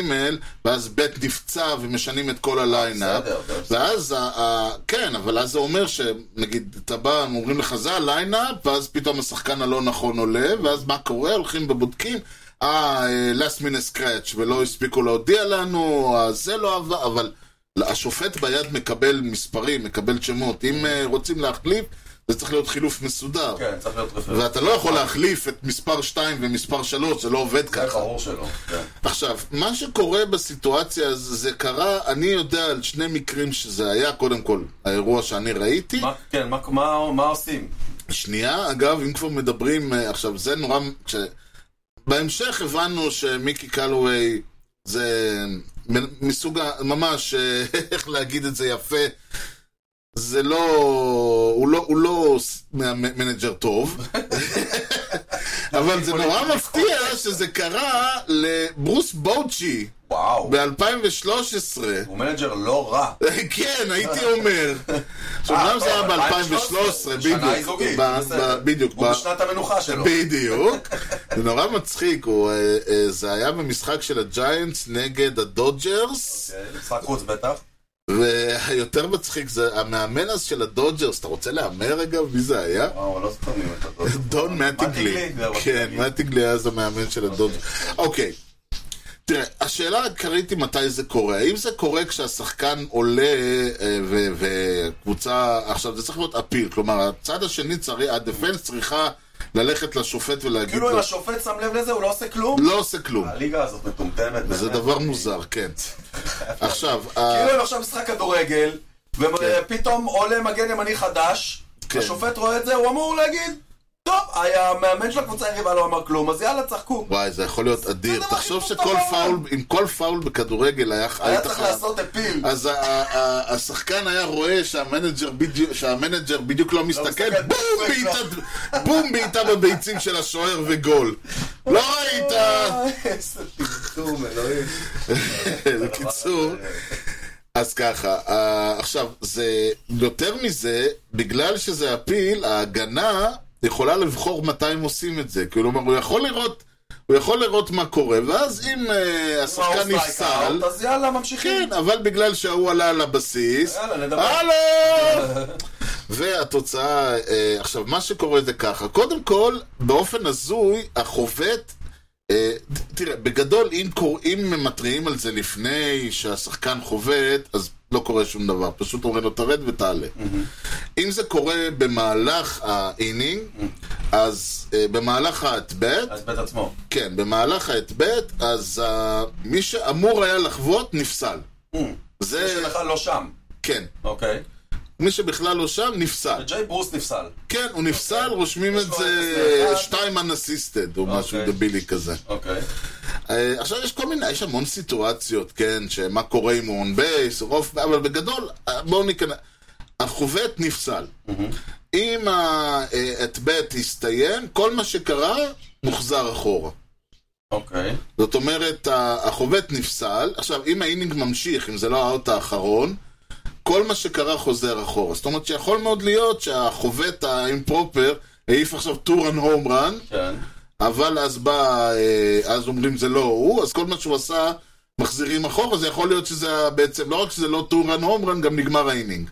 Speaker 2: ואז ב' נפצע ומשנים את כל הליינאפ.
Speaker 1: בסדר, אה, בסדר.
Speaker 2: ואז, ה, ה, כן, אבל אז זה אומר שנגיד, אתה בא, הם אומרים לך, זה הליינאפ, ואז פתאום השחקן הלא נכון עולה, ואז מה קורה? הולכים ובודקים, אה, אה, last minute scratch, ולא הספיקו להודיע לנו, אה, זה לא עבר, אבל השופט ביד מקבל מספרים, מקבל שמות. אם אה, רוצים להחליף, זה צריך להיות חילוף מסודר.
Speaker 1: כן, צריך להיות רפרנט.
Speaker 2: ואתה לא יכול להחליף את מספר 2 ומספר 3, זה לא עובד
Speaker 1: זה
Speaker 2: ככה.
Speaker 1: ברור שלא. כן.
Speaker 2: עכשיו, מה שקורה בסיטואציה, הזו, זה קרה, אני יודע על שני מקרים שזה היה, קודם כל, האירוע שאני ראיתי.
Speaker 1: מה- כן, מה- מה- מה עושים?
Speaker 2: שנייה, אגב, אם כבר מדברים, אה, עכשיו, זה נורא... כש... בהמשך הבנו שמיקי קלווי זה מ- מסוג ה... ממש, אה, איך להגיד את זה יפה, זה לא... הוא לא, הוא לא ס- מה- מנג'ר טוב, אבל זה נורא מפתיע שזה קרה לברוס בוצ'י
Speaker 1: וואו.
Speaker 2: ב-2013.
Speaker 1: הוא מנג'ר לא רע.
Speaker 2: כן, הייתי אומר. עכשיו,
Speaker 1: אה,
Speaker 2: אומנם זה היה
Speaker 1: טוב,
Speaker 2: ב-2013,
Speaker 1: שנה
Speaker 2: בדיוק.
Speaker 1: איזוגית,
Speaker 2: ב-
Speaker 1: בסדר.
Speaker 2: ב- בדיוק.
Speaker 1: הוא
Speaker 2: ב-
Speaker 1: בשנת המנוחה שלו.
Speaker 2: בדיוק. זה נורא מצחיק, הוא, אה, אה, זה היה במשחק של הג'יינטס נגד הדודג'רס,
Speaker 1: כן, משחק חוץ בטח.
Speaker 2: והיותר מצחיק זה המאמן אז של הדודג'רס, אתה רוצה להמר רגע מי זה היה?
Speaker 1: וואו, לא סתומים את הדוד.
Speaker 2: דון מטיגלי.
Speaker 1: זה אבל-
Speaker 2: כן, מטיגלי אז המאמן של הדודג'רס. אוקיי. תראה, השאלה העיקרית היא מתי זה קורה. האם זה קורה כשהשחקן עולה אה, ו- וקבוצה... עכשיו, זה צריך להיות אפיל. כלומר, הצד השני צריך... הדפנס צריכה ללכת לשופט ולהגיד
Speaker 1: כאילו אם
Speaker 2: לו...
Speaker 1: השופט שם לב לזה, הוא לא עושה כלום?
Speaker 2: לא עושה כלום.
Speaker 1: הליגה הזאת מטומטמת.
Speaker 2: זה
Speaker 1: באמת.
Speaker 2: דבר מוזר, כן. עכשיו, אה, ה-
Speaker 1: כאילו הם עכשיו משחק כדורגל, ופתאום עולה מגן ימני חדש,
Speaker 2: כן.
Speaker 1: השופט רואה את זה, הוא אמור להגיד, טוב, היה- המאמן של הקבוצה היריבה לא אמר כלום, אז יאללה, צחקו.
Speaker 2: וואי, זה יכול להיות אדיר.
Speaker 1: דבר הכי
Speaker 2: תחשוב
Speaker 1: טוב
Speaker 2: שכל
Speaker 1: בעולם.
Speaker 2: פאול, אם כל פאול בכדורגל היה
Speaker 1: היה
Speaker 2: היית
Speaker 1: צריך
Speaker 2: חייב-
Speaker 1: לעשות אפיל.
Speaker 2: אז ה- ה- ה- השחקן היה רואה שהמנג'ר בדיוק- שהמנג'ר בדיוק לא מסתכל,
Speaker 1: מסתכל,
Speaker 2: בום בעיטה- בום בעיטה בביצים של השוער וגול. לא ראית!
Speaker 1: אה, איזה טמטום, אלוהים. אה,
Speaker 2: בקיצור, אז ככה, אה, עכשיו, זה, יותר מזה, בגלל שזה הפיל, ההגנה יכולה לבחור מתי הם עושים את זה. כלומר, הוא יכול לראות, הוא יכול לראות מה קורה, ואז אם אה,
Speaker 1: מה,
Speaker 2: השחקן
Speaker 1: הוא סטרייק
Speaker 2: נפסל,
Speaker 1: אאוט, אז יאללה, ממשיכים.
Speaker 2: כן, אבל בגלל שההוא עלה על הבסיס,
Speaker 1: יאללה, נדבר.
Speaker 2: אה! הלו! והתוצאה, אה, עכשיו, מה שקורה זה ככה, קודם כל, באופן הזוי, החובט, אה, ת- תראה, בגדול, אם קוראים, מתריעים על זה לפני שהשחקן חובט, אז לא קורה שום דבר, פשוט אומרים לו תרד ותעלה. אם זה קורה במהלך האינינג, אז אה, במהלך האטבט,
Speaker 1: אז בית עצמו.
Speaker 2: כן, במהלך האטבט, אז אה, מי שאמור היה לחבוט, נפסל.
Speaker 1: זה
Speaker 2: זה,
Speaker 1: שלך לא שם,
Speaker 2: כן.
Speaker 1: אוקיי.
Speaker 2: מי שבכלל לא שם, נפסל.
Speaker 1: וג'יי ברוס נפסל.
Speaker 2: כן, הוא נפסל, רושמים את
Speaker 1: אוקיי. לו
Speaker 2: זה
Speaker 1: אפס לאחד.
Speaker 2: time unassisted, או משהו
Speaker 1: אוקיי.
Speaker 2: דבילי כזה.
Speaker 1: אוקיי.
Speaker 2: אה, עכשיו יש כל מיני, יש המון סיטואציות, כן, שמה קורה אם הוא און בייס, אבל בגדול, אה, בואו ניכנס, החובט נפסל. אם האטבט הסתיים, כל מה שקרה מוחזר אחורה.
Speaker 1: אוקיי.
Speaker 2: זאת אומרת, ה- החובט נפסל, עכשיו, אם האינינג ממשיך, אם זה לא האוט האחרון, כל מה שקרה חוזר אחורה. זאת אומרת שיכול מאוד להיות שהחובט האימפרופר העיף עכשיו טורן הום רן,
Speaker 1: כן.
Speaker 2: אבל אז בא, אה, אז אומרים זה לא הוא, אז כל מה שהוא עשה מחזירים אחורה, זה יכול להיות שזה היה בעצם, לא רק שזה לא טורן הומרן, גם נגמר האינינג.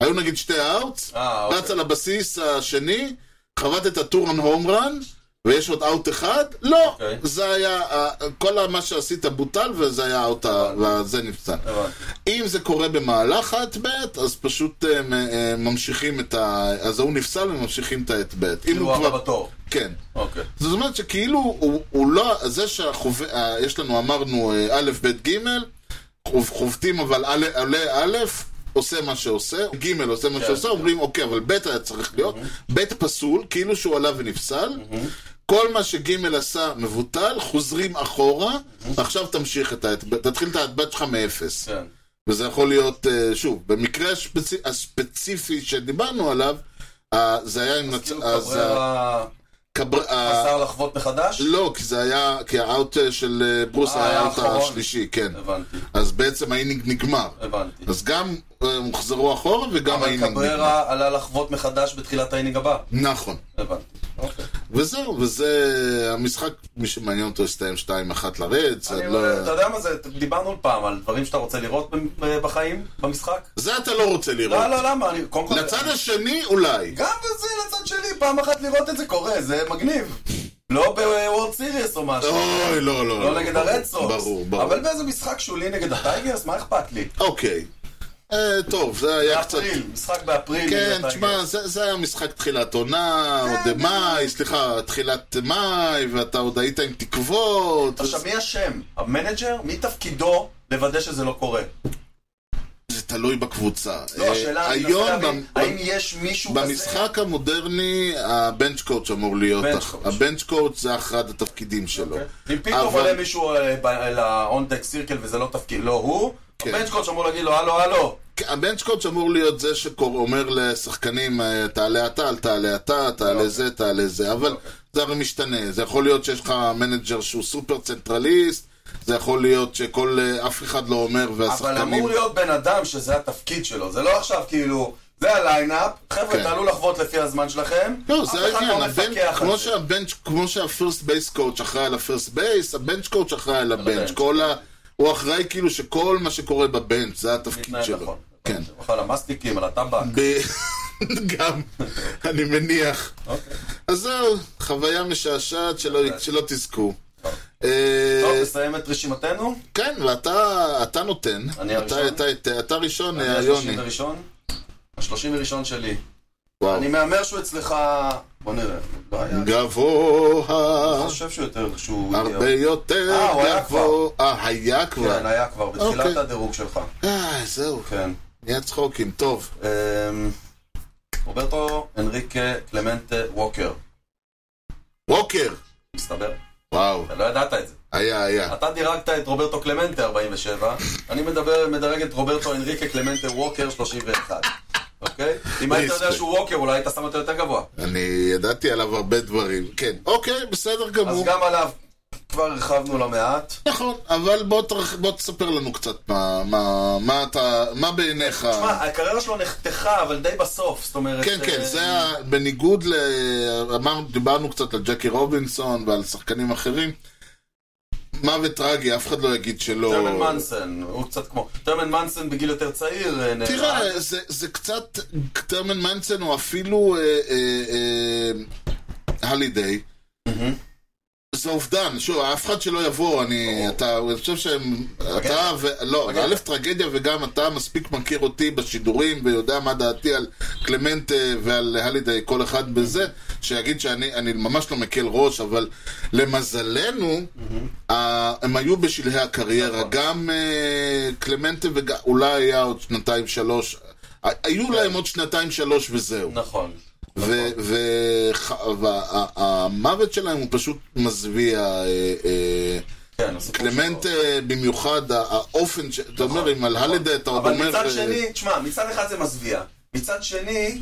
Speaker 2: היו נגיד שתי אאוטס,
Speaker 1: אה,
Speaker 2: רץ
Speaker 1: אוקיי.
Speaker 2: על הבסיס השני, חבט את הטורן הומרן, ויש עוד אאוט אחד, לא,
Speaker 1: אוקיי.
Speaker 2: זה היה, אה, כל מה שעשית בוטל וזה היה האאוט, ה-
Speaker 1: אוקיי.
Speaker 2: וזה נפסל.
Speaker 1: הבנתי.
Speaker 2: אם זה קורה במהלך האט-בט, אז פשוט אה, מ- אה, ממשיכים את ה... אז ההוא נפסל וממשיכים את האט-בט. אם
Speaker 1: כאילו
Speaker 2: הוא
Speaker 1: הוא
Speaker 2: כבר...
Speaker 1: הבא בתור.
Speaker 2: כן.
Speaker 1: אוקיי.
Speaker 2: זאת אומרת שכאילו הוא, הוא לא, זה שיש לנו, אמרנו אה, א', ב', ג', חוב- חובטים אבל א', עולה א', עושה מה שעושה, ג' עושה
Speaker 1: כן.
Speaker 2: מה
Speaker 1: אוקיי.
Speaker 2: שעושה, אומרים אוקיי, אבל ב' היה צריך להיות, ב' פסול, כאילו שהוא עלה ונפסל, כל מה שג' עשה מבוטל, חוזרים אחורה, עכשיו תמשיך את האטבט, תתחיל את האטבט שלך מאפס.
Speaker 1: אוקיי. כן.
Speaker 2: וזה יכול להיות, אה, שוב, במקרה השפצי, הספציפי שדיברנו עליו, אה, זה היה עם...
Speaker 1: כאילו
Speaker 2: נצ- אז אה, ה-
Speaker 1: קבררה
Speaker 2: קבר- ה-
Speaker 1: חסר לחוות מחדש?
Speaker 2: לא, כי זה היה, כי האאוט אה, של אה, ברוס
Speaker 1: אה,
Speaker 2: היה
Speaker 1: היה
Speaker 2: האאוט
Speaker 1: האחרון.
Speaker 2: השלישי, כן.
Speaker 1: הבנתי.
Speaker 2: אז בעצם האינינג נגמר.
Speaker 1: הבנתי.
Speaker 2: אז גם אה, הוחזרו אחורה וגם
Speaker 1: אבל
Speaker 2: האינינג נגמר.
Speaker 1: קבררה עלה לחוות מחדש בתחילת האינינג הבא.
Speaker 2: נכון.
Speaker 1: הבנתי. אוקיי.
Speaker 2: וזהו, וזה המשחק, מי שמעניין אותו הסתיים 2-1 לרדס.
Speaker 1: אני
Speaker 2: אני
Speaker 1: אומר, אתה
Speaker 2: לא...
Speaker 1: יודע מה זה, דיברנו פעם על דברים שאתה רוצה לראות ב- אה, בחיים, במשחק?
Speaker 2: זה אתה לא רוצה
Speaker 1: לא,
Speaker 2: לראות.
Speaker 1: לא, למה? אני- קודם כל...
Speaker 2: לצד השני אולי.
Speaker 1: גם בזה לצד שלי, פעם אחת לראות את זה קורה, זה מגניב. לא בוורד סיריוס או משהו.
Speaker 2: אוי, לא, לא.
Speaker 1: לא נגד הרד סוקס.
Speaker 2: ברור, ברור.
Speaker 1: אבל באיזה משחק שולי נגד הטייגרס, מה אכפת לי?
Speaker 2: אוקיי. אה, טוב, זה היה קצת...
Speaker 1: באפריל, משחק באפריל.
Speaker 2: כן,
Speaker 1: נגד
Speaker 2: תשמע,
Speaker 1: הטייגרס.
Speaker 2: זה, זה היה משחק תחילת עונה,
Speaker 1: כן,
Speaker 2: עוד מאי, סליחה, תחילת מאי, ואתה עוד היית עם תקוות.
Speaker 1: עכשיו,
Speaker 2: זה,
Speaker 1: מי אשם? המנג'ר? מי תפקידו לוודא שזה לא קורה?
Speaker 2: זה תלוי בקבוצה.
Speaker 1: לא,
Speaker 2: אה,
Speaker 1: השאלה, אני מנסה
Speaker 2: היום,
Speaker 1: להבין,
Speaker 2: במ-
Speaker 1: האם יש מישהו כזה?
Speaker 2: במשחק המודרני, הבנץ' קואוץ' אמור להיות.
Speaker 1: bench
Speaker 2: אח-
Speaker 1: coach.
Speaker 2: הבנץ' קואוץ' זה אחד התפקידים שלו.
Speaker 1: אם פתאום
Speaker 2: אבל-
Speaker 1: עולה מישהו אה, לאונדק סירקל וזה לא תפקיד, לא הוא,
Speaker 2: כן.
Speaker 1: הבנץ' קוץ' אמור להגיד לו, הלו, הלו.
Speaker 2: כן, הבנץ' קואוץ' אמור להיות זה שאומר לשחקנים, אה, תעלה אתה, אל תעלה אתה,
Speaker 1: אוקיי.
Speaker 2: תעלה זה, תעלה זה, אבל זה הרי משתנה. זה יכול להיות שיש לך מנג'ר שהוא סופר צנטרליסט, זה יכול להיות שכל, אה, אף אחד לא אומר,
Speaker 1: אבל
Speaker 2: והשחקנים...
Speaker 1: אמור להיות בן אדם שזה התפקיד שלו, זה לא עכשיו כאילו, זה הליינאפ, חבר'ה,
Speaker 2: כן.
Speaker 1: תעלו לחוות לפי הזמן שלכם,
Speaker 2: לא,
Speaker 1: אף
Speaker 2: זה
Speaker 1: אחד
Speaker 2: העניין,
Speaker 1: לא
Speaker 2: הבנץ'-
Speaker 1: מפקח
Speaker 2: כמו
Speaker 1: על זה.
Speaker 2: שהבנץ', כמו שהפירסט בייס קואוץ' אחראי על הפירסט בייס, הבנץ' קואוץ' אחראי על הבנץ',
Speaker 1: הבנץ'.
Speaker 2: כל ה... הוא אחראי כאילו שכל מה שקורה בבנץ', זה התפקיד
Speaker 1: מתנהל
Speaker 2: שלו.
Speaker 1: נכון.
Speaker 2: כן.
Speaker 1: על המסטיקים, על הטבק.
Speaker 2: ב- גם, אני מניח.
Speaker 1: אוקיי.
Speaker 2: אז זהו, חוויה משעשעת שלא, שלא תזכו.
Speaker 1: אוקיי.
Speaker 2: אה,
Speaker 1: טוב, אוקיי, נסיים את רשימתנו?
Speaker 2: כן, ואתה אתה נותן.
Speaker 1: אני
Speaker 2: אתה-
Speaker 1: הראשון?
Speaker 2: אתה- אתה- אתה ראשון,
Speaker 1: אני
Speaker 2: אה, יוני.
Speaker 1: השלושים וראשון? השלושים וראשון שלי.
Speaker 2: וואו.
Speaker 1: אני מהמר שהוא אצלך... בוא נראה. לא היה... אני
Speaker 2: גבוה,
Speaker 1: חושב שהוא יותר... שהוא...
Speaker 2: אה? הרבה יותר
Speaker 1: אה, הוא היה
Speaker 2: גבוה. אה, היה
Speaker 1: כן,
Speaker 2: כבר.
Speaker 1: היה כבר, בתחילת
Speaker 2: אוקיי.
Speaker 1: הדירוג שלך.
Speaker 2: אה, זהו,
Speaker 1: כן.
Speaker 2: נהיה צחוקים. טוב,
Speaker 1: אמ, רוברטו הנריקה קלמנטה ווקר.
Speaker 2: ווקר.
Speaker 1: מסתבר.
Speaker 2: וואו,
Speaker 1: אתה לא ידעת את זה.
Speaker 2: היה, היה.
Speaker 1: אתה דירגת את רוברטו קלמנטה 47, אני מדבר, מדרג את רוברטו הנריקה קלמנטה ווקר 31. אוקיי? אם היית יודע
Speaker 2: ריספקט.
Speaker 1: שהוא ווקר, אולי היית שם אותו יותר גבוה.
Speaker 2: אני ידעתי עליו הרבה דברים. כן, אוקיי, בסדר
Speaker 1: אז
Speaker 2: גמור.
Speaker 1: גם עליו כבר הרחבנו לא מעט.
Speaker 2: נכון, אבל בוא תרח- בוא תספר לנו קצת מה- מה- מה אתה, מה בעיניך.
Speaker 1: תשמע, הקריירה שלו נחתכה, אבל די בסוף, זאת אומרת...
Speaker 2: כן, כן,
Speaker 1: אה,
Speaker 2: זה ה- בניגוד ל... אמרנו, דיברנו קצת על ג'קי רובינסון ועל שחקנים אחרים. מוות טרגי, אף אחד לא יגיד שלא...
Speaker 1: טרמן מנסן, הוא קצת כמו... טרמן מנסן בגיל יותר צעיר אה, נהרג.
Speaker 2: תראה, זה, זה קצת... טרמן מנסן הוא אפילו אה, אה, אה, הלידיי. זה אובדן, שוב, אף אחד שלא יבוא, אני, אתה, אני חושב שהם, אתה, ו, לא,
Speaker 1: טרגדיה.
Speaker 2: א' טרגדיה וגם אתה מספיק מכיר אותי בשידורים ויודע מה דעתי על קלמנט אה, ועל הלידי כל אחד בזה, שיגיד שאני אני ממש לא מקל ראש, אבל למזלנו, ה- הם היו בשלהי הקריירה, גם אה, קלמנטה וגם, אולי היה עוד שנתיים שלוש, ה- היו להם עוד שנתיים שלוש וזהו.
Speaker 1: נכון.
Speaker 2: והמוות שלהם הוא פשוט מזוויע. אה, אה,
Speaker 1: כן, הסיפור
Speaker 2: קלמנט
Speaker 1: שלו.
Speaker 2: אה, במיוחד, ה- האופן, ש- אתה אומר, אם על הלדה אתה עוד
Speaker 1: נכון, אבל
Speaker 2: אומר...
Speaker 1: מצד
Speaker 2: אה,
Speaker 1: שני, תשמע, מצד אחד זה מזוויע. מצד שני,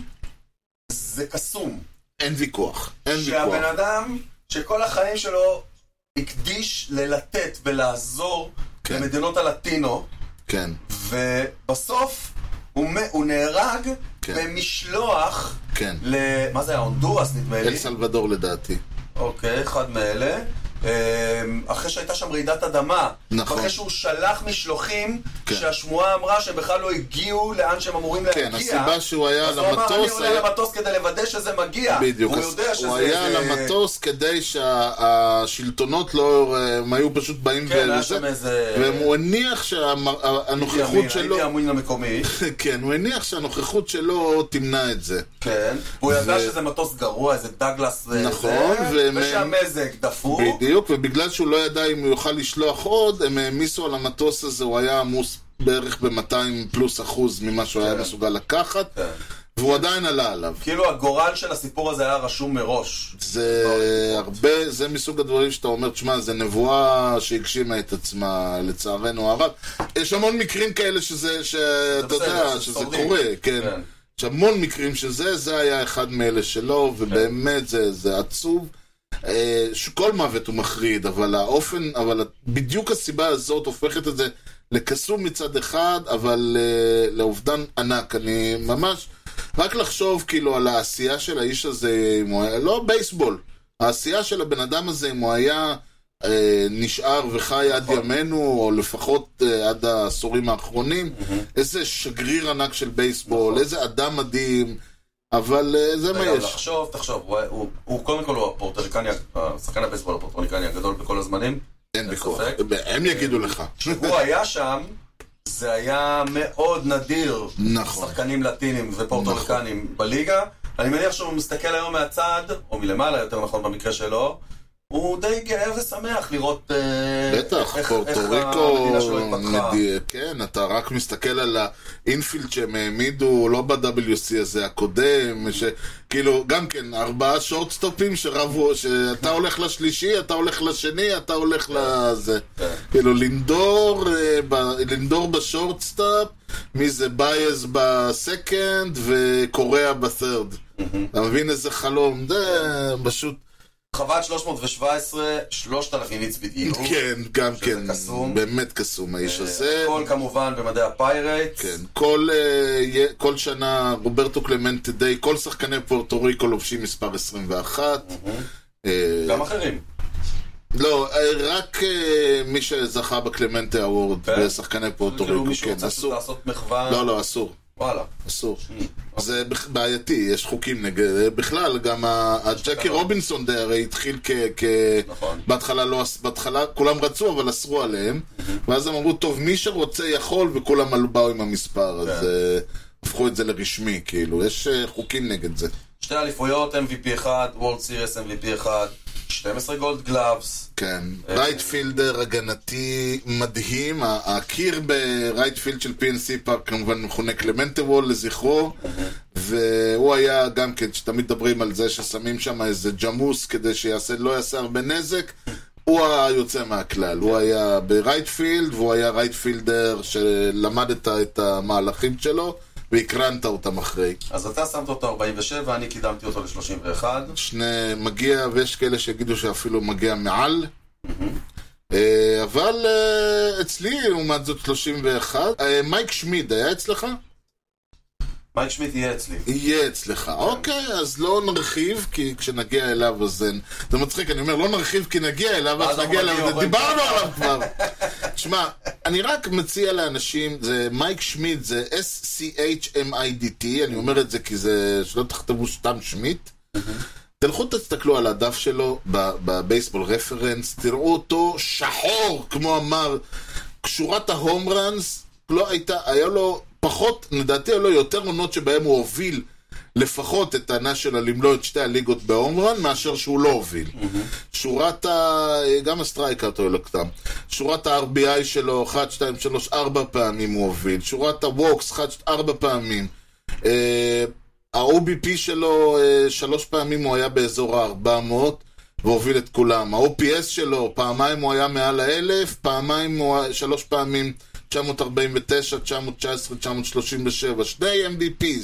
Speaker 1: זה קסום.
Speaker 2: אין ויכוח, אין ויכוח.
Speaker 1: שהבן אדם, שכל החיים שלו הקדיש ללתת ולעזור
Speaker 2: כן.
Speaker 1: למדינות הלטינו,
Speaker 2: כן,
Speaker 1: אוקיי. ובסוף הוא מ- הוא נהרג
Speaker 2: כן.
Speaker 1: במשלוח
Speaker 2: כן.
Speaker 1: ל... מה זה היה? הונדורס נדמה לי.
Speaker 2: אל סלבדור לדעתי.
Speaker 1: אוקיי, אחד מאלה. אמ, אחרי שהייתה שם רעידת אדמה.
Speaker 2: נכון.
Speaker 1: אחרי שהוא שלח משלוחים,
Speaker 2: כן.
Speaker 1: שהשמועה אמרה שהם בכלל לא הגיעו לאן שהם אמורים להגיע.
Speaker 2: כן, הסיבה שהוא היה
Speaker 1: אז
Speaker 2: על
Speaker 1: הוא אמר, אני
Speaker 2: המטוס...
Speaker 1: עולה
Speaker 2: היה-
Speaker 1: למטוס כדי לוודא שזה מגיע.
Speaker 2: בדיוק,
Speaker 1: אה, הוא
Speaker 2: אז
Speaker 1: יודע שזה... אה,
Speaker 2: הוא היה על
Speaker 1: זה-
Speaker 2: המטוס כדי שהשלטונות לא... הם היו פשוט באים
Speaker 1: כן, היה
Speaker 2: וזה,
Speaker 1: שם איזה...
Speaker 2: והוא הניח שהנוכחות שלו...
Speaker 1: הייתי המין המקומי.
Speaker 2: כן, הוא הניח שהנוכחות שלו תמנע את זה.
Speaker 1: כן. הוא ידע
Speaker 2: ו-
Speaker 1: שזה מטוס גרוע, איזה דגלס... אה,
Speaker 2: נכון,
Speaker 1: זה,
Speaker 2: והם-
Speaker 1: ושהמזג דפוק.
Speaker 2: בדיוק, ובגלל שהוא לא ידע אם הוא יוכל לשלוח עוד, הם העמיסו על המטוס הזה, הוא היה עמוס בערך ב-200 פלוס אחוז ממה שהוא היה מסוגל לקחת,
Speaker 1: כן.
Speaker 2: והוא עדיין עלה עליו.
Speaker 1: כאילו הגורל של הסיפור הזה היה רשום מראש.
Speaker 2: זה
Speaker 1: לא
Speaker 2: הרבה, זה מסוג הדברים שאתה אומר, תשמע, זה נבואה שהגשימה את עצמה, לצערנו הרב. יש המון מקרים כאלה שזה, שאתה
Speaker 1: בסדר,
Speaker 2: יודע,
Speaker 1: שזה
Speaker 2: שזה
Speaker 1: שורדים.
Speaker 2: קורה, כן.
Speaker 1: כן.
Speaker 2: יש המון מקרים שזה, זה היה אחד מאלה שלא, ובאמת זה, זה עצוב. אה, שכל מוות הוא מחריד, אבל האופן, אבל בדיוק הסיבה הזאת הופכת את זה לקסום מצד אחד, אבל אה, לאובדן ענק. אני ממש, רק לחשוב כאילו על העשייה של האיש הזה, אם הוא היה, לא בייסבול, העשייה של הבן אדם הזה, אם הוא היה אה, נשאר וחי עד
Speaker 1: נכון.
Speaker 2: ימינו, או לפחות אה, עד העשורים האחרונים, איזה שגריר ענק של בייסבול, איזה אדם מדהים, אבל אה, זה מה
Speaker 1: נכון. רגע, אבל
Speaker 2: יש.
Speaker 1: לחשוב, לא, תחשוב, הוא- הוא- הוא קודם כל הוא הפורטריקני, השחקן הבייסבול הפורטריקני הגדול בכל הזמנים.
Speaker 2: אין ויכוח.
Speaker 1: ספק.
Speaker 2: הם יגידו לך.
Speaker 1: כשהוא היה שם, זה היה מאוד נדיר.
Speaker 2: נכון.
Speaker 1: שחקנים לטינים ופורטוריקנים בליגה. אני מניח שהוא מסתכל היום מהצד, או מלמעלה יותר נכון במקרה שלו. הוא די גאה ושמח לראות אה,
Speaker 2: בטח,
Speaker 1: איך-
Speaker 2: פורטו
Speaker 1: איך
Speaker 2: ריקו,
Speaker 1: המדינה שלו התפתחה.
Speaker 2: מדי- כן, אתה רק מסתכל על האינפילד שהם העמידו, לא ב-WC הזה הקודם, שכאילו, גם כן, ארבעה שורטסטופים שרבו, שאתה הולך לשלישי, אתה הולך לשני, אתה הולך
Speaker 1: כן.
Speaker 2: לזה. כאילו, לינדור, אה, ב- לינדור בשורטסטופ, מי זה בייז בסקנד וקוריאה בת'רד. אתה מבין איזה חלום, זה פשוט...
Speaker 1: חוות 317, 3,000 איץ בדיוק.
Speaker 2: כן, גם
Speaker 1: שזה
Speaker 2: כן,
Speaker 1: קסום. אה,
Speaker 2: באמת קסום האיש הזה.
Speaker 1: הכל כמובן במדעי הפיירט.
Speaker 2: כן, כל, אה, יה- כל שנה רוברטו קלמנט די, כל שחקני פורטו ריקו לובשים מספר 21. אה,
Speaker 1: גם אחרים.
Speaker 2: לא, אה, רק אה, מי שזכה בקלמנטה אוורד,
Speaker 1: כן?
Speaker 2: שחקני פורטו
Speaker 1: כאילו
Speaker 2: ריקו,
Speaker 1: מישהו
Speaker 2: כן,
Speaker 1: רוצה
Speaker 2: אסור.
Speaker 1: לעשות מחווה.
Speaker 2: לא, לא, אסור,
Speaker 1: וואלה.
Speaker 2: אסור. זה בכ- בעייתי, יש חוקים נגד, אה, בכלל, גם ה- הג'קי רובינסון די הרי התחיל כ... כ-
Speaker 1: נכון.
Speaker 2: בהתחלה לא, אס- בהתחלה כולם רצו, אבל אסרו עליהם, ואז הם אמרו, טוב, מי שרוצה יכול, וכולם עלו- באו עם המספר, אז אה, הפכו את זה לרשמי, כאילו, יש אה, חוקים נגד זה.
Speaker 1: שתי אליפויות, MVP אחד, World Series MVP אחד, 12 גולד גלאבס.
Speaker 2: כן, רייטפילדר הגנתי מדהים, ה- הקיר ברייטפילד של PNC פארק כמובן מכונה קלמנטה וול לזכרו, והוא היה גם כן, שתמיד מדברים על זה ששמים שם איזה ג'מוס כדי שיעשה, לא יעשה הרבה נזק, הוא היוצא מהכלל, הוא היה ברייטפילד, והוא היה רייטפילדר שלמדת את המהלכים שלו, והקרנת אותם אחרי.
Speaker 1: אז אתה שמת אותו 47, אני קידמתי אותו ל-31.
Speaker 2: שני מגיע, ויש כאלה שיגידו שאפילו מגיע מעל. אה, אבל אה, אצלי, לעומת זאת, 31. אה, מייק שמיד היה אצלך?
Speaker 1: מייק שמיט יהיה אצלי.
Speaker 2: יהיה אצלך.
Speaker 1: כן.
Speaker 2: אוקיי, אז לא נרחיב, כי כשנגיע אליו אז אין. זה מצחיק, אני אומר, לא נרחיב כי נגיע אליו,
Speaker 1: ואז
Speaker 2: אז נגיע
Speaker 1: אנחנו
Speaker 2: אליו,
Speaker 1: מגיעים,
Speaker 2: דיברנו עליו כבר. שמע, אני רק מציע לאנשים, זה מייק שמיד, זה S-C-H-M-I-D-T, אני אומר את זה כי זה, שלא תכתבו סתם שמיט. תלכו תסתכלו על הדף שלו ב- בבייסבול רפרנס, תראו אותו שחור, כמו אמר, שורת ההום ראנס, לא הייתה, היה לו פחות, לדעתי היה לו יותר עונות שבהם הוא הוביל לפחות את הענה שלה למלוא את שתי הליגות בהום ראן, מאשר שהוא לא הוביל. שורת ה... גם הסטרייקאוט היו לו קטן. שורת ה-RBI שלו, 1, 2, 3, 4 פעמים הוא הוביל. שורת הווקס, 1, 4 פעמים. אה, ה-OBP שלו, אה, שלוש פעמים הוא היה באזור ה-400 והוביל את כולם. ה-OPS שלו, פעמיים הוא היה מעל ה-1000, פעמיים הוא, היה- שלוש פעמים 949, 919, 937, שני MVPs.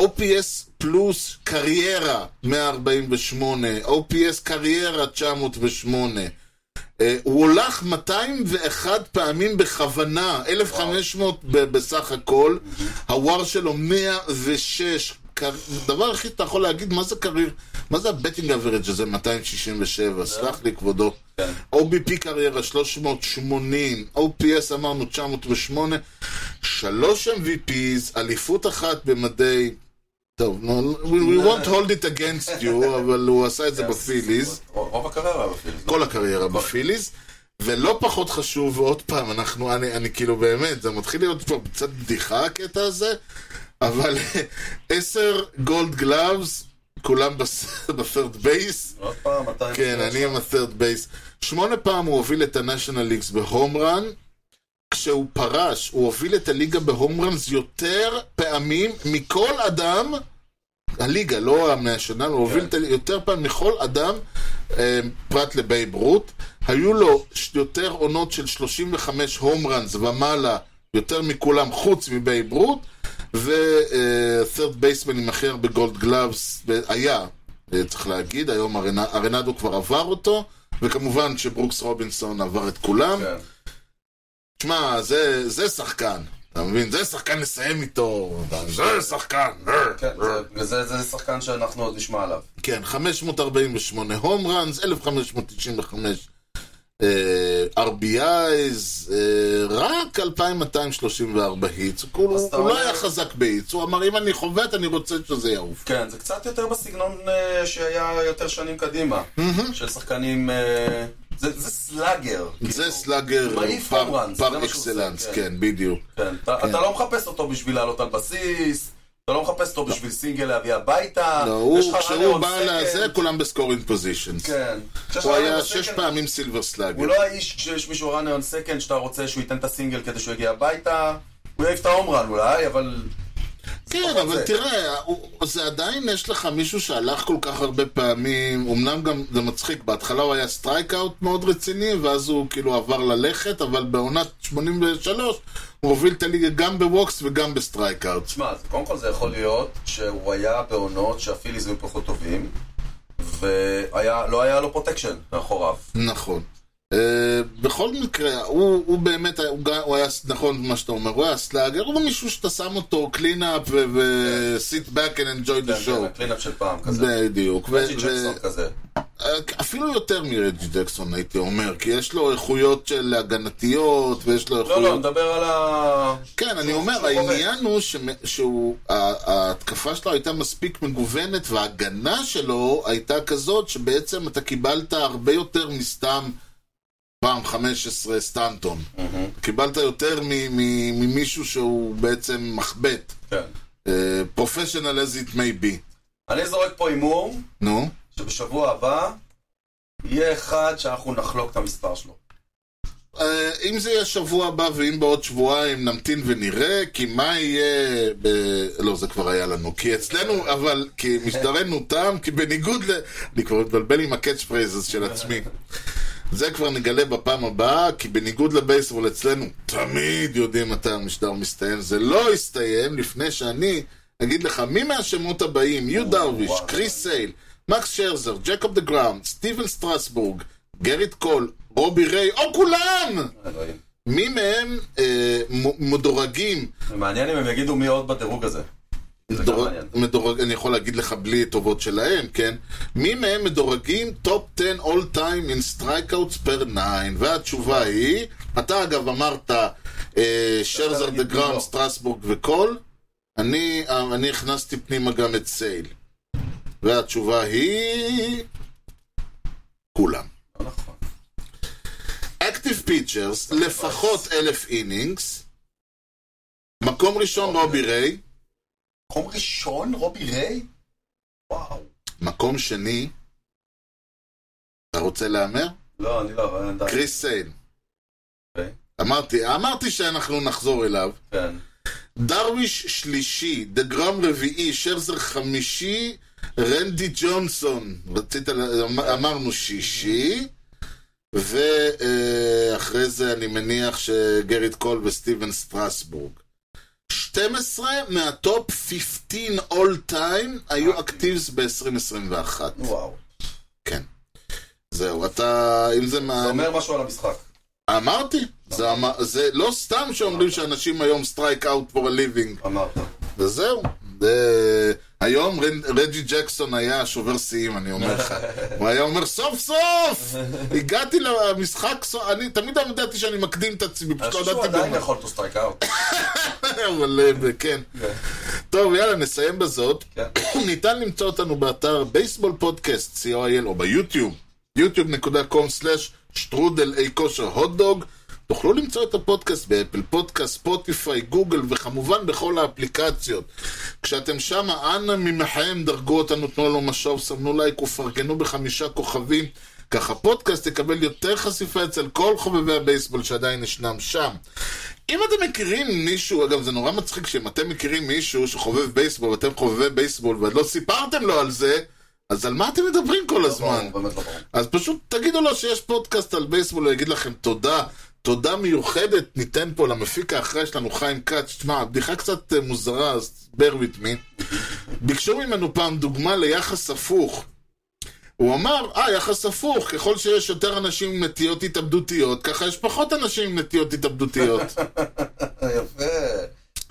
Speaker 2: OPS פלוס קריירה 148, OPS קריירה 908. אה, הוא הולך 201 פעמים בכוונה, 1,500 ב- בסך הכל, הוואר שלו 106. קר- הדבר הכי שאתה יכול להגיד, מה זה קרייר? מה זה הבטינג אברג' הזה 267? סלח לי כבודו. OBP קריירה 380, OPS אמרנו 908, שלוש MVPs, אליפות אחת במדי... טוב, נו, we we won't hold it against you, אבל הוא עשה את זה בפיליז.
Speaker 1: רוב הקריירה בפיליז.
Speaker 2: כל הקריירה בפיליז. ולא פחות חשוב, ועוד פעם, אנחנו, אני, אני כאילו באמת, זה מתחיל להיות פה קצת בדיחה הקטע הזה, אבל עשר גולד גלאבס, כולם בס- ב-third base,
Speaker 1: עוד פעם, 200...
Speaker 2: כן, אני עם ה-third base. שמונה פעם הוא הוביל את ה-National Leagues בהום רן, כשהוא פרש, הוא הוביל את הליגה בהום ראנס יותר פעמים מכל אדם, הליגה, לא ה-National, הוא
Speaker 1: כן.
Speaker 2: הוביל את ה- יותר פעמים מכל אדם, אה, פרט לבייב רות. היו לו ש- יותר עונות של 35 הום ראנס ומעלה, יותר מכולם חוץ מבייב רות, ו-third baseman עם הכי הרבה גולד גלאבס, ב- היה, אה, צריך להגיד, היום ארנ- ארנדו כבר עבר אותו, וכמובן שברוקס רובינסון עבר את כולם.
Speaker 1: כן.
Speaker 2: תשמע, זה, זה שחקן. אתה מבין? זה שחקן לסיים איתו. זה שחקן.
Speaker 1: כן, זה- וזה זה שחקן שאנחנו עוד נשמע עליו.
Speaker 2: כן, 548 הום ראנס, 1595 אה, RBIs, אה, רק 2234 היטס. הוא כאילו-
Speaker 1: אז אתה
Speaker 2: הוא לא
Speaker 1: אומר-
Speaker 2: היה חזק בהיטס. הוא אמר, אם אני חובט, אני רוצה שזה יעוף.
Speaker 1: כן, זה קצת יותר בסגנון אה, שהיה יותר שנים קדימה. של שחקנים... אה, זה זה סלאגר.
Speaker 2: זה
Speaker 1: כאילו.
Speaker 2: סלאגר
Speaker 1: מעיף
Speaker 2: פר-
Speaker 1: הום ראנס, זה
Speaker 2: פר
Speaker 1: מה שהוא
Speaker 2: אקסלנס,
Speaker 1: עושה, כן.
Speaker 2: כן, בדיוק.
Speaker 1: כן, אתה אתה לא מחפש אותו בשביל לעלות על בסיס, אתה לא מחפש אותו בשביל סינגל להביא הביתה.
Speaker 2: לא,
Speaker 1: אה, יש לך
Speaker 2: הוא-
Speaker 1: ראנר
Speaker 2: כשהוא
Speaker 1: on
Speaker 2: בא
Speaker 1: second.
Speaker 2: לזה, כולם בסקורינג פוזיישנס.
Speaker 1: כן. כשיש לך
Speaker 2: הוא
Speaker 1: ראנר
Speaker 2: היה
Speaker 1: on
Speaker 2: שש
Speaker 1: second,
Speaker 2: פעמים סילבר סלאגר.
Speaker 1: הוא לא האיש שיש מישהו ראנר און סקנד שאתה רוצה שהוא ייתן את הסינגל כדי שהוא יגיע הביתה. הוא יעיף את ההומרן אולי, אבל...
Speaker 2: כן,
Speaker 1: פחות
Speaker 2: אבל
Speaker 1: זה.
Speaker 2: תראה, הוא- זה עדיין יש לך מישהו שהלך כל כך הרבה פעמים, אמנם גם זה מצחיק, בהתחלה הוא היה סטרייק אאוט מאוד רציני, ואז הוא כאילו עבר ללכת, אבל בעונת 83 הוא הוביל את הליגה גם בווקס וגם בסטרייק אאוט.
Speaker 1: תשמע, אז קודם כל זה יכול להיות שהוא היה בעונות שהפיליז היו פחות טובים, ולא היה לו פרוטקשן מאחוריו.
Speaker 2: נכון. אה, בכל מקרה, הוא, הוא באמת, היה- הוא, גם- הוא היה, נכון מה שאתה אומר, הוא היה סלאגר, הוא מישהו שאתה שם אותו קלינאפ ו-sit back and enjoy
Speaker 1: כן,
Speaker 2: the
Speaker 1: כן,
Speaker 2: show.
Speaker 1: הקלינאפ של פעם כזה.
Speaker 2: בדיוק. ו-
Speaker 1: רג'י ג'קסון כזה.
Speaker 2: אפילו יותר מרג'י ג'קסון הייתי אומר, כי יש לו איכויות של הגנתיות, ויש לו
Speaker 1: לא, לא,
Speaker 2: איכויות...
Speaker 1: נדבר על ה...
Speaker 2: כן, אני
Speaker 1: שהוא-
Speaker 2: אומר,
Speaker 1: שהוא
Speaker 2: העניין הוא שמ- שהוא... ה- ההתקפה שלו הייתה מספיק מגוונת, וההגנה שלו הייתה כזאת שבעצם אתה קיבלת הרבה יותר מסתם פעם 15 סטנטון. קיבלת יותר מ- מ- ממישהו שהוא בעצם מחבט.
Speaker 1: כן.
Speaker 2: פרופשיונל as it may be.
Speaker 1: אני זורק פה הימור,
Speaker 2: נו?
Speaker 1: שבשבוע הבא יהיה אחד שאנחנו נחלוק את המספר שלו.
Speaker 2: אה, אם זה יהיה שבוע הבא ואם בעוד שבועיים נמתין ונראה, כי מה יהיה... ב... לא, זה כבר היה לנו. כי אצלנו, אבל, כי משטרנו תם, כי בניגוד ל... אני כבר מתבלבל עם הקאץ' פרייזס של עצמי. זה כבר נגלה בפעם הבאה, כי בניגוד לבייסבול אצלנו, תמיד יודעים מתי המשדר מסתיים. זה לא יסתיים לפני שאני אגיד לך מי מהשמות הבאים, יו דרוויש,
Speaker 1: וואו.
Speaker 2: קריס סייל, מקס שרזר, ג'קוב דה גראונד, סטיבן סטרסבורג, גריט קול, רובי ריי, או כולם!
Speaker 1: אלוהים.
Speaker 2: מי מהם אה, מ- מדורגים?
Speaker 1: זה מעניין אם הם יגידו מי עוד בדירוג הזה. זה גם
Speaker 2: מדורג-
Speaker 1: מעניין.
Speaker 2: מדורג- אני יכול להגיד לך בלי טובות שלהם, כן? מי מהם מדורגים טופ 10 all time in strikeouts per 9? והתשובה היא, אתה אגב אמרת אה, שרזר
Speaker 1: להגיד
Speaker 2: דה גראונד,
Speaker 1: לא.
Speaker 2: סטרסבורג וקול, אני, אה, אני הכנסתי פנימה גם את סייל. והתשובה היא... כולם.
Speaker 1: לא נכון.
Speaker 2: אקטיב פיצ'רס, לפחות אלף אינינגס. מקום ראשון רובי ריי.
Speaker 1: מקום ראשון, רובי ריי? וואו.
Speaker 2: מקום שני, אתה רוצה להמר?
Speaker 1: לא, אני לא, אבל אני עדיין.
Speaker 2: קריס סייל.
Speaker 1: אוקיי.
Speaker 2: אמרתי, אמרתי שאנחנו נחזור אליו.
Speaker 1: כן.
Speaker 2: דרוויש שלישי, דה גרם רביעי, שרזר חמישי, רנדי ג'ונסון, רצית, ל- אמ- אמרנו שישי, ואחרי זה אני מניח שגריט קול וסטיבן סטרסבורג. 12 מהטופ 15 all time היו אקטיבס ב-2021.
Speaker 1: וואו.
Speaker 2: כן. זהו, אתה, אם זה מה...
Speaker 1: זה אומר משהו על המשחק.
Speaker 2: אמרתי, זה, אמר- זה לא סתם שאומרים שאנשים היום סטרייק אאוט פור הליבינג,
Speaker 1: אמרת.
Speaker 2: וזהו. זה- היום רנ- רג'י ג'קסון היה שובר שיאים, אני אומר לך. הוא היה אומר, סוף סוף! הגעתי למשחק, סוף-" אני תמיד ידעתי שאני מקדים את עצמי,
Speaker 1: אני
Speaker 2: פשוט לא
Speaker 1: חושב שהוא
Speaker 2: ידעתי
Speaker 1: עדיין
Speaker 2: במה.
Speaker 1: יכול to strike out.
Speaker 2: אבל אה, כן. טוב, יאללה, נסיים בזאת.
Speaker 1: כן.
Speaker 2: ניתן למצוא אותנו באתר בייסבול פודקאסט, co.il, או ביוטיוב, yוטיוב.com/שטרודל אי כושר הוטדוג. תוכלו למצוא את הפודקאסט באפל פודקאסט, ספוטיפיי, גוגל, וכמובן בכל האפליקציות. כשאתם שמה, אנא ממכם, דרגו אותנו, תנו לנו משוב, סמנו לייק ופרגנו בחמישה כוכבים. כך הפודקאסט יקבל יותר חשיפה אצל כל חובבי הבייסבול שעדיין ישנם שם. אם אתם מכירים מישהו, אגב זה נורא מצחיק שאם אתם מכירים מישהו שחובב בייסבול ואתם חובבי בייסבול ועוד לא סיפרתם לו על זה, אז על מה אתם מדברים כל הזמן?
Speaker 1: הוא באמת לא ברור.
Speaker 2: אז פשוט תגידו לו שיש פודקאסט על בייסבול, הוא יגיד לכם תודה, תודה מיוחדת ניתן פה למפיק האחראי שלנו, חיים כץ. שמע, הבדיחה קצת אה, מוזרה, אז bear with me. ביקשו ממנו פעם דוגמה ליחס הפוך. הוא אמר, אה, יחס הפוך, ככל שיש יותר אנשים עם נטיות התאבדותיות, ככה יש פחות אנשים עם נטיות התאבדותיות.
Speaker 1: אה, יפה.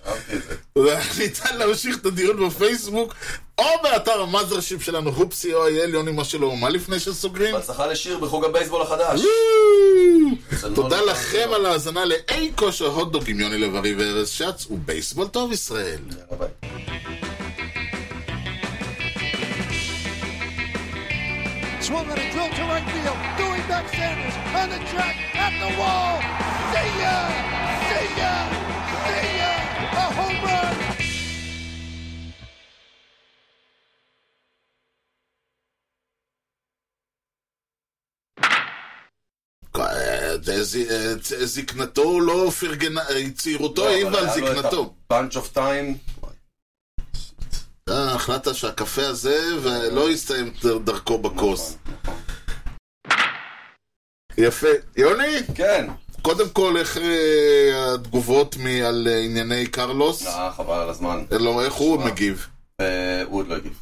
Speaker 1: אהבתי את זה.
Speaker 2: ניתן להמשיך את הדיון בפייסבוק, או באתר המאזרשיפ שלנו, הופסי או אייל, יוני מה שלא, מה לפני שסוגרים?
Speaker 1: בהצלחה לשיר בחוג הבייסבול החדש.
Speaker 2: וואו! תודה
Speaker 1: לא
Speaker 2: לכם
Speaker 1: נכון.
Speaker 2: על ההאזנה לאי כושר הוטדוג עם יוני לב-ארי וארז שץ, ובייסבול טוב ישראל.
Speaker 1: יאללה, ביי.
Speaker 6: Swung on a drill to right field. Doing back Sanders on the track at the wall. See ya! See ya! See ya! A home run!
Speaker 2: אה, זה ז- אה, זה- זקנתו לא פרגנה, אה,
Speaker 1: לא,
Speaker 2: צעירותו העיבה על זקנתו.
Speaker 1: bunch of time.
Speaker 2: אה, החלטת שהקפה הזה לא יסתיים דרכו בכוס. יפה. יוני,
Speaker 1: כן.
Speaker 2: קודם כל, איך אה, התגובות מ- על אה, ענייני קרלוס?
Speaker 1: אה, חבל על הזמן.
Speaker 2: לא, איך הוא
Speaker 1: שמע.
Speaker 2: מגיב?
Speaker 1: אה, הוא עוד לא הגיב.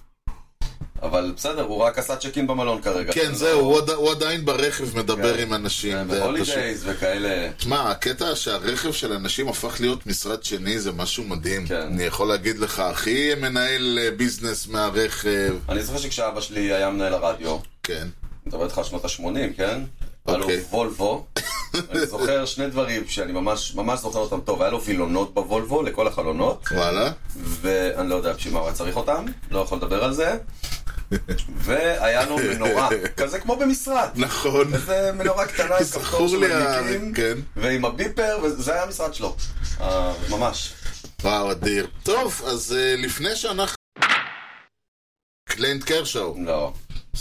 Speaker 1: אבל בסדר, הוא רק עשה צ'ק אין במלון כרגע.
Speaker 2: כן, זהו, הוא עד- הוא עדיין ברכב מדבר
Speaker 1: כן.
Speaker 2: עם אנשים. זה פשוט-
Speaker 1: בהולידייז וכאלה.
Speaker 2: תשמע, הקטע שהרכב של אנשים הפך להיות משרד שני זה משהו מדהים.
Speaker 1: כן.
Speaker 2: אני יכול להגיד לך, הכי מנהל אה, ביזנס מהרכב,
Speaker 1: אני זוכר שכשאבא שלי היה מנהל הרדיו, אני
Speaker 2: כן.
Speaker 1: מדבר איתך על שנות ה-80, כן? היה לו
Speaker 2: אוקיי.
Speaker 1: וולבו. אני זוכר שני דברים שאני ממש ממש זוכר אותם טוב. היה לו וילונות בוולבו לכל החלונות,
Speaker 2: וואלה?
Speaker 1: ואני לא יודע בשביל מה הוא היה צריך אותם, לא יכול לדבר על זה. והיה לו מנורה, כזה כמו במשרד.
Speaker 2: נכון.
Speaker 1: איזה מנורה קטנה עם כפתור
Speaker 2: זכור
Speaker 1: של
Speaker 2: לי ה...
Speaker 1: מדליקים,
Speaker 2: כן.
Speaker 1: ועם הביפר, וזה היה המשרד שלו. אה, ממש.
Speaker 2: וואו, אדיר. טוב, אז אה, לפני שאנחנו... קליינט קרשאו.
Speaker 1: לא.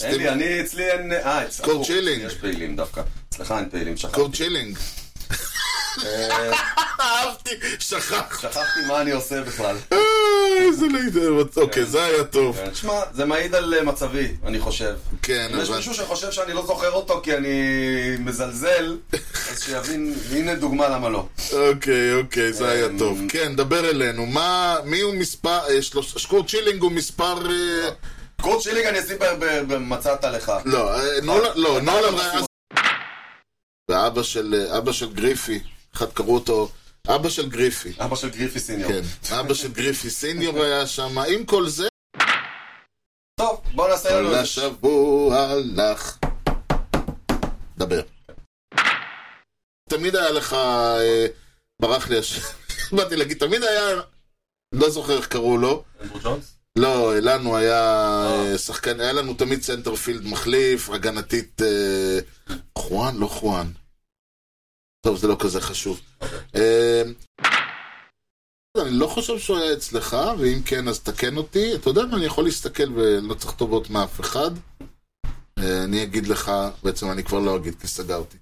Speaker 1: אין לי, אני, אצלי אין... אה, אצלך.
Speaker 2: קורט שילינג.
Speaker 1: יש פעילים דווקא. אצלך אין פעילים, שכחתי.
Speaker 2: קורט שילינג. אהבתי, שכח.
Speaker 1: אה. שכחתי מה אני עושה בכלל.
Speaker 2: אה, איזה לידה. אוקיי, זה היה טוב.
Speaker 1: כן, תשמע, זה מעיד על אה, מצבי, אני חושב.
Speaker 2: כן,
Speaker 1: אם יש
Speaker 2: אבל...
Speaker 1: מישהו שחושב שאני לא זוכר אותו כי אני מזלזל, אז שיבין, הנה דוגמה למה לא.
Speaker 2: אוקיי, אוקיי, זה היה
Speaker 1: אמ,
Speaker 2: טוב. כן, דבר אלינו. מה, מי הוא מספר, אה, שלוש- שקור צ'ילינג הוא מספר... אה,
Speaker 1: קורט שילינג אני אשים ב- ב- במצאת לך.
Speaker 2: לא, אה, נולן, לא,
Speaker 1: אתה
Speaker 2: נולן
Speaker 1: לא
Speaker 2: רז... ואבא של, אה, אבא של גריפי, אחד קראו אותו, אבא של גריפי,
Speaker 1: אבא של גריפי סיניור.
Speaker 2: כן. אבא של גריפי סיניור היה שם, עם כל זה,
Speaker 1: טוב, בוא נעשה לנו...
Speaker 2: כל השבוע לך. דבר. תמיד היה לך, אה, ברח לי השם, באתי להגיד, תמיד היה, לא זוכר איך קראו לו.
Speaker 1: אנדרו ג'ונס?
Speaker 2: לא, לנו היה אה, שחקן, היה לנו תמיד סנטרפילד מחליף, הגנתית אה, חואן, לא חואן. טוב, זה לא כזה חשוב. אה, אני לא חושב שהוא היה אצלך, ואם כן, אז תקן אותי. אתה יודע מה, אני יכול להסתכל ולא צריך טובות מאף אחד. אה, אני אגיד לך, בעצם אני כבר לא אגיד, כי סגרתי.